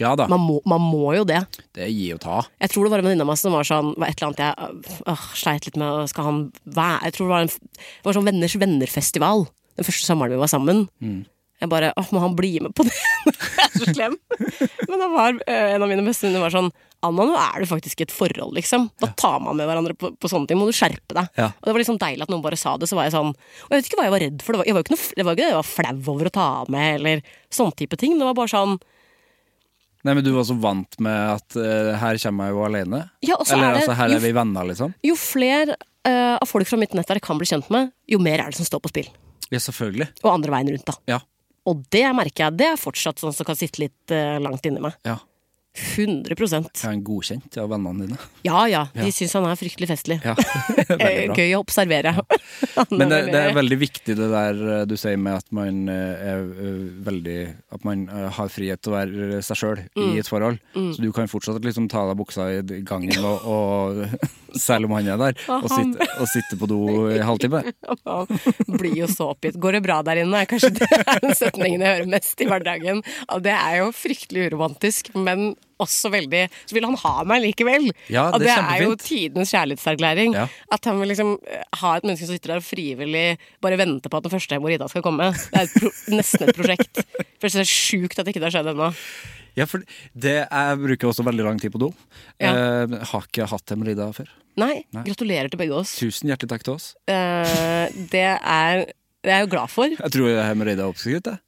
[SPEAKER 2] Ja da.
[SPEAKER 3] Man må, man må jo det.
[SPEAKER 2] Det gir og ta.
[SPEAKER 3] Jeg tror det var en venninne av meg som var sånn var Et eller annet jeg øh, sleit litt med. Skal han være Jeg tror det var en det var sånn Venners vennerfestival. Den første sommeren vi var sammen. Jeg bare åh, må han bli med på det? jeg er så slem. Men det var øh, en av mine bestevenninner var sånn Anna, nå er du faktisk i et forhold, liksom. Da tar man med hverandre på, på sånne ting. Må du skjerpe deg.
[SPEAKER 2] Ja.
[SPEAKER 3] Og det var liksom deilig at noen bare sa det. Så var jeg sånn Og jeg vet ikke hva jeg var redd for. Det var, jeg var jo ikke noe, det var ikke det jeg var flau over å ta med, eller sånne type ting. Det var bare sånn
[SPEAKER 2] Nei, men du var så vant med at eh, her kommer jeg jo alene.
[SPEAKER 3] Ja, og så
[SPEAKER 2] Eller
[SPEAKER 3] er det-
[SPEAKER 2] altså, her
[SPEAKER 3] jo-
[SPEAKER 2] er vi venner, liksom.
[SPEAKER 3] Jo flere eh, av folk fra mitt nettverk kan bli kjent med, jo mer er det som står på spill.
[SPEAKER 2] Ja, selvfølgelig.
[SPEAKER 3] Og andre veien rundt, da.
[SPEAKER 2] Ja.
[SPEAKER 3] Og det merker jeg, det er fortsatt sånn som kan sitte litt eh, langt inni meg.
[SPEAKER 2] ja.
[SPEAKER 3] 100
[SPEAKER 2] Jeg er en godkjent av vennene dine.
[SPEAKER 3] Ja ja, de syns han er fryktelig festlig.
[SPEAKER 2] Ja, veldig bra.
[SPEAKER 3] Gøy å observere.
[SPEAKER 2] Men det, det er veldig viktig det der eh, du sier med at man eh, er eh, veldig At man eh, har frihet til å være eh, seg sjøl i et forhold. Så du kan fortsatt liksom ta av deg buksa i gangen, og, og selv om han er der, og
[SPEAKER 3] han-
[SPEAKER 2] sitte, og sitte på do i en halvtime.
[SPEAKER 3] Han blir jo så oppgitt. Går det bra der inne? er Kanskje det er den setningen jeg hører mest i hverdagen. Og det er jo fryktelig uromantisk, men også veldig Så vil han ha meg likevel!
[SPEAKER 2] Ja,
[SPEAKER 3] og
[SPEAKER 2] det
[SPEAKER 3] det
[SPEAKER 2] er
[SPEAKER 3] er jo
[SPEAKER 2] kjempefint.
[SPEAKER 3] tidenes kjærlighetserklæring.
[SPEAKER 2] Ja.
[SPEAKER 3] At han vil liksom eh, ha et menneske som sitter der og frivillig bare venter på at den første hemoroida skal komme. Det er et pro nesten et prosjekt. Først er det sjukt at ikke det har skjedd ennå.
[SPEAKER 2] Ja, for det Jeg bruker også veldig lang tid på do.
[SPEAKER 3] Ja.
[SPEAKER 2] Eh, har ikke hatt hemoroider før.
[SPEAKER 3] Nei, gratulerer til begge oss.
[SPEAKER 2] Tusen hjertelig takk til oss.
[SPEAKER 3] Eh, det er det er jeg jo glad for.
[SPEAKER 2] Jeg tror hemoroider er oppskrytt. jeg.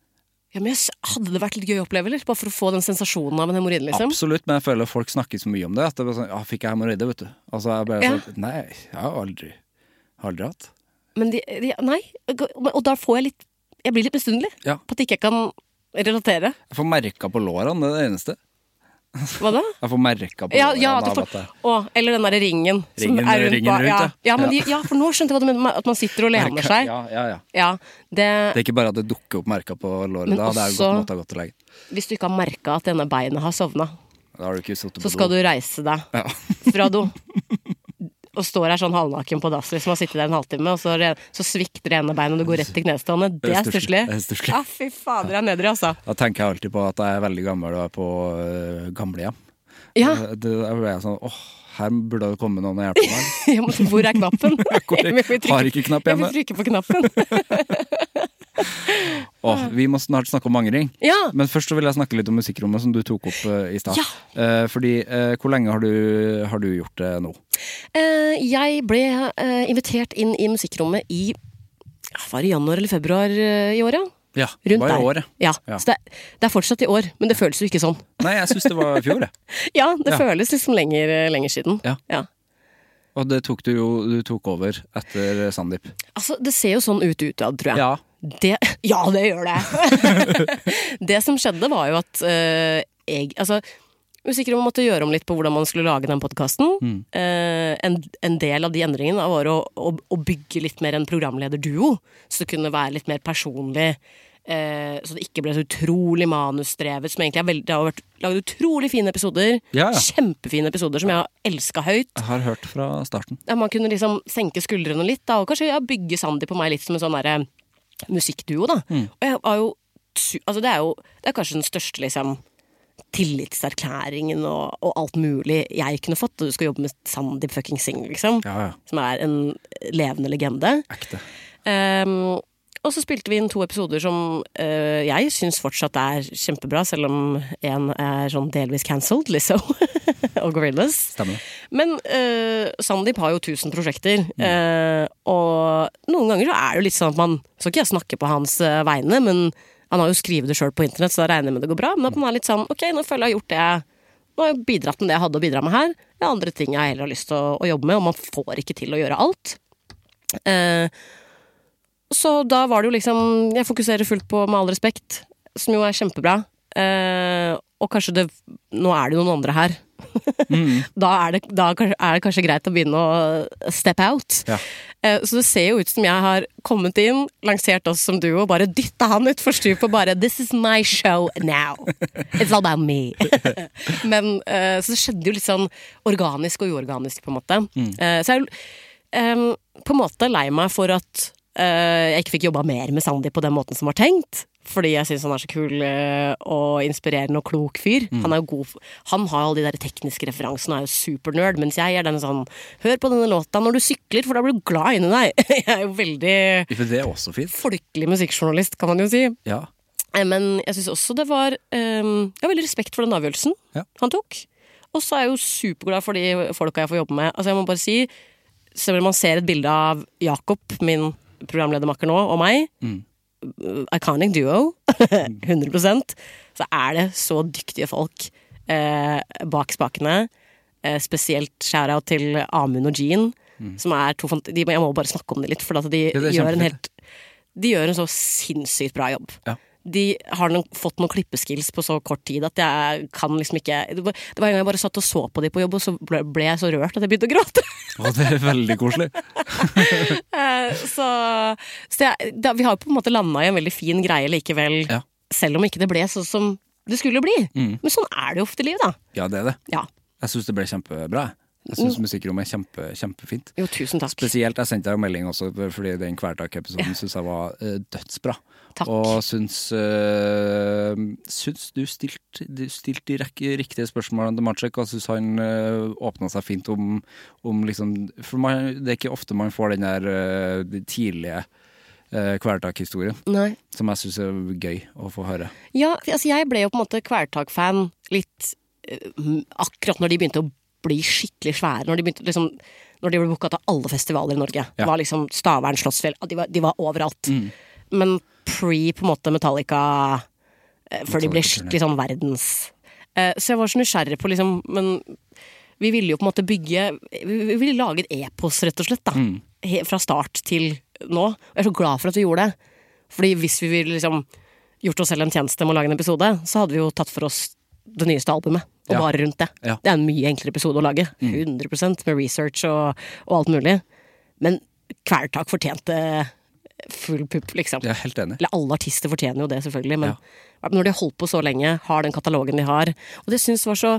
[SPEAKER 3] Ja, men jeg s- Hadde det vært litt gøy å oppleve, eller? Bare for å få den sensasjonen av en hemoroide, liksom?
[SPEAKER 2] Absolutt, men jeg føler folk snakker så mye om det. At det er bare sånn, ja, fikk jeg hemoroider, vet du. Altså, jeg bare
[SPEAKER 3] Ja.
[SPEAKER 2] sånn, Nei, jeg har aldri, aldri hatt.
[SPEAKER 3] Men de, de, nei, og da får jeg litt Jeg blir litt misunnelig
[SPEAKER 2] Ja.
[SPEAKER 3] på at ikke jeg kan relatere.
[SPEAKER 2] Jeg får merka på lårene, det er det eneste.
[SPEAKER 3] Hva da?
[SPEAKER 2] Jeg får merka på
[SPEAKER 3] Ja,
[SPEAKER 2] lårene
[SPEAKER 3] ja, at
[SPEAKER 2] av
[SPEAKER 3] du
[SPEAKER 2] at
[SPEAKER 3] får,
[SPEAKER 2] jeg-
[SPEAKER 3] å, eller den derre ringen. som
[SPEAKER 2] Ringen-
[SPEAKER 3] er
[SPEAKER 2] ringen
[SPEAKER 3] ba-
[SPEAKER 2] rundt,
[SPEAKER 3] ja.
[SPEAKER 2] ja.
[SPEAKER 3] Ja, men de,
[SPEAKER 2] Ja.
[SPEAKER 3] ja, for nå skjønte jeg hva du mener. At man sitter og lener
[SPEAKER 2] Merker-
[SPEAKER 3] seg.
[SPEAKER 2] Ja, ja, ja.
[SPEAKER 3] Ja, det,
[SPEAKER 2] Det er ikke bare at det dukker opp merker på låret.
[SPEAKER 3] Men
[SPEAKER 2] Da det er jo
[SPEAKER 3] også-
[SPEAKER 2] godt måte å gå til legen.
[SPEAKER 3] Hvis du ikke har merka at denne beinet har sovna,
[SPEAKER 2] Da har du ikke sittet på
[SPEAKER 3] så skal
[SPEAKER 2] do.
[SPEAKER 3] du reise deg
[SPEAKER 2] Ja.
[SPEAKER 3] fra do. Og står her sånn halvnaken på dass, liksom har sittet der en halvtime, og så, re, så svikter det ene beinet, og du går rett til knestående. Det er stusslig.
[SPEAKER 2] Det er stusslig.
[SPEAKER 3] Ja, fy fader, det er nedrig, altså.
[SPEAKER 2] Da tenker jeg alltid på at jeg er veldig gammel og er på øh, gamlehjem.
[SPEAKER 3] Ja,
[SPEAKER 2] Da da ble jeg sånn åh, her burde det komme noen og hjelpe meg.
[SPEAKER 3] Ja, men hvor er knappen?
[SPEAKER 2] Hvor-
[SPEAKER 3] Jeg må trykke-
[SPEAKER 2] har ikke knapp hjemme.
[SPEAKER 3] Jeg vil trykke på knappen.
[SPEAKER 2] Åh, vi må snart snakke om angring.
[SPEAKER 3] Ja.
[SPEAKER 2] Men først så vil jeg snakke litt om musikkrommet som du tok opp øh, i stad.
[SPEAKER 3] Ja.
[SPEAKER 2] Eh, fordi eh, hvor lenge har du, har du gjort det nå?
[SPEAKER 3] Eh, Jeg ble eh, invitert inn i musikkrommet i ja, Var det januar eller februar eh, i år, ja?
[SPEAKER 2] Ja,
[SPEAKER 3] Rundt
[SPEAKER 2] var i
[SPEAKER 3] der.
[SPEAKER 2] år, ja.
[SPEAKER 3] ja.
[SPEAKER 2] Ja.
[SPEAKER 3] Så det, er- det er fortsatt i år, men det føles jo ikke sånn.
[SPEAKER 2] Nei, jeg syns det var i fjor, jeg.
[SPEAKER 3] Ja, det
[SPEAKER 2] Ja.
[SPEAKER 3] føles liksom lenger, eh, lenger siden.
[SPEAKER 2] Ja. Og det tok du jo du tok over etter Sandeep.
[SPEAKER 3] Altså, det ser jo sånn ut utad, tror jeg.
[SPEAKER 2] Ja.
[SPEAKER 3] Det, ja, det gjør det! det som skjedde, var jo at eh, jeg Altså, musikkrommet måtte gjøre om litt på hvordan man skulle lage den podkasten.
[SPEAKER 2] Mm.
[SPEAKER 3] en, en del av de endringene da var å, å, å bygge litt mer en programlederduo, så det kunne være litt mer personlig. eh, så det ikke ble så utrolig manusdrevet. Som egentlig er veldig, det har vært lagd utrolig fine episoder.
[SPEAKER 2] Ja, ja.
[SPEAKER 3] Kjempefine episoder som jeg har elska høyt
[SPEAKER 2] Jeg har hørt fra starten.
[SPEAKER 3] ja, man kunne liksom senke skuldrene litt, da, og kanskje ja, bygge Sandy på meg litt som en sånn derre musikkduo, da.
[SPEAKER 2] Mm.
[SPEAKER 3] Og jeg var jo su- Altså, det er jo Det er kanskje den største, liksom Tillitserklæringen og, og alt mulig jeg kunne fått, og du skal jobbe med Sandeep fucking Singh, liksom.
[SPEAKER 2] Ja, ja.
[SPEAKER 3] Som er en levende legende.
[SPEAKER 2] Ekte.
[SPEAKER 3] Ehm, og så spilte vi inn to episoder som eh, jeg syns fortsatt er kjempebra, selv om én er sånn delvis cancelled, Lizzo og Gorillas.
[SPEAKER 2] Stemmer.
[SPEAKER 3] Men eh, Sandeep har jo 1000 prosjekter, eh, og noen ganger så er det jo litt sånn at man Skal ikke jeg snakke på hans eh, vegne, men han har jo skrevet det sjøl på internett, så da regner jeg med det går bra. Men at man er litt sånn ok, nå føler jeg har gjort det jeg Nå har jeg bidratt med det jeg hadde å bidra med her. Det er andre ting jeg heller har lyst til å, å jobbe med, og man får ikke til å gjøre alt. Eh, så da var det jo liksom Jeg fokuserer fullt på Med all respekt, som jo er kjempebra. Eh, og kanskje det Nå er det jo noen andre her da, er det, da er det kanskje greit å begynne å step out.
[SPEAKER 2] Ja.
[SPEAKER 3] Eh, Så det ser jo ut som jeg har kommet inn, lansert oss som duo, bare dytta han utfor stupet og bare 'This is my show now'. It's all about me. Men eh, så det skjedde jo litt sånn organisk og uorganisk, på en måte. Eh, Så jeg er jo em, på en måte lei meg for at eh, jeg ikke fikk jobba mer med Sandy på den måten som var tenkt. Fordi jeg syns han er så kul eh, og inspirerende og klok fyr. Han er jo god f- Han har alle de der tekniske referansene og er jo supernerd, mens jeg er den sånn Hør på denne låta når du sykler, for da blir du glad inni deg. jeg er jo veldig
[SPEAKER 2] For det er også fint.
[SPEAKER 3] folkelig musikkjournalist, kan man jo si.
[SPEAKER 2] Ja.
[SPEAKER 3] Eh, Men jeg syns også det var ehm, Jeg har veldig respekt for den avgjørelsen
[SPEAKER 2] Ja.
[SPEAKER 3] han tok. Og så er jeg jo superglad for de folka jeg får jobbe med. Altså jeg må bare si, Selv om man ser et bilde av Jakob, min programledermakker nå, og meg
[SPEAKER 2] Mm.
[SPEAKER 3] eh, Iconic duo. 100 Så er det så dyktige folk eh, bak spakene. Eh, spesielt shout-out til Amund og Jean. Som er to fant de, Jeg må bare snakke om det litt, for at de
[SPEAKER 2] Mm. Ja, det er
[SPEAKER 3] gjør en
[SPEAKER 2] kjempefint.
[SPEAKER 3] helt de gjør en så sinnssykt bra jobb.
[SPEAKER 2] Ja.
[SPEAKER 3] De har noen, fått noen klippeskills på så kort tid at jeg kan liksom ikke Det var det var en gang jeg bare satt og så på de på jobb, og så ble, ble jeg så rørt at jeg begynte å gråte.
[SPEAKER 2] Og det er veldig koselig.
[SPEAKER 3] Eh, så så jeg, da, vi har jo på en måte landa i en veldig fin greie likevel,
[SPEAKER 2] Ja. Mm.
[SPEAKER 3] selv om ikke det ble sånn som det skulle bli. Men sånn er det jo ofte i livet, da.
[SPEAKER 2] Ja, det er det.
[SPEAKER 3] Ja.
[SPEAKER 2] Jeg syns det ble kjempebra. jeg. Jeg
[SPEAKER 3] Mm.
[SPEAKER 2] syns musikkrommet er kjempe, kjempefint.
[SPEAKER 3] Jo, tusen takk.
[SPEAKER 2] Spesielt, jeg sendte deg jo melding også, fordi den hverdagepisoden synes syns jeg var eh, dødsbra.
[SPEAKER 3] Takk.
[SPEAKER 2] Og syns, eh, syns du stilte du stilte de rek- riktige spørsmålene til Maciek, og syns han uh, åpna seg fint om, om liksom For man, det er ikke ofte man får den der eh, de tidlige uh, hverdagshistorien,
[SPEAKER 3] Nei.
[SPEAKER 2] som jeg syns er gøy å få høre.
[SPEAKER 3] Ja, altså jeg ble jo på en måte Kvelertak-fan litt eh, m- akkurat når de begynte å bli skikkelig svære. Når de, begynte, liksom, når de ble booka til alle festivaler i Norge. Det var liksom Stavern, Slottsfjell at de, var- de var overalt.
[SPEAKER 2] Mm.
[SPEAKER 3] Men pre på en måte Metallica eh, Før de ble skikkelig sånn verdens Eh, Så jeg var så nysgjerrig på liksom Men vi ville jo på en måte bygge Vi vi ville lage et epos, rett og slett. da
[SPEAKER 2] Mm.
[SPEAKER 3] He- Fra start til nå. Og jeg er så glad for at vi gjorde det. Fordi hvis vi ville liksom gjort oss selv en tjeneste med å lage en episode, så hadde vi jo tatt for oss det nyeste albumet. Og
[SPEAKER 2] Ja.
[SPEAKER 3] bare rundt det.
[SPEAKER 2] Ja. Mm.
[SPEAKER 3] Det er en mye enklere episode å lage. 100 med research og, og alt mulig. Men Kvelertak fortjente full pupp, liksom.
[SPEAKER 2] Jeg er helt enig.
[SPEAKER 3] Eller alle artister fortjener jo det, selvfølgelig, men når de har holdt på så lenge, har den katalogen de har Og det syns var så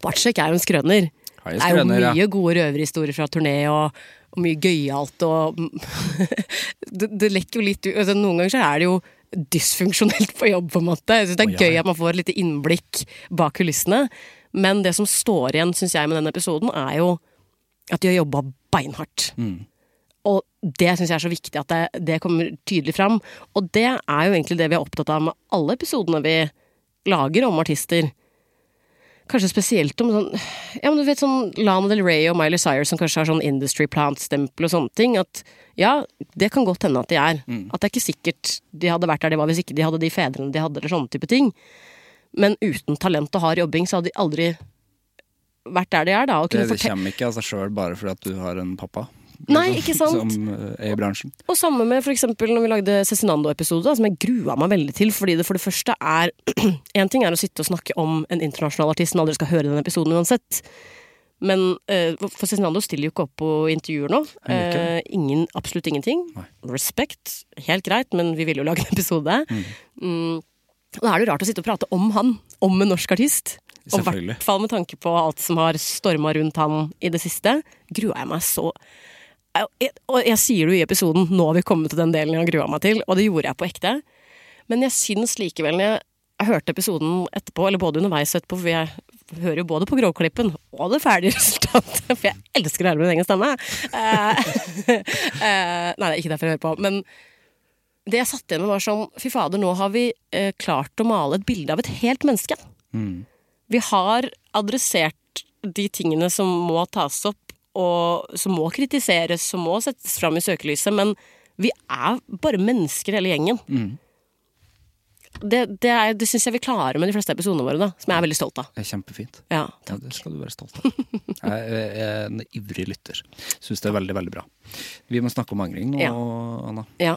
[SPEAKER 3] Bartsjek er jo en skrøner.
[SPEAKER 2] Han er
[SPEAKER 3] det er jo
[SPEAKER 2] skrøner, ja.
[SPEAKER 3] mye gode røverhistorier fra turné og, og mye gøyalt og det, det lekker jo litt ut. Altså, noen ganger så er det jo dysfunksjonelt på jobb, på en måte. Jeg synes det er
[SPEAKER 2] ja.
[SPEAKER 3] gøy at man får et lite innblikk bak kulissene. Men det som står igjen, syns jeg, med den episoden, er jo at de har jobba beinhardt.
[SPEAKER 2] Mm.
[SPEAKER 3] Og det syns jeg er så viktig at det, det kommer tydelig fram. Og det er jo egentlig det vi er opptatt av med alle episodene vi lager om artister. Kanskje spesielt om sånn Ja, men du vet sånn Lana Del Rey og Miley Cyrus som kanskje har sånn industry plant-stempel og sånne ting. At ja, det kan godt hende at de er. At det er ikke sikkert de hadde vært der de var hvis ikke de hadde de fedrene de hadde, eller sånne type ting. Men uten talent og hard jobbing så hadde de aldri vært der de er, da. Og
[SPEAKER 2] Det,
[SPEAKER 3] kunne
[SPEAKER 2] det
[SPEAKER 3] fortelle
[SPEAKER 2] kommer ikke av seg sjøl bare fordi at du har en pappa liksom,
[SPEAKER 3] Nei, ikke sant?
[SPEAKER 2] som eh, er i bransjen.
[SPEAKER 3] Og samme med for eksempel når vi lagde Cezinando-episoden, som jeg grua meg veldig til, fordi det for det første er En ting er å sitte og snakke om en internasjonal artist som aldri skal høre den episoden uansett. Men eh, for Cezinando stiller jo ikke opp på intervjuer nå.
[SPEAKER 2] Han gjør ikke det.
[SPEAKER 3] Eh, ingen, absolutt ingenting. Respekt, helt greit, men vi ville jo lage en episode. Mm. Da er det jo rart å sitte og prate om han, om en norsk artist. Og i
[SPEAKER 2] Selvfølgelig.
[SPEAKER 3] hvert fall med tanke på alt som har storma rundt han i det siste. Grua jeg meg så jeg, Og jeg sier det jo i episoden, nå har vi kommet til den delen jeg har grua meg til, og det gjorde jeg på ekte. Men jeg syns likevel, når jeg, jeg hørte episoden etterpå, eller både underveis og etterpå, for jeg hører jo både på grovklippen og det ferdige resultatet, for jeg elsker å høre min egen stemme. Eh, eh, nei, det er ikke derfor jeg hører på, men det jeg satt igjen med, var sånn Fy fader, nå har vi eh, klart å male et bilde av et helt menneske. Vi har adressert de tingene som må tas opp, og som må kritiseres, som må settes fram i søkelyset, men vi er bare mennesker, hele gjengen. Det, det, er- det syns jeg vi klarer med de fleste episodene våre, da, som jeg er veldig stolt av.
[SPEAKER 2] Det er kjempefint.
[SPEAKER 3] Ja,
[SPEAKER 2] Ja, det skal du være stolt av. Jeg er en ivrig lytter. Syns det er veldig, veldig bra. Vi må snakke om angring nå,
[SPEAKER 3] Ja.
[SPEAKER 2] Anna.
[SPEAKER 3] ja.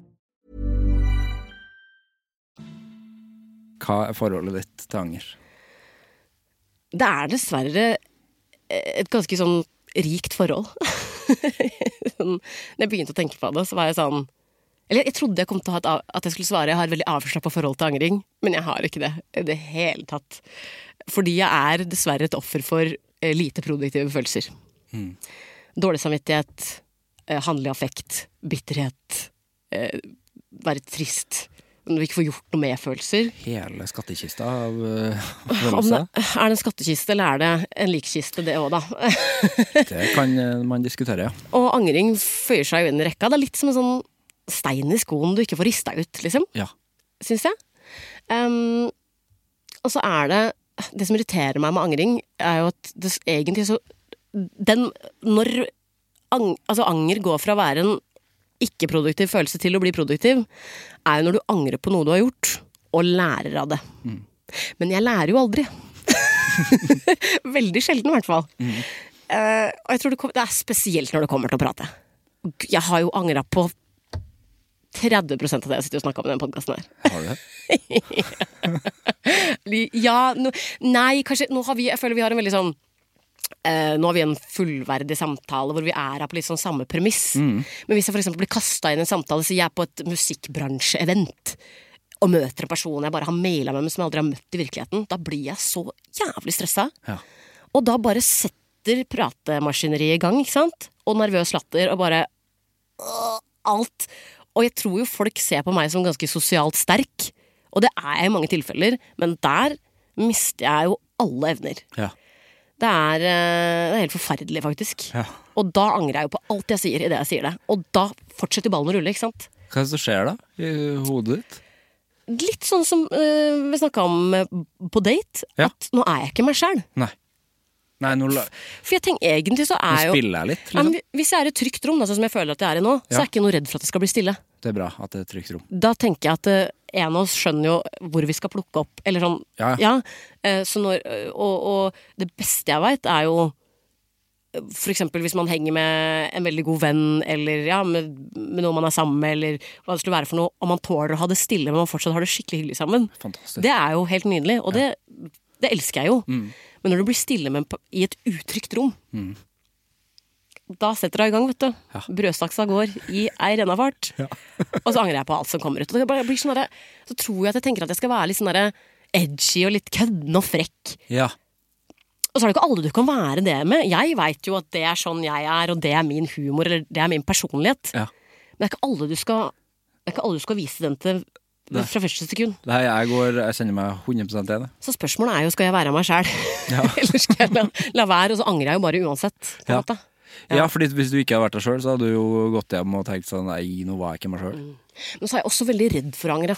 [SPEAKER 1] Hva er forholdet ditt til anger?
[SPEAKER 3] Det er dessverre et ganske sånn rikt forhold. sånn, når jeg begynte å tenke på det, så var jeg sånn Eller jeg trodde jeg kom til å ha et, av- at jeg skulle svare jeg har et veldig avslappa forhold til angring, men jeg har ikke det i det hele tatt. Fordi jeg er dessverre et offer for eh, lite produktive følelser. Dårlig samvittighet, eh, handle i affekt, bitterhet, eh, være trist. Når vi ikke får gjort noe med følelser.
[SPEAKER 1] Hele skattkista av uh,
[SPEAKER 3] Om det,
[SPEAKER 1] følelser.
[SPEAKER 3] er det en skattkiste, eller er det en likkiste, det òg, da?
[SPEAKER 1] Det kan eh, man diskutere, ja.
[SPEAKER 3] Og angring føyer seg jo inn i rekka. Det er litt som en sånn stein i skoen du ikke får rista ut, liksom.
[SPEAKER 1] Ja.
[SPEAKER 3] Syns jeg. Ehm, og så er det Det som irriterer meg med angring, er jo at det s- egentlig så Den Når ang, altså anger går fra å være en ikke-produktiv følelse til å bli produktiv, er jo når du angrer på noe du har gjort, og lærer av det. Men jeg lærer jo aldri. Veldig sjelden, i hvert fall. Eh, og jeg tror det, kom, det er spesielt når det kommer til å prate. Jeg har jo angra på 30 av det jeg sitter og snakker om i den podkasten her.
[SPEAKER 1] Har du det?
[SPEAKER 3] Ja, no, nei, kanskje nå har vi, Jeg føler vi har en veldig sånn eh, nå har vi en fullverdig samtale hvor vi er her på litt sånn samme premiss. Men hvis jeg f.eks. blir kasta inn i en samtale, så jeg er på et musikkbransjeevent og møter en person jeg bare har maila med, men som jeg aldri har møtt i virkeligheten, da blir jeg så jævlig stressa.
[SPEAKER 1] Ja.
[SPEAKER 3] Og da bare setter pratemaskineriet i gang, ikke sant? Og nervøs latter og bare øh, alt. Og jeg tror jo folk ser på meg som ganske sosialt sterk, og det er jeg i mange tilfeller, men der mister jeg jo alle evner.
[SPEAKER 1] Ja.
[SPEAKER 3] Det er, eh, det er helt forferdelig, faktisk.
[SPEAKER 1] Ja.
[SPEAKER 3] Og da angrer jeg jo på alt jeg sier i det jeg sier det. Og da fortsetter ballen å rulle, ikke sant?
[SPEAKER 1] Hva er det som skjer da, i hodet ditt?
[SPEAKER 3] Litt sånn som eh, vi snakka om eh, på date,
[SPEAKER 1] Ja.
[SPEAKER 3] at nå er jeg ikke meg sjæl.
[SPEAKER 1] Nei. Nei, nå, la,
[SPEAKER 3] For jeg tenker egentlig så
[SPEAKER 1] nå
[SPEAKER 3] er jo
[SPEAKER 1] spiller jeg litt,
[SPEAKER 3] Ja,
[SPEAKER 1] liksom.
[SPEAKER 3] men hvis jeg er i et trygt rom, da, sånn som jeg føler at jeg er i nå, så
[SPEAKER 1] Ja.
[SPEAKER 3] er jeg ikke noe redd for at det skal bli stille.
[SPEAKER 1] Det er bra at det er et trygt rom.
[SPEAKER 3] Da tenker jeg at eh, en av oss skjønner jo hvor vi skal plukke opp, eller sånn.
[SPEAKER 1] Ja, ja.
[SPEAKER 3] eh, så når, og, og det beste jeg veit, er jo eh, for eksempel hvis man henger med en veldig god venn, eller ja, med, med noen man er sammen med, eller hva det skulle være for noe, og man tåler å ha det stille, men man fortsatt har det skikkelig hyggelig sammen.
[SPEAKER 1] Fantastisk. Mm.
[SPEAKER 3] Det er jo helt nydelig, og det, det elsker jeg jo. Men når du blir stille med, en pa- i et utrygt rom, da setter hun i gang, vet du. Brødstaksa går i ei rennafart. og så angrer jeg på alt som kommer ut. Og det bare blir sånn derre- så tror jeg at jeg tenker at jeg skal være litt sånn derre edgy og litt køddende og frekk.
[SPEAKER 1] Ja.
[SPEAKER 3] Og så er det ikke alle du kan være det med. Jeg veit jo at det er sånn jeg er, og det er min humor, eller det er min personlighet.
[SPEAKER 1] ja.
[SPEAKER 3] Men det er ikke alle du skal, det er ikke alle du skal vise den til fra første sekund.
[SPEAKER 1] Det her jeg går Jeg kjenner meg 100 enig.
[SPEAKER 3] Så spørsmålet er jo skal jeg være meg sjæl, eller skal jeg la, la være? Og så angrer jeg jo bare uansett. På en
[SPEAKER 1] Ja.
[SPEAKER 3] måte.
[SPEAKER 1] Ja. fordi hvis du ikke hadde vært deg sjøl, så hadde du jo gått hjem og tenkt sånn Nei, nå var jeg ikke meg sjøl.
[SPEAKER 3] Men så er jeg også veldig redd for å angre.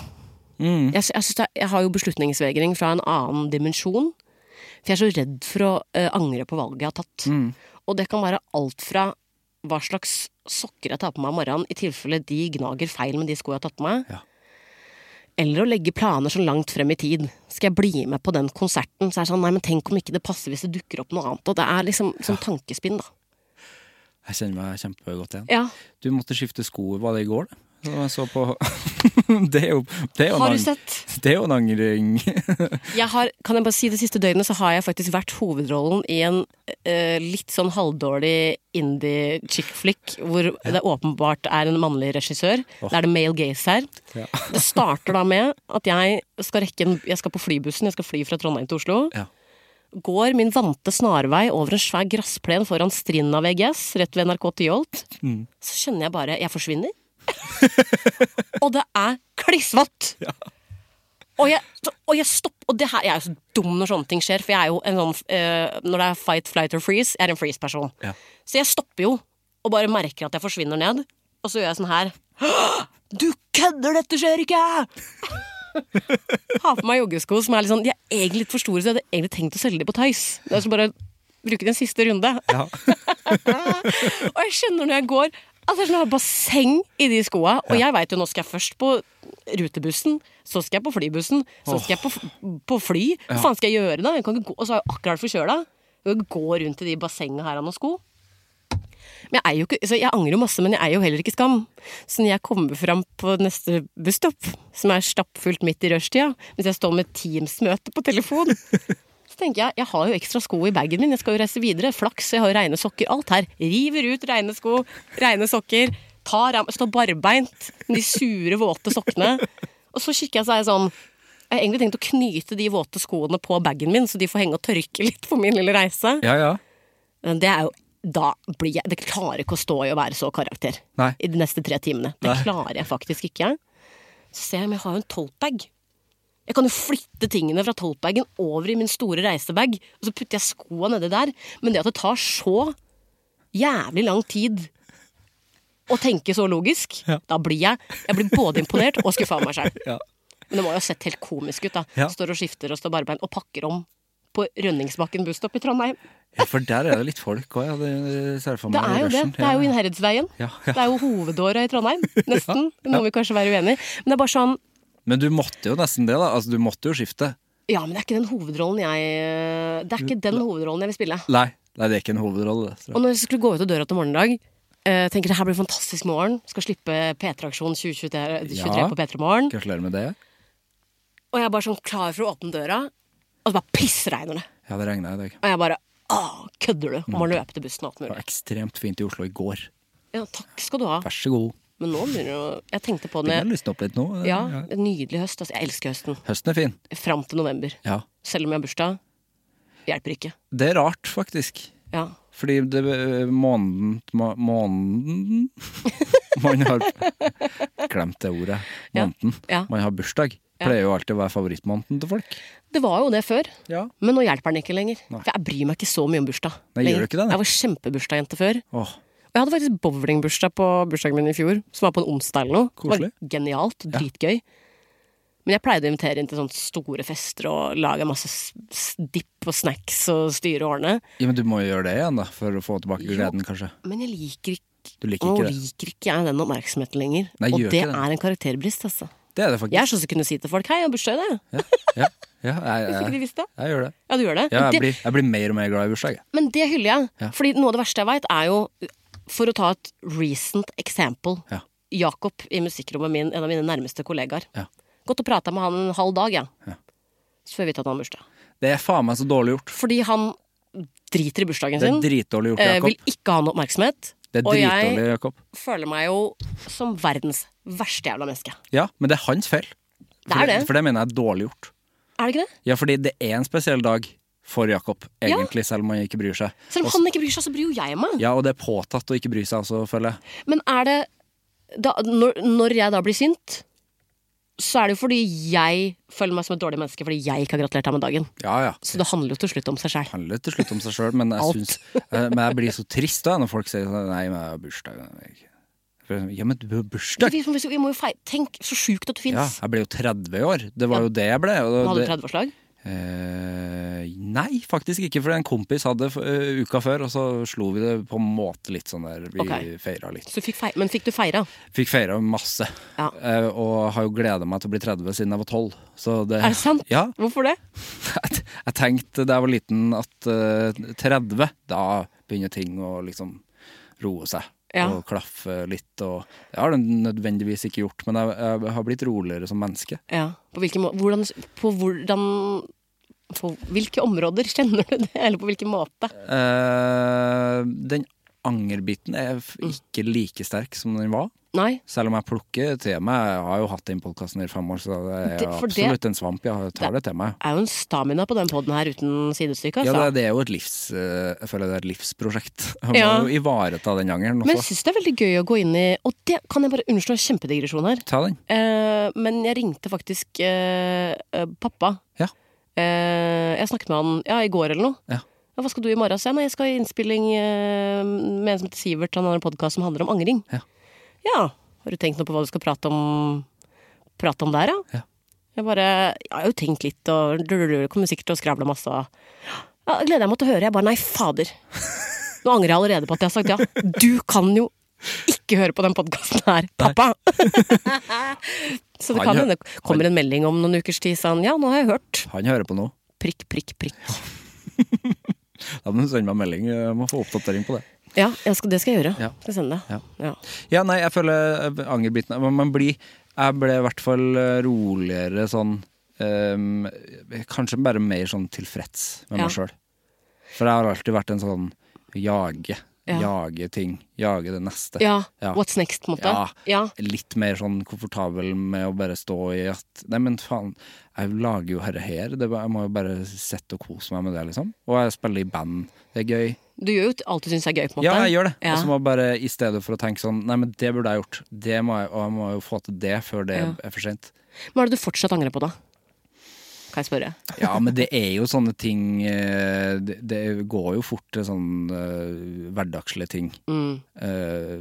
[SPEAKER 3] Jeg, sy- jeg, synes det, er- jeg har jo beslutningsvegring fra en annen dimensjon. For jeg er så redd for å eh, angre på valget jeg har tatt. Og det kan være alt fra hva slags sokker jeg tar på meg om morgenen, i tilfelle de gnager feil med de sko jeg har tatt på meg.
[SPEAKER 1] Ja.
[SPEAKER 3] Eller å legge planer så langt frem i tid. Skal jeg bli med på den konserten? Så er det sånn, nei, men tenk om ikke det passer hvis det dukker opp noe annet. Og det er liksom sånn tankespinn, da.
[SPEAKER 1] Jeg kjenner meg kjempegodt igjen.
[SPEAKER 3] Ja.
[SPEAKER 1] Du måtte skifte sko, var det i går? det?
[SPEAKER 2] som jeg så på Det er jo, det er jo en
[SPEAKER 3] Har du
[SPEAKER 2] ang-
[SPEAKER 3] sett?
[SPEAKER 2] Det er jo en angring.
[SPEAKER 3] Jeg har, kan jeg bare si det siste døgnet så har jeg faktisk vært hovedrollen i en eh, litt sånn halvdårlig indie chick flick, hvor det åpenbart er en mannlig regissør. Det er det male gaze her. Det starter da med at jeg skal, rekke en, jeg skal på flybussen, jeg skal fly fra Trondheim til Oslo.
[SPEAKER 2] Ja.
[SPEAKER 3] Går min vante snarvei over en svær gressplen foran Strinda VGS, rett ved NRK Tyholt. Så skjønner jeg bare jeg forsvinner. og det er klissvått! Og jeg, og jeg stopper Og det her, jeg er jo så dum når sånne ting skjer, for jeg er jo en sånn eh, Når det er fight, flight or freeze, jeg er en freeze-person. Så jeg stopper jo, og bare merker at jeg forsvinner ned. Og så gjør jeg sånn her. Du kødder, dette skjer ikke! Har på meg joggesko som er litt sånn De er egentlig litt for store, så jeg hadde egentlig tenkt å selge de på Tice. Det er så bare bruke den siste runde. og jeg skjønner når jeg går at det er sånn her basseng i de skoa. Og jeg veit jo, nå skal jeg først på rutebussen, så skal jeg på flybussen, så skal jeg på, f- på fly. Hva faen skal jeg gjøre da? Jeg kan ikke gå, og så har jeg akkurat vært forkjøla. Jeg kan ikke Gå rundt i de bassengene her av noen sko. Men jeg, er jo ikke, så jeg angrer jo masse, men jeg er jo heller ikke skam. Så når jeg kommer fram på neste busstopp, som er stappfullt midt i rushtida, mens jeg står med Teams-møte på telefon, så tenker jeg jeg har jo ekstra sko i bagen min, jeg skal jo reise videre. Flaks, jeg har jo reine sokker. Alt her. River ut reine sko, reine sokker. Tar, av- står barbeint med de sure, våte sokkene. Og så kikker jeg seg sånn Jeg har egentlig tenkt å knyte de våte skoene på bagen min, så de får henge og tørke litt på min lille reise.
[SPEAKER 2] Ja, ja.
[SPEAKER 3] Men det er jo da blir jeg, Det klarer ikke å stå i å være så karakter
[SPEAKER 2] Nei.
[SPEAKER 3] i de neste tre timene. Det
[SPEAKER 2] Nei.
[SPEAKER 3] klarer jeg faktisk ikke. Så ser jeg om jeg har jo en toatbag. Jeg kan jo flytte tingene fra toatbagen over i min store reisebag, og så putter jeg skoa nedi der. Men det at det tar så jævlig lang tid å tenke så logisk, da blir jeg Jeg blir både imponert og skuffa av meg sjøl.
[SPEAKER 2] Ja.
[SPEAKER 3] Men det må jo ha sett helt komisk ut, da.
[SPEAKER 2] Ja.
[SPEAKER 3] Står og skifter og står barbeint og pakker om på Rønningsbakken busstopp i Trondheim.
[SPEAKER 2] Ja, for der er det litt folk òg, ja. Det, det, ser jeg for
[SPEAKER 3] Det
[SPEAKER 2] meg i
[SPEAKER 3] er jo det.
[SPEAKER 2] rushen.
[SPEAKER 3] Det er jo
[SPEAKER 2] Ja, ja.
[SPEAKER 3] Innherredsveien.
[SPEAKER 2] Ja, ja.
[SPEAKER 3] Det er jo hovedåra i Trondheim, nesten. Det må vi kanskje være uenige i. Men det er bare sånn
[SPEAKER 2] Men du måtte jo nesten det, da. Altså, du måtte jo skifte.
[SPEAKER 3] Ja, men det er ikke den hovedrollen jeg Det er ikke den hovedrollen jeg vil spille.
[SPEAKER 2] Nei, nei det er ikke en hovedrolle, det. tror jeg.
[SPEAKER 3] Og når jeg skulle gå ut av døra til morgendag eh, Tenker det her blir en fantastisk morgen. Skal slippe P3-aksjon 2023
[SPEAKER 2] Ja.
[SPEAKER 3] på P3 Morgen.
[SPEAKER 2] Gratulerer med det.
[SPEAKER 3] Og jeg er bare sånn klar for å åpne døra, og så bare pissregner det.
[SPEAKER 2] Ja, det regna i dag.
[SPEAKER 3] Og jeg bare Åh, kødder du? Og
[SPEAKER 2] Mm.
[SPEAKER 3] må løpe til bussen og alt
[SPEAKER 2] Det var
[SPEAKER 3] mulig.
[SPEAKER 2] ekstremt fint i Oslo i går.
[SPEAKER 3] Ja, takk skal du ha.
[SPEAKER 2] Vær så god.
[SPEAKER 3] Men nå begynner det å Jeg tenkte på
[SPEAKER 2] Begynner å
[SPEAKER 3] det.
[SPEAKER 2] lysne opp litt nå.
[SPEAKER 3] Ja, nydelig høst. Altså, jeg elsker høsten.
[SPEAKER 2] Høsten er fin.
[SPEAKER 3] Fram til november.
[SPEAKER 2] Ja.
[SPEAKER 3] selv om jeg har bursdag, hjelper ikke.
[SPEAKER 2] Det er rart, faktisk.
[SPEAKER 3] Ja.
[SPEAKER 2] Fordi det, eh, måneden ma- Måneden Man har glemt det ordet.
[SPEAKER 3] Ja,
[SPEAKER 2] Måneden.
[SPEAKER 3] ja.
[SPEAKER 2] Man har bursdag.
[SPEAKER 3] Ja.
[SPEAKER 2] Pleier jo alltid å være favorittmåneden til folk.
[SPEAKER 3] Det var jo det før,
[SPEAKER 2] Ja.
[SPEAKER 3] men nå hjelper den ikke lenger.
[SPEAKER 2] Nei.
[SPEAKER 3] For jeg bryr meg ikke så mye om bursdag.
[SPEAKER 2] Nei, gjør
[SPEAKER 3] lenger.
[SPEAKER 2] du ikke det, nei?
[SPEAKER 3] Jeg var kjempebursdagjente før.
[SPEAKER 2] Åh,
[SPEAKER 3] Og jeg hadde faktisk bowlingbursdag på bursdagen min i fjor, som var på en onsdag eller noe. Det var
[SPEAKER 2] Koselig.
[SPEAKER 3] Genialt. Dritgøy. Men jeg pleide å invitere inn til sånne store fester og lage masse s- s- dipp og snacks og styre og ordne.
[SPEAKER 2] ja, men du må jo gjøre det igjen, da, for å få tilbake
[SPEAKER 3] Jo.
[SPEAKER 2] gleden, kanskje.
[SPEAKER 3] Men jeg liker ikke
[SPEAKER 2] Du liker
[SPEAKER 3] Nå
[SPEAKER 2] ikke det.
[SPEAKER 3] liker ikke jeg den oppmerksomheten lenger.
[SPEAKER 2] Nei,
[SPEAKER 3] og
[SPEAKER 2] gjør
[SPEAKER 3] det
[SPEAKER 2] ikke det.
[SPEAKER 3] er en karakterbrist, altså.
[SPEAKER 2] Det er
[SPEAKER 3] Jeg
[SPEAKER 2] det
[SPEAKER 3] er
[SPEAKER 2] faktisk.
[SPEAKER 3] sånn som kunne si til folk 'hei, jeg har bursdag i dag'.
[SPEAKER 2] Ja, ja jeg,
[SPEAKER 3] Hvis ikke de
[SPEAKER 2] jeg,
[SPEAKER 3] visste det.
[SPEAKER 2] jeg gjør det.
[SPEAKER 3] Ja, du gjør det.
[SPEAKER 2] Ja,
[SPEAKER 3] Men
[SPEAKER 2] jeg,
[SPEAKER 3] det
[SPEAKER 2] blir, jeg blir mer og mer glad i bursdag. jeg.
[SPEAKER 3] Men det hyller jeg.
[SPEAKER 2] Ja.
[SPEAKER 3] Fordi noe av det verste jeg veit, er jo For å ta et recent example.
[SPEAKER 2] Ja.
[SPEAKER 3] Jakob i musikkrommet min, en av mine nærmeste kollegaer.
[SPEAKER 2] Ja.
[SPEAKER 3] Gått og prata med han en halv dag, ja. Så får jeg vite at han har bursdag.
[SPEAKER 2] Det er faen meg så dårlig gjort.
[SPEAKER 3] Fordi han driter i bursdagen
[SPEAKER 2] Det er
[SPEAKER 3] sin.
[SPEAKER 2] dritdårlig gjort,
[SPEAKER 3] eh, vil
[SPEAKER 2] Jakob.
[SPEAKER 3] ikke ha noe oppmerksomhet.
[SPEAKER 2] Det er
[SPEAKER 3] og jeg
[SPEAKER 2] dritdårlig, Jakob.
[SPEAKER 3] føler meg jo som verdens verste jævla menneske.
[SPEAKER 2] Ja, men det er hans feil.
[SPEAKER 3] Det er det.
[SPEAKER 2] For det mener jeg er dårlig gjort.
[SPEAKER 3] Er det ikke det?
[SPEAKER 2] Ja, fordi det er en spesiell dag for Jakob, egentlig, selv om han ikke bryr seg.
[SPEAKER 3] Selv om
[SPEAKER 2] Og-
[SPEAKER 3] han ikke bryr seg, så bryr jo jeg meg.
[SPEAKER 2] Ja, og det er påtatt å ikke bry seg også, føler jeg.
[SPEAKER 3] Men er det da, når, når jeg da blir sint, så er det jo fordi jeg føler meg som et dårlig menneske fordi jeg ikke har gratulert ham med dagen.
[SPEAKER 2] Ja, ja.
[SPEAKER 3] Så det handler jo til slutt om seg sjøl.
[SPEAKER 2] Det handler til slutt om seg sjøl, men, jeg
[SPEAKER 3] Alt.
[SPEAKER 2] syns- eh, men jeg blir så trist da når folk sier sånn Nei, men jeg har bursdag. Jeg- jeg- Ja, men du har bursdag!
[SPEAKER 3] Vi må jo feire. Tenk så sjukt at du
[SPEAKER 2] Ja,
[SPEAKER 3] fins.
[SPEAKER 2] jeg ble jo 30 i år. Det var jo det jeg ble. Og
[SPEAKER 3] Hadde du
[SPEAKER 2] det,
[SPEAKER 3] 30-årslag?
[SPEAKER 2] Eh, nei, faktisk ikke. For en kompis hadde eh, uka før, og så slo vi det på en måte litt sånn der. Vi
[SPEAKER 3] Ok.
[SPEAKER 2] feira litt.
[SPEAKER 3] Så du fikk fei- Men fikk du feira?
[SPEAKER 2] Fikk feira masse.
[SPEAKER 3] Ja.
[SPEAKER 2] Eh, og har jo gleda meg til å bli 30 siden jeg var 12. Så det,
[SPEAKER 3] Er det sant?
[SPEAKER 2] Ja.
[SPEAKER 3] Hvorfor det?
[SPEAKER 2] Jeg tenkte da jeg var liten at eh, 30, da begynner ting å liksom roe seg.
[SPEAKER 3] Ja.
[SPEAKER 2] og klaffe litt. Og det har det nødvendigvis ikke gjort, men jeg, jeg har blitt roligere som menneske.
[SPEAKER 3] Ja. På hvilken må hvordan, på hvordan på hvilke områder kjenner du det, eller på hvilken måte?
[SPEAKER 2] Eh, den angerbiten er f-
[SPEAKER 3] Mm.
[SPEAKER 2] ikke like sterk som den var.
[SPEAKER 3] Nei.
[SPEAKER 2] Selv om jeg plukker til meg Jeg har jo hatt den podkasten i fem år, så det er
[SPEAKER 3] Det- for det-
[SPEAKER 2] absolutt en svamp. Jeg tar det til meg.
[SPEAKER 3] Det er jo en stamina på den poden her uten sidestykke,
[SPEAKER 2] Ja,
[SPEAKER 3] altså.
[SPEAKER 2] det, det er jo et livs eh, Jeg føler det er et livsprosjekt. Jeg må
[SPEAKER 3] Ja.
[SPEAKER 2] jo ivareta den angeren
[SPEAKER 3] Men
[SPEAKER 2] også.
[SPEAKER 3] jeg syns det er veldig gøy å gå inn i Og det kan jeg bare unnslå kjempedigresjon her.
[SPEAKER 2] Ta den.
[SPEAKER 3] Eh, men jeg ringte faktisk eh, eh, pappa.
[SPEAKER 2] Ja.
[SPEAKER 3] Eh, jeg snakket med han ja, i går eller noe.
[SPEAKER 2] Ja.
[SPEAKER 3] hva skal du i morgen? Så jeg, nei, jeg skal i innspilling eh, med en som heter Sivert. Han har en podkast som handler om angring.
[SPEAKER 2] Ja.
[SPEAKER 3] Ja, Har du tenkt noe på hva du skal prate om, prate om der,
[SPEAKER 2] Ja.
[SPEAKER 3] Jeg bare Jeg har jo tenkt litt, og drululul, kommer sikkert til å skravle masse. og- Ja, gleder jeg meg til å høre. Jeg bare nei, fader. Nå angrer jeg allerede på at jeg har sagt ja. Du kan jo ikke høre på den podkasten her, pappa! Så det
[SPEAKER 2] Han
[SPEAKER 3] kan
[SPEAKER 2] hø-
[SPEAKER 3] hende det kommer en melding om noen ukers tid sånn ja, nå har jeg hørt.
[SPEAKER 2] Han hører på nå.
[SPEAKER 3] Prikk, prikk, prikk.
[SPEAKER 2] Da må du sende meg en melding. Jeg må få oppdatering på det.
[SPEAKER 3] Ja, jeg skal, det skal jeg gjøre.
[SPEAKER 2] Ja.
[SPEAKER 3] Skal sende det. Ja.
[SPEAKER 2] Ja, nei, jeg føler eh, angerbiten men Man blir Jeg ble i hvert fall eh, roligere sånn ehm, Kanskje bare mer sånn tilfreds med
[SPEAKER 3] Ja.
[SPEAKER 2] meg sjøl. For jeg har alltid vært en sånn jage.
[SPEAKER 3] Ja.
[SPEAKER 2] Jage ting. Jage det neste.
[SPEAKER 3] ja.
[SPEAKER 2] Ja.
[SPEAKER 3] What's next, på en måte.
[SPEAKER 2] Ja.
[SPEAKER 3] Ja.
[SPEAKER 2] Litt mer sånn komfortabel med å bare stå i at Nei, men faen, jeg lager jo herre her. Det, er bare- jeg må jo bare sitte og kose meg med det, liksom. Og jeg spiller i band. Det er gøy.
[SPEAKER 3] Du gjør jo alt du syns er gøy, på en måte.
[SPEAKER 2] Ja, jeg gjør det.
[SPEAKER 3] Ja.
[SPEAKER 2] Og så må jeg bare, i stedet for å tenke sånn Nei, men det burde jeg gjort. Det må jeg, og jeg må jo få til det før det
[SPEAKER 3] Ja.
[SPEAKER 2] er for sent.
[SPEAKER 3] Men hva er det du fortsatt angrer på, da? Kan jeg spørre?
[SPEAKER 2] Ja, men det er jo sånne ting eh, Det, det går jo fort til sånne eh, hverdagslige ting.
[SPEAKER 3] Mm.
[SPEAKER 2] Eh,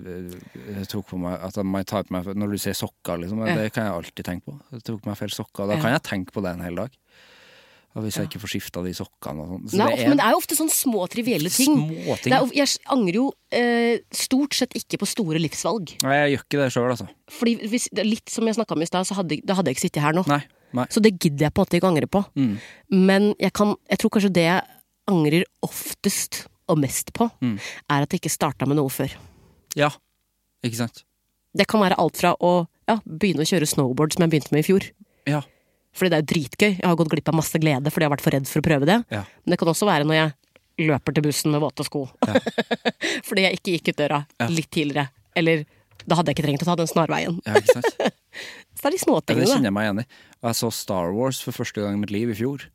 [SPEAKER 2] jeg tok på meg, at jeg må ta på meg Når du sier sokker, liksom,
[SPEAKER 3] Ja.
[SPEAKER 2] det kan jeg alltid tenke på. Jeg tok på meg feil sokker. Da
[SPEAKER 3] Ja.
[SPEAKER 2] kan jeg tenke på det en hel dag. Og hvis jeg ikke får skifta de sokkene og sånn. Så
[SPEAKER 3] Nei,
[SPEAKER 2] det
[SPEAKER 3] ofte,
[SPEAKER 2] er
[SPEAKER 3] men det er jo ofte sånn små, trivielle ting.
[SPEAKER 2] Små ting.
[SPEAKER 3] Det er, of- jeg angrer jo eh, stort sett ikke på store livsvalg.
[SPEAKER 2] Nei, jeg gjør ikke det sjøl, altså.
[SPEAKER 3] Fordi hvis, det er litt som jeg snakka om i stad, så hadde, da hadde jeg ikke sittet her nå.
[SPEAKER 2] Nei. Mm. nei.
[SPEAKER 3] Så det gidder jeg på en måte ikke å angre på. Men jeg, kan, jeg tror kanskje det jeg angrer oftest og mest på,
[SPEAKER 2] Mm.
[SPEAKER 3] er at jeg ikke starta med noe før.
[SPEAKER 2] Ja. Ikke sant?
[SPEAKER 3] Det kan være alt fra å ja, begynne å kjøre snowboard, som jeg begynte med i fjor.
[SPEAKER 2] Ja.
[SPEAKER 3] Fordi det er jo dritgøy. Jeg har gått glipp av masse glede fordi jeg har vært for redd for å prøve det.
[SPEAKER 2] Ja.
[SPEAKER 3] Men det kan også være når jeg løper til bussen med våte sko. fordi jeg ikke gikk ut døra litt tidligere. Eller da hadde jeg ikke trengt å ta den snarveien.
[SPEAKER 2] ja ikke sant?
[SPEAKER 3] Så det er de
[SPEAKER 2] Ja, det
[SPEAKER 3] småtingene.
[SPEAKER 2] kjenner
[SPEAKER 3] da.
[SPEAKER 2] jeg meg igjen i. Og jeg så Star Wars for første gang i mitt liv i fjor.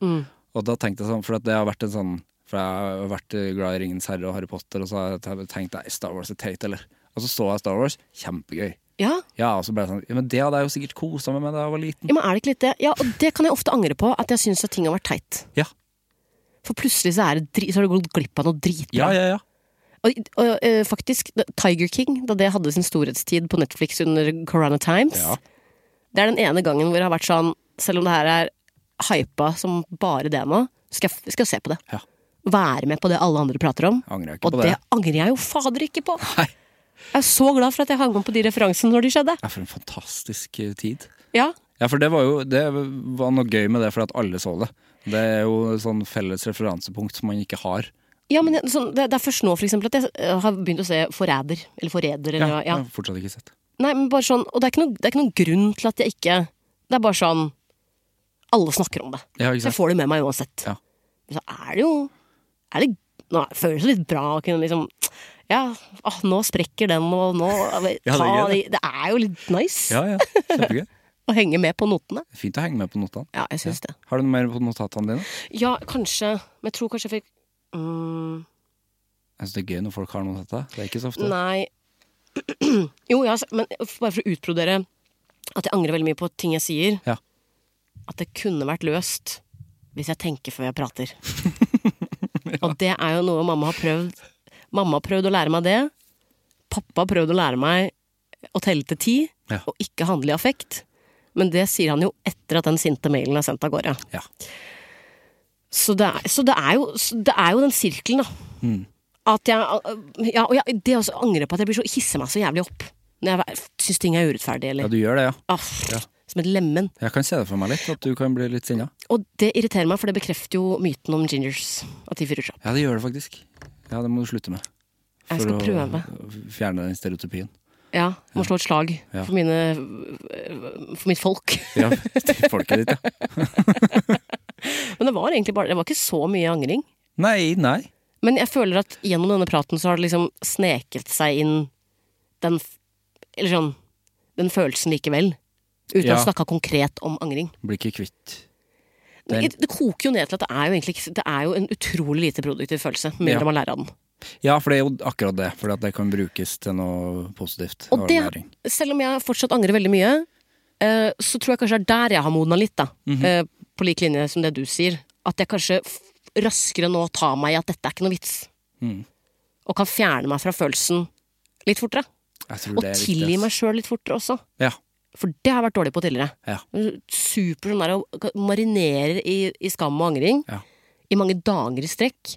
[SPEAKER 2] Og da tenkte jeg sånn, for at det har vært en sånn For jeg har vært glad i Ringens herre og Harry Potter, og så har jeg tenkt nei, Star Wars er teit, eller? Og så så jeg Star Wars, kjempegøy.
[SPEAKER 3] Ja.
[SPEAKER 2] Ja, og så ble jeg sånn, ja, men det hadde jeg jo sikkert kosa meg med da jeg var liten.
[SPEAKER 3] ja, men er det ikke litt det? Ja, og det kan jeg ofte angre på, at jeg syns at ting har vært teit.
[SPEAKER 2] Ja,
[SPEAKER 3] For plutselig så, er det dri så har du gått glipp av noe dritbra.
[SPEAKER 2] ja, ja. ja.
[SPEAKER 3] Og, og eh, faktisk, da- Tiger King, da det hadde sin storhetstid på Netflix under Corona Times
[SPEAKER 2] Ja.
[SPEAKER 3] Det er den ene gangen hvor det har vært sånn Selv om det her er hypa som bare det nå, skal jeg, skal jeg se på det.
[SPEAKER 2] Ja.
[SPEAKER 3] Være med på det alle andre prater om.
[SPEAKER 2] Angrer jeg ikke
[SPEAKER 3] Og
[SPEAKER 2] på
[SPEAKER 3] det.
[SPEAKER 2] det.
[SPEAKER 3] angrer jeg jo fader ikke på!
[SPEAKER 2] Nei.
[SPEAKER 3] Jeg er så glad for at jeg hang om på de referansene når de skjedde.
[SPEAKER 2] Ja, for en fantastisk eh, tid.
[SPEAKER 3] Ja,
[SPEAKER 2] Ja, for det var jo det var noe gøy med det, for at alle så det. Det er jo et sånn felles referansepunkt som man ikke har.
[SPEAKER 3] ja men jeg- sånn, det, det er først nå for eksempel, at jeg eh, har begynt å se Forræder. Eller Forræder, eller
[SPEAKER 2] Ja, Mm.
[SPEAKER 3] hva-
[SPEAKER 2] jeg
[SPEAKER 3] ja.
[SPEAKER 2] har fortsatt ikke sett.
[SPEAKER 3] Nei, men bare sånn, og det er, ikke noen, det er ikke noen grunn til at jeg ikke Det er bare sånn Alle snakker om det.
[SPEAKER 2] Ja, ikke
[SPEAKER 3] så jeg
[SPEAKER 2] sant?
[SPEAKER 3] får det med meg uansett.
[SPEAKER 2] Ja.
[SPEAKER 3] Men så er det jo er det, nå, er- Føles det litt bra å kunne liksom Ja, ah, nå sprekker den, og nå
[SPEAKER 2] Ja, det er
[SPEAKER 3] ta,
[SPEAKER 2] gøy,
[SPEAKER 3] det, det er jo litt nice
[SPEAKER 2] Ja, ja. Kjempegøy.
[SPEAKER 3] å henge med på notene.
[SPEAKER 2] Fint å henge med på notene.
[SPEAKER 3] Ja, jeg syns det.
[SPEAKER 2] Har du noe mer på notatene dine?
[SPEAKER 3] Ja, kanskje Men jeg tror kanskje jeg fikk mm,
[SPEAKER 2] Jeg synes det er gøy når folk har notater. Det er ikke så ofte.
[SPEAKER 3] Nei Jo, ja, men bare for å utbrodere at jeg angrer veldig mye på ting jeg sier.
[SPEAKER 2] Ja.
[SPEAKER 3] At det kunne vært løst hvis jeg tenker før jeg prater. Og det er jo noe mamma har prøvd. Mamma har prøvd å lære meg det. Pappa har prøvd å lære meg å telle til ti,
[SPEAKER 2] Ja.
[SPEAKER 3] og ikke handle i affekt. Men det sier han jo etter at den sinte mailen er sendt av gårde.
[SPEAKER 2] Ja.
[SPEAKER 3] Så det er, så det er, jo, så det er jo den sirkelen, da.
[SPEAKER 2] Mm.
[SPEAKER 3] At jeg, eh, ja, og jeg, det også angrer jeg på at jeg blir så, hisser meg så jævlig opp når jeg syns ting er urettferdig. Eller,
[SPEAKER 2] ja, du gjør det, ja.
[SPEAKER 3] ah, Som et lemen.
[SPEAKER 2] Jeg kan se det for meg litt, at du kan bli litt sinna.
[SPEAKER 3] Og det irriterer meg, for det bekrefter jo myten om gingers. At de fyrer seg opp.
[SPEAKER 2] Ja, det gjør det faktisk. Ja, det må du slutte med.
[SPEAKER 3] Jeg skal prøve meg.
[SPEAKER 2] fjerne den stereotypien.
[SPEAKER 3] Ja, må slå et slag
[SPEAKER 2] Ja.
[SPEAKER 3] for mine øh, For mitt folk.
[SPEAKER 2] Ja, til folket ditt, ja.
[SPEAKER 3] Men det var egentlig bare Det var ikke så mye angring.
[SPEAKER 2] Nei, nei.
[SPEAKER 3] Men jeg føler at gjennom denne praten så har det liksom sneket seg inn den f- Eller sånn Den følelsen likevel. Uten
[SPEAKER 2] Ja.
[SPEAKER 3] å snakke konkret om angring.
[SPEAKER 2] Blir ikke kvitt. Den-
[SPEAKER 3] Det, det koker jo ned til at det er jo egentlig ikke Det er jo en utrolig lite produktiv følelse, med mindre
[SPEAKER 2] Ja.
[SPEAKER 3] man lærer av den.
[SPEAKER 2] Ja, for det er jo akkurat det. For at det kan brukes til noe positivt.
[SPEAKER 3] Og det,
[SPEAKER 2] læring.
[SPEAKER 3] selv om jeg fortsatt angrer veldig mye, eh, så tror jeg kanskje det er der jeg har modna litt, da.
[SPEAKER 2] Mhm.
[SPEAKER 3] Eh, På lik linje som det du sier. At jeg kanskje f- raskere nå tar meg i at dette er ikke noe vits.
[SPEAKER 2] Mhm.
[SPEAKER 3] Og kan fjerne meg fra følelsen litt fortere.
[SPEAKER 2] Jeg tror
[SPEAKER 3] Og
[SPEAKER 2] det er viktig,
[SPEAKER 3] tilgi
[SPEAKER 2] ass.
[SPEAKER 3] meg sjøl litt fortere også.
[SPEAKER 2] Ja,
[SPEAKER 3] For det har jeg vært dårlig på tidligere.
[SPEAKER 2] ja.
[SPEAKER 3] Super sånn der å marinere i, i skam og angring
[SPEAKER 2] Ja.
[SPEAKER 3] i mange dager i strekk.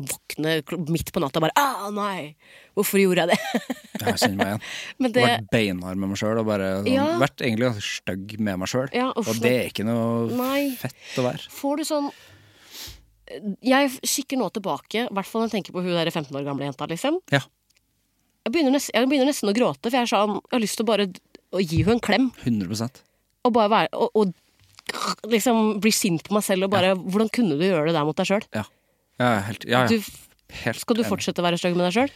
[SPEAKER 3] Våkne kl- midt på natta og bare 'Å, nei! Hvorfor gjorde jeg det?'
[SPEAKER 2] Jeg kjenner meg igjen.
[SPEAKER 3] Men det
[SPEAKER 2] Vært beinhard med meg sjøl og bare sånn,
[SPEAKER 3] Ja.
[SPEAKER 2] vært egentlig ganske stygg med meg sjøl.
[SPEAKER 3] Ja, uff,
[SPEAKER 2] og det er ikke noe
[SPEAKER 3] Nei.
[SPEAKER 2] fett å være.
[SPEAKER 3] Får du sånn Jeg kikker nå tilbake, i hvert fall når jeg tenker på hun der 15 år gamle jenta, liksom.
[SPEAKER 2] Ja,
[SPEAKER 3] Jeg begynner, nesten, jeg begynner nesten å gråte, for jeg, er sånn, jeg har lyst til å bare d- å gi henne en klem.
[SPEAKER 2] 100
[SPEAKER 3] Og bare være Og, og liksom bli sint på meg selv og bare Hvordan kunne du gjøre det der mot deg sjøl?
[SPEAKER 2] Ja, ja, helt, ja, ja.
[SPEAKER 3] Du-
[SPEAKER 2] helt
[SPEAKER 3] Skal du
[SPEAKER 2] enig.
[SPEAKER 3] fortsette å være stygg med deg sjøl?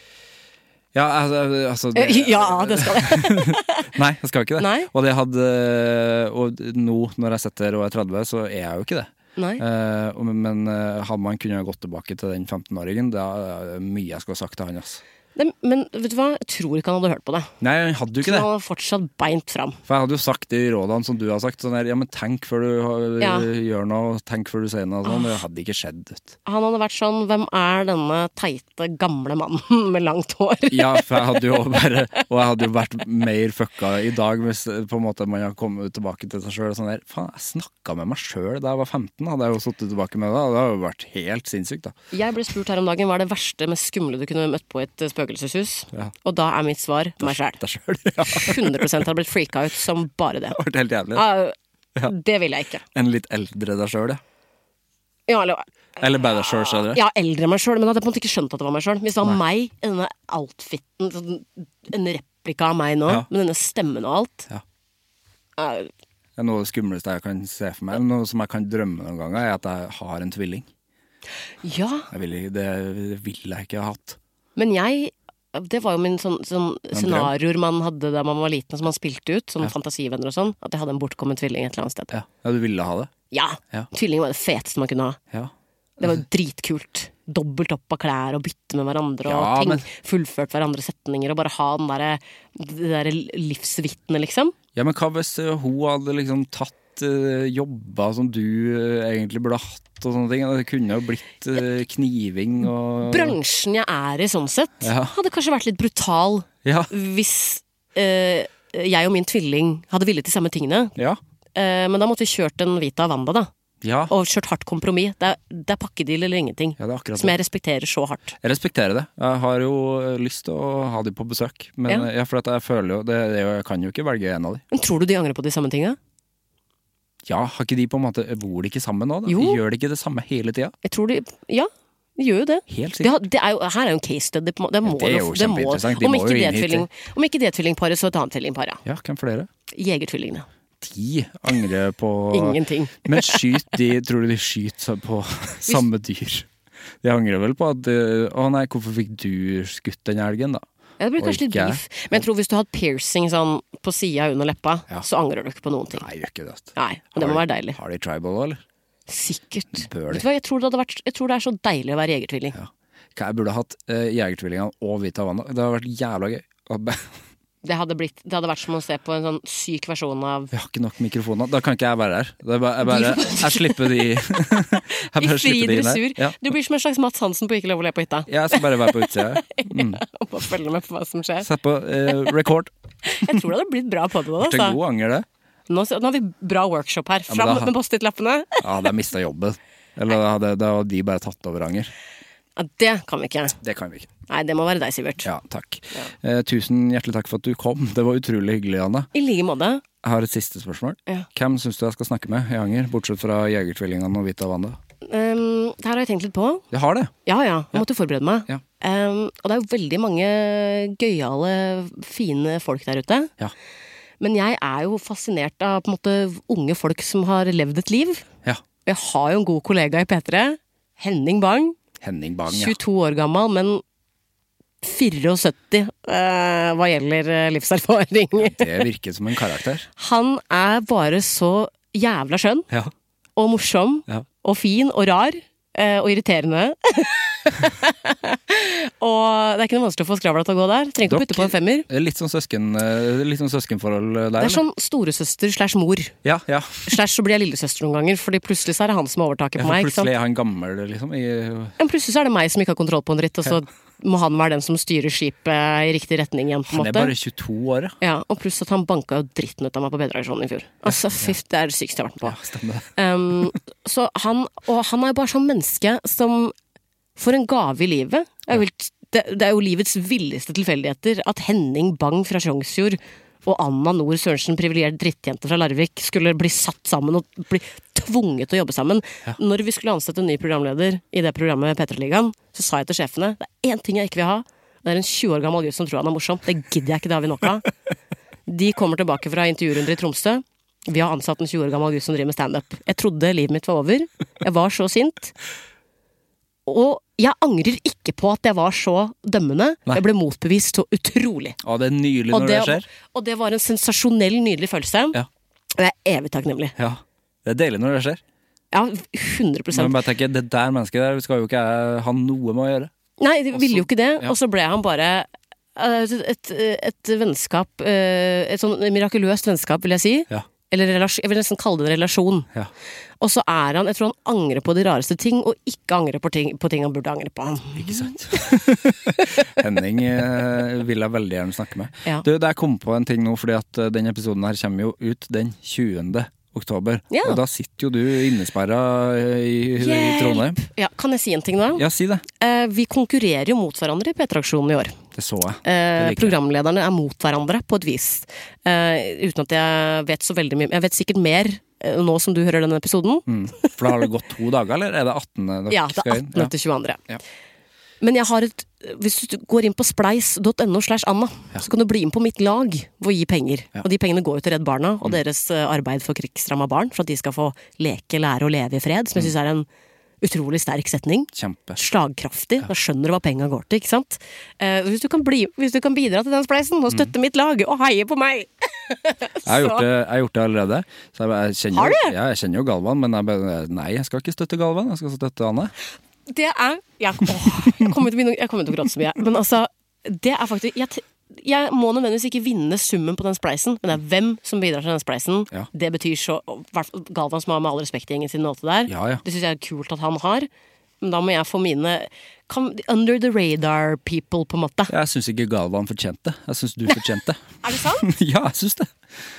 [SPEAKER 2] Ja, altså, altså det,
[SPEAKER 3] Eh, Ja, det skal jeg.
[SPEAKER 2] Nei, jeg skal ikke det.
[SPEAKER 3] Nei.
[SPEAKER 2] Og, det hadde, og nå, når jeg sitter og er 30, så er jeg jo ikke det.
[SPEAKER 3] Nei.
[SPEAKER 2] Eh, og- men eh, hadde man kunnet gått tilbake til den 15-åringen, da er det mye jeg skulle ha sagt til han. Ass.
[SPEAKER 3] Det, men vet du hva, jeg tror ikke han hadde hørt på det.
[SPEAKER 2] Nei, han hadde jo ikke
[SPEAKER 3] Så han
[SPEAKER 2] det.
[SPEAKER 3] var fortsatt beint fram.
[SPEAKER 2] For jeg hadde jo sagt de rådene som du har sagt. Sånn der, ja, men tenk før du har- eh,
[SPEAKER 3] Ja. Ah.
[SPEAKER 2] gjør noe, tenk før du sier noe. og Sånn. Det hadde ikke skjedd. vet
[SPEAKER 3] Han hadde vært sånn Hvem er denne teite, gamle mannen med langt hår?
[SPEAKER 2] du. Ja, for jeg hadde jo bare Og jeg hadde jo vært mer fucka i dag hvis eh, på en måte man har kommet tilbake til seg sjøl. Sånn der, Faen, jeg snakka med meg sjøl da jeg var 15, hadde jeg jo sittet tilbake med det. og Det hadde jo vært helt sinnssykt, da.
[SPEAKER 3] Jeg ble spurt her om dagen hva er det verste, mest skumle du kunne møtt på i et eh, spøkelseshus. Og da er mitt svar meg sjæl.
[SPEAKER 2] Deg sjøl. Ja,
[SPEAKER 3] 100 hadde blitt freaka ut som bare det.
[SPEAKER 2] det hadde vært helt jævlig. da.
[SPEAKER 3] Au, Det vil jeg ikke.
[SPEAKER 2] En litt eldre deg sjøl, ja.
[SPEAKER 3] Ja, eller,
[SPEAKER 2] Eller bare deg sjøl, sa dere.
[SPEAKER 3] ja, eldre enn meg sjøl, men jeg hadde på en måte ikke skjønt at det var meg sjøl. Hvis det var meg i denne outfiten, sånn, en replika av meg nå,
[SPEAKER 2] Ja.
[SPEAKER 3] med denne stemmen og alt Eh,
[SPEAKER 2] Ja.
[SPEAKER 3] Au,
[SPEAKER 2] Det er noe av det skumleste jeg kan se for meg, noe som jeg kan drømme noen ganger, er at jeg har en tvilling.
[SPEAKER 3] Ja,
[SPEAKER 2] Jeg vil, ikke- det vil jeg ikke ha hatt.
[SPEAKER 3] men jeg det var jo min sånn, sånn
[SPEAKER 2] drøm.
[SPEAKER 3] scenarioer man hadde da man var liten, som man spilte ut. Sånne fantasivenner og sånn. At jeg hadde en bortkommen tvilling et eller annet sted.
[SPEAKER 2] Ja, ja du ville ha det?
[SPEAKER 3] Ja.
[SPEAKER 2] Ja.
[SPEAKER 3] Tvillinger var det feteste man kunne ha.
[SPEAKER 2] Ja.
[SPEAKER 3] Det var jo dritkult. Dobbelt opp av klær og bytte med hverandre og
[SPEAKER 2] Ja,
[SPEAKER 3] ting.
[SPEAKER 2] men-
[SPEAKER 3] Fullført hverandre setninger og bare ha den derre det der livsvitnet, liksom.
[SPEAKER 2] Ja, men hva hvis eh, hun hadde liksom tatt eh, jobba som du eh, egentlig burde ha hatt og sånne ting? Det kunne jo blitt eh, kniving og
[SPEAKER 3] Bransjen jeg er i sånn sett,
[SPEAKER 2] Ja.
[SPEAKER 3] hadde kanskje vært litt brutal
[SPEAKER 2] Ja.
[SPEAKER 3] hvis eh, jeg og min tvilling hadde villet de samme tingene.
[SPEAKER 2] Ja.
[SPEAKER 3] Eh, men da måtte vi kjørt en Vita Wanda, da.
[SPEAKER 2] ja.
[SPEAKER 3] Og kjørt hardt kompromiss. Det er, det er pakkedeal eller ingenting.
[SPEAKER 2] Ja, det er akkurat
[SPEAKER 3] som
[SPEAKER 2] det.
[SPEAKER 3] jeg respekterer så hardt.
[SPEAKER 2] Jeg respekterer det. Jeg har jo eh, lyst til å ha de på besøk. Men
[SPEAKER 3] Ja.
[SPEAKER 2] ja. for at jeg føler jo det, det, er jo- Jeg kan jo ikke velge en av de.
[SPEAKER 3] Men tror du de angrer på de samme tinga?
[SPEAKER 2] Ja, har ikke de på en måte Bor de ikke sammen nå, da?
[SPEAKER 3] Jo.
[SPEAKER 2] Gjør de ikke det samme hele tida?
[SPEAKER 3] Jeg tror de Ja, de gjør jo det.
[SPEAKER 2] Helt
[SPEAKER 3] Det,
[SPEAKER 2] sikkert.
[SPEAKER 3] har- det er jo, her er jo en case study. på en måte. Det, må,
[SPEAKER 2] det er jo
[SPEAKER 3] det må,
[SPEAKER 2] kjempeinteressant. De
[SPEAKER 3] om
[SPEAKER 2] må
[SPEAKER 3] ikke
[SPEAKER 2] jo
[SPEAKER 3] det
[SPEAKER 2] inn hit,
[SPEAKER 3] tvilling- om ikke det tvillingparet, så et annet tvillingpar, ja.
[SPEAKER 2] Ja, hvem flere?
[SPEAKER 3] Jegertvillingene.
[SPEAKER 2] De angrer på
[SPEAKER 3] Ingenting.
[SPEAKER 2] Men skyt de Tror du de skyter på samme dyr? De angrer vel på at eh, Å nei, hvorfor fikk du skutt den elgen, da?
[SPEAKER 3] Ja, det blir
[SPEAKER 2] Og
[SPEAKER 3] kanskje litt
[SPEAKER 2] ikke-
[SPEAKER 3] beef. Men jeg tror hvis du har hatt piercing sånn på sida under leppa,
[SPEAKER 2] Ja.
[SPEAKER 3] så angrer du ikke på noen ting.
[SPEAKER 2] Nei, gjør ikke det. ass.
[SPEAKER 3] Nei, men det må
[SPEAKER 2] Har-
[SPEAKER 3] være deilig.
[SPEAKER 2] Har de tribal òg, eller?
[SPEAKER 3] Sikkert.
[SPEAKER 2] Bør de.
[SPEAKER 3] Vet du hva, jeg tror, det hadde vært, jeg tror det er så deilig å være jegertvilling.
[SPEAKER 2] Hva, jeg burde hatt uh, Jegertvillingene og Vita Vanna. Det hadde vært jævla gøy. Og be-
[SPEAKER 3] Det, hadde blitt, det hadde vært som å se på en sånn syk versjon av
[SPEAKER 2] Vi har ikke nok mikrofoner. Da kan ikke jeg være her. Det er bare, jeg, bare, jeg slipper de Jeg
[SPEAKER 3] I
[SPEAKER 2] bare
[SPEAKER 3] fri
[SPEAKER 2] slipper de inn her.
[SPEAKER 3] dressur.
[SPEAKER 2] Ja.
[SPEAKER 3] Du blir som en slags Mats Hansen på Ikke lov å le på hytta.
[SPEAKER 2] Jeg skal bare være på utsida.
[SPEAKER 3] Og bare følge med på hva som skjer.
[SPEAKER 2] Sett på eh, record.
[SPEAKER 3] Jeg tror det hadde blitt bra på det.
[SPEAKER 2] Til
[SPEAKER 3] Altså.
[SPEAKER 2] god anger, det.
[SPEAKER 3] Nå, s- nå har vi bra workshop her.
[SPEAKER 2] men
[SPEAKER 3] Fram
[SPEAKER 2] da-
[SPEAKER 3] med Post-It-lappene.
[SPEAKER 2] Ja, hadde jeg mista jobben. Eller da hadde, da hadde de bare tatt over anger.
[SPEAKER 3] Ja, det kan vi ikke.
[SPEAKER 2] Det kan vi ikke.
[SPEAKER 3] Nei, det må være deg, Sivert.
[SPEAKER 2] Ja, takk. Eh, tusen hjertelig takk for at du kom. Det var utrolig hyggelig, Anne.
[SPEAKER 3] I like måte.
[SPEAKER 2] Jeg har et siste spørsmål.
[SPEAKER 3] Ja.
[SPEAKER 2] Hvem syns du jeg skal snakke med i Anger, bortsett fra Jegertvillingene og Vita Wanda?
[SPEAKER 3] Um, det her har jeg tenkt litt på.
[SPEAKER 2] Jeg har det!
[SPEAKER 3] Ja ja, jeg måtte forberede meg.
[SPEAKER 2] Ja.
[SPEAKER 3] Um, og det er jo veldig mange gøyale, fine folk der ute.
[SPEAKER 2] Ja.
[SPEAKER 3] Men jeg er jo fascinert av på en måte unge folk som har levd et liv.
[SPEAKER 2] Ja.
[SPEAKER 3] Og Jeg har jo en god kollega i P3, Henning Bang.
[SPEAKER 2] Henning Bang, ja.
[SPEAKER 3] 22 år gammel, men 74 eh, hva gjelder eh, livserfaring.
[SPEAKER 2] Det virker som en karakter.
[SPEAKER 3] Han er bare så jævla skjønn
[SPEAKER 2] Ja.
[SPEAKER 3] og morsom
[SPEAKER 2] Ja.
[SPEAKER 3] og fin og rar eh, og irriterende. og det er ikke noe vanskelig å få skravla til å gå der. Trenger ikke å putte på en femmer.
[SPEAKER 2] Litt sånn, søsken, eh, litt sånn søskenforhold eh, der.
[SPEAKER 3] Det er sånn storesøster slash mor.
[SPEAKER 2] eller? Ja, ja.
[SPEAKER 3] Slash så blir jeg lillesøster noen ganger, fordi plutselig så er det han som har overtaket
[SPEAKER 2] Ja,
[SPEAKER 3] på
[SPEAKER 2] for
[SPEAKER 3] meg. ikke sant?
[SPEAKER 2] plutselig er han gammel, liksom. I,
[SPEAKER 3] Men plutselig så er det meg som ikke har kontroll på en dritt, og så må han være den som styrer skipet i riktig retning igjen, på en
[SPEAKER 2] han er bare
[SPEAKER 3] måte.
[SPEAKER 2] 22 år, ja.
[SPEAKER 3] Ja, og pluss at han banka jo dritten ut av meg på Bedragersvold i fjor. Altså, fy, det er det sykeste jeg har vært med på.
[SPEAKER 2] ja stemmer det.
[SPEAKER 3] Um, så han, og han er jo bare sånn menneske som får en gave i livet. Det er jo, helt, det, det er jo livets villeste tilfeldigheter at Henning Bang fra Tjongsfjord og Anna Nord Sørensen, privilegert drittjente fra Larvik, skulle bli satt sammen og bli tvunget til å jobbe sammen. Når vi skulle ansette en ny programleder i det programmet P3-ligaen, så sa jeg til sjefene det er én ting jeg ikke vil ha. Det er en 20 år gammel gutt som tror han er morsom. Det gidder jeg ikke, det har vi nok av. De kommer tilbake fra intervjurunder i Tromsø. Vi har ansatt en 20 år gammel gutt som driver med standup. Jeg trodde livet mitt var over. Jeg var så sint. Og jeg angrer ikke på at jeg var så dømmende.
[SPEAKER 2] Nei.
[SPEAKER 3] Jeg ble motbevist så utrolig.
[SPEAKER 2] Å, det er nydelig
[SPEAKER 3] Og
[SPEAKER 2] når det,
[SPEAKER 3] det,
[SPEAKER 2] skjer.
[SPEAKER 3] og det var en sensasjonell, nydelig følelse.
[SPEAKER 2] Ja.
[SPEAKER 3] Og jeg er evig takknemlig.
[SPEAKER 2] Ja. Det er deilig når det skjer.
[SPEAKER 3] Ja, 100
[SPEAKER 2] Men bare tenker, det der mennesket der skal jo ikke jeg ha noe med å gjøre.
[SPEAKER 3] Nei, de ville jo ikke det.
[SPEAKER 2] ja.
[SPEAKER 3] Og så ble han bare eh, et, et vennskap eh, Et sånn mirakuløst vennskap, vil jeg si.
[SPEAKER 2] Ja.
[SPEAKER 3] Eller relasjon, jeg vil nesten kalle det en relasjon.
[SPEAKER 2] Ja.
[SPEAKER 3] Og så er han Jeg tror han angrer på de rareste ting, og ikke angrer på ting, på ting han burde angre på.
[SPEAKER 2] Ikke sant? Henning eh, vil jeg veldig gjerne snakke med.
[SPEAKER 3] Ja.
[SPEAKER 2] Du, det jeg kom på en ting nå, fordi at eh, denne episoden her kommer jo ut den 20. oktober.
[SPEAKER 3] Ja.
[SPEAKER 2] Og da sitter jo du innesperra eh, i, i Trondheim.
[SPEAKER 3] Ja, kan jeg si en ting da?
[SPEAKER 2] Ja, si det.
[SPEAKER 3] Eh, vi konkurrerer jo mot hverandre i P3-aksjonen i år.
[SPEAKER 2] Det så jeg.
[SPEAKER 3] Eh,
[SPEAKER 2] liker jeg.
[SPEAKER 3] programlederne er mot hverandre på et vis. Eh, uten at jeg vet så veldig mye. Jeg vet sikkert mer eh, nå som du hører denne episoden.
[SPEAKER 2] Mm. For da har det gått to dager, eller er det 18. dere
[SPEAKER 3] Ja, det
[SPEAKER 2] skal
[SPEAKER 3] er
[SPEAKER 2] inn?
[SPEAKER 3] 18. til 22.
[SPEAKER 2] Ja.
[SPEAKER 3] Men jeg har et Hvis du går inn på spleis.no slash Anna, så kan du bli med på mitt lag ved å gi penger. Og de pengene går jo til Redd Barna og deres eh, arbeid for krigsramma barn, for at de skal få leke, lære og leve i fred, som jeg syns er en utrolig sterk setning.
[SPEAKER 2] Kjempe.
[SPEAKER 3] Slagkraftig. Da skjønner du hva penga går til, ikke sant? Eh, hvis, du kan bli, hvis du kan bidra til den spleisen og støtte mitt lag og heie på meg!
[SPEAKER 2] Jeg har gjort det, jeg har gjort det allerede. Så jeg, jeg kjenner,
[SPEAKER 3] Har
[SPEAKER 2] jo-
[SPEAKER 3] du?
[SPEAKER 2] Ja, jeg kjenner jo Galvan, men jeg bare Nei, jeg skal ikke støtte Galvan, jeg skal støtte Anne.
[SPEAKER 3] Det er Jeg, åh, jeg kommer til å begynne- jeg kommer til å gråte så mye. Men altså, det er faktisk jeg, t- jeg må nødvendigvis ikke vinne summen på den spleisen, men det er hvem som bidrar til den spleisen.
[SPEAKER 2] Ja.
[SPEAKER 3] Det betyr så og hvert fall Galvan, som har med all respekt gjengen sin nåte der,
[SPEAKER 2] Ja, ja.
[SPEAKER 3] det syns jeg er kult at han har. Men da må jeg få mine kan, Under the radar people, på en måte.
[SPEAKER 2] Jeg syns ikke Galvan fortjente det. Jeg syns du fortjente det.
[SPEAKER 3] Er det sant?
[SPEAKER 2] ja, jeg syns det.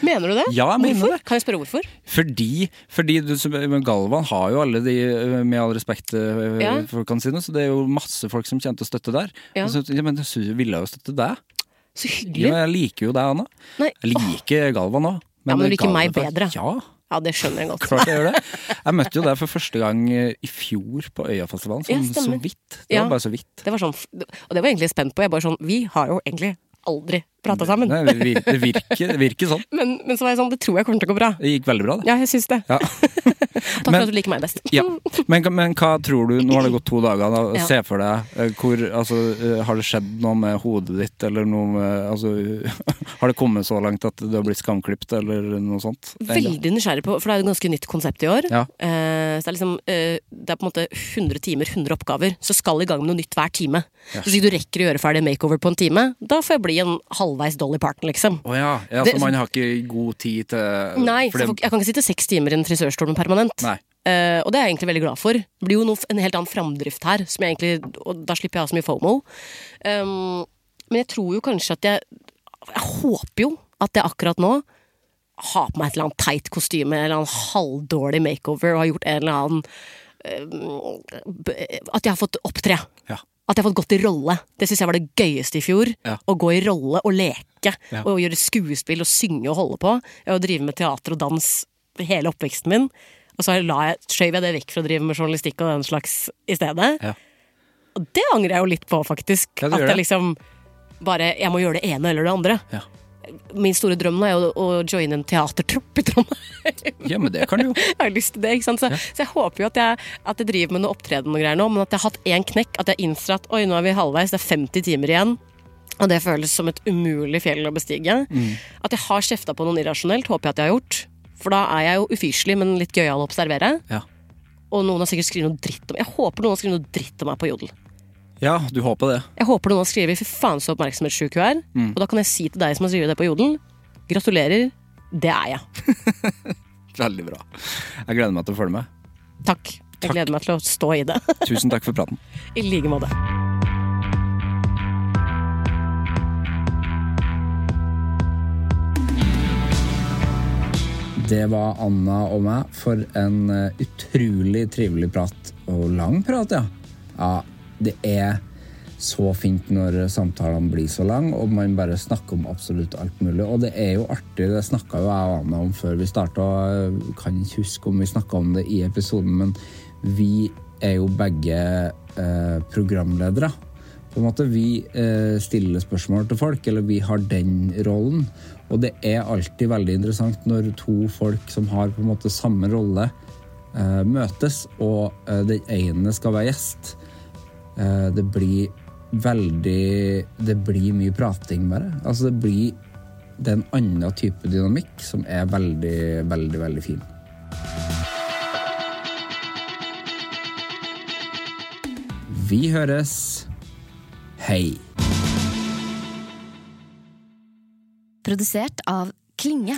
[SPEAKER 3] Mener du det?
[SPEAKER 2] Ja, jeg mener
[SPEAKER 3] hvorfor?
[SPEAKER 2] det.
[SPEAKER 3] Kan jeg spørre hvorfor?
[SPEAKER 2] Fordi, fordi du, som- men Galvan har jo alle de, øh, med all respekt, øh,
[SPEAKER 3] Ja.
[SPEAKER 2] folkene sine, så det er jo masse folk som kommer til å støtte der.
[SPEAKER 3] Ja.
[SPEAKER 2] Og så, ja, men jeg synes- ville jo støtte deg.
[SPEAKER 3] Så hyggelig.
[SPEAKER 2] Ja, men jeg liker jo deg, Anna.
[SPEAKER 3] Nei,
[SPEAKER 2] Jeg liker Galvan òg.
[SPEAKER 3] Ja, men du liker meg bedre.
[SPEAKER 2] Ja,
[SPEAKER 3] Ja, det skjønner jeg godt.
[SPEAKER 2] klart jeg gjør det. Jeg møtte jo deg for første gang øh, i fjor på Øyafestivalen,
[SPEAKER 3] Ja,
[SPEAKER 2] sånn så
[SPEAKER 3] stemmer.
[SPEAKER 2] vidt. Det
[SPEAKER 3] Ja.
[SPEAKER 2] var bare så vidt.
[SPEAKER 3] Det var sånn, og det var jeg egentlig spent på. Jeg bare sånn Vi har jo egentlig aldri prata sammen.
[SPEAKER 2] Nei, det, vir- det, virker, det virker sånn.
[SPEAKER 3] Men, men så var jeg sånn, det tror jeg kommer til å gå bra.
[SPEAKER 2] Det gikk veldig bra, det.
[SPEAKER 3] Ja, jeg syns det.
[SPEAKER 2] Ja.
[SPEAKER 3] Takk
[SPEAKER 2] Men-
[SPEAKER 3] for at du liker meg best.
[SPEAKER 2] Ja. Men, men hva tror du, nå har det gått to dager, da.
[SPEAKER 3] Ja.
[SPEAKER 2] se for deg eh, hvor, altså, eh, Har det skjedd noe med hodet ditt, eller noe med altså, Har det kommet så langt at du har blitt skamklipt, eller noe sånt?
[SPEAKER 3] Veldig nysgjerrig på, for det er jo et ganske nytt konsept i år.
[SPEAKER 2] Ja.
[SPEAKER 3] Eh, så det er liksom eh, Det er på en måte 100 timer, 100 oppgaver. Så skal i gang med noe nytt hver time. Så hvis ikke du rekker å gjøre ferdig makeover på en time, da får jeg bli en halvveis Dolly Parton, liksom.
[SPEAKER 2] Å ja. ja
[SPEAKER 3] Det-
[SPEAKER 2] så man har ikke god tid til
[SPEAKER 3] Nei,
[SPEAKER 2] for det-
[SPEAKER 3] så folk- jeg kan ikke sitte seks timer i en frisørstol med permanent.
[SPEAKER 2] Nei.
[SPEAKER 3] Eh, og det er jeg egentlig veldig glad for. Det blir jo noe, en helt annen framdrift her, som jeg egentlig, og da slipper jeg å ha så mye FOMO. Um, men jeg tror jo kanskje at jeg Jeg håper jo at jeg akkurat nå har på meg et eller annet teit kostyme, en eller annen halvdårlig makeover, og har gjort en eller annen um, b- At jeg har fått opptre.
[SPEAKER 2] Ja.
[SPEAKER 3] At jeg har fått gått i rolle. Det syns jeg var det gøyeste i fjor.
[SPEAKER 2] Ja.
[SPEAKER 3] Å gå i rolle og leke.
[SPEAKER 2] Ja.
[SPEAKER 3] Og gjøre skuespill og synge og holde på. Og drive med teater og dans hele oppveksten min. Og så la jeg, skjøv jeg det vekk for å drive med journalistikk og den slags i stedet.
[SPEAKER 2] Ja.
[SPEAKER 3] Og det angrer jeg jo litt på, faktisk.
[SPEAKER 2] Ja, du
[SPEAKER 3] at
[SPEAKER 2] gjør
[SPEAKER 3] jeg
[SPEAKER 2] det.
[SPEAKER 3] liksom bare Jeg må gjøre det ene eller det andre.
[SPEAKER 2] Ja.
[SPEAKER 3] Min store drøm nå er jo å joine en teatertropp i Trondheim.
[SPEAKER 2] ja, men det kan du jo.
[SPEAKER 3] Jeg har lyst til det, ikke sant? Så, så jeg håper jo at jeg, at jeg driver med noe opptreden og greier nå, men at jeg har hatt én knekk, at jeg innser at oi, nå er vi halvveis, det er 50 timer igjen. Og det føles som et umulig fjell å bestige.
[SPEAKER 2] Mm.
[SPEAKER 3] At jeg har kjefta på noen irrasjonelt, håper jeg at jeg har gjort. For da er jeg jo ufyselig, men litt gøyal å observere.
[SPEAKER 2] Ja.
[SPEAKER 3] Og noen har sikkert skrevet noe dritt om Jeg håper noen har skrevet noe dritt om meg på Jodel.
[SPEAKER 2] ja, du håper det.
[SPEAKER 3] Jeg håper noen har skrevet 'fy faen så oppmerksomhetssjuk hun er'. Og da kan jeg si til deg som har skrevet det på Jodel, gratulerer, det er jeg.
[SPEAKER 2] Veldig bra. Jeg gleder meg til å følge med.
[SPEAKER 3] Takk. Jeg gleder meg til å stå i det.
[SPEAKER 2] Tusen takk for praten.
[SPEAKER 3] I like måte.
[SPEAKER 1] Det var Anna og meg for en eh, utrolig trivelig prat. Og lang prat, ja. ja. Det er så fint når samtalene blir så lang, og man bare snakker om absolutt alt mulig. Og det er jo artig, det snakka jo jeg og Anna om før vi starta. Kan ikke huske om vi snakka om det i episoden, men vi er jo begge eh, programledere på en måte vi eh, stiller spørsmål til folk, eller vi har den rollen. Og det er alltid veldig interessant når to folk som har på en måte samme rolle, eh, møtes, og eh, den ene skal være gjest. Eh, det blir veldig Det blir mye prating, bare. Altså, det blir Det er en annen type dynamikk som er veldig, veldig, veldig fin. Vi høres. Hei.
[SPEAKER 4] Produsert av Klinge.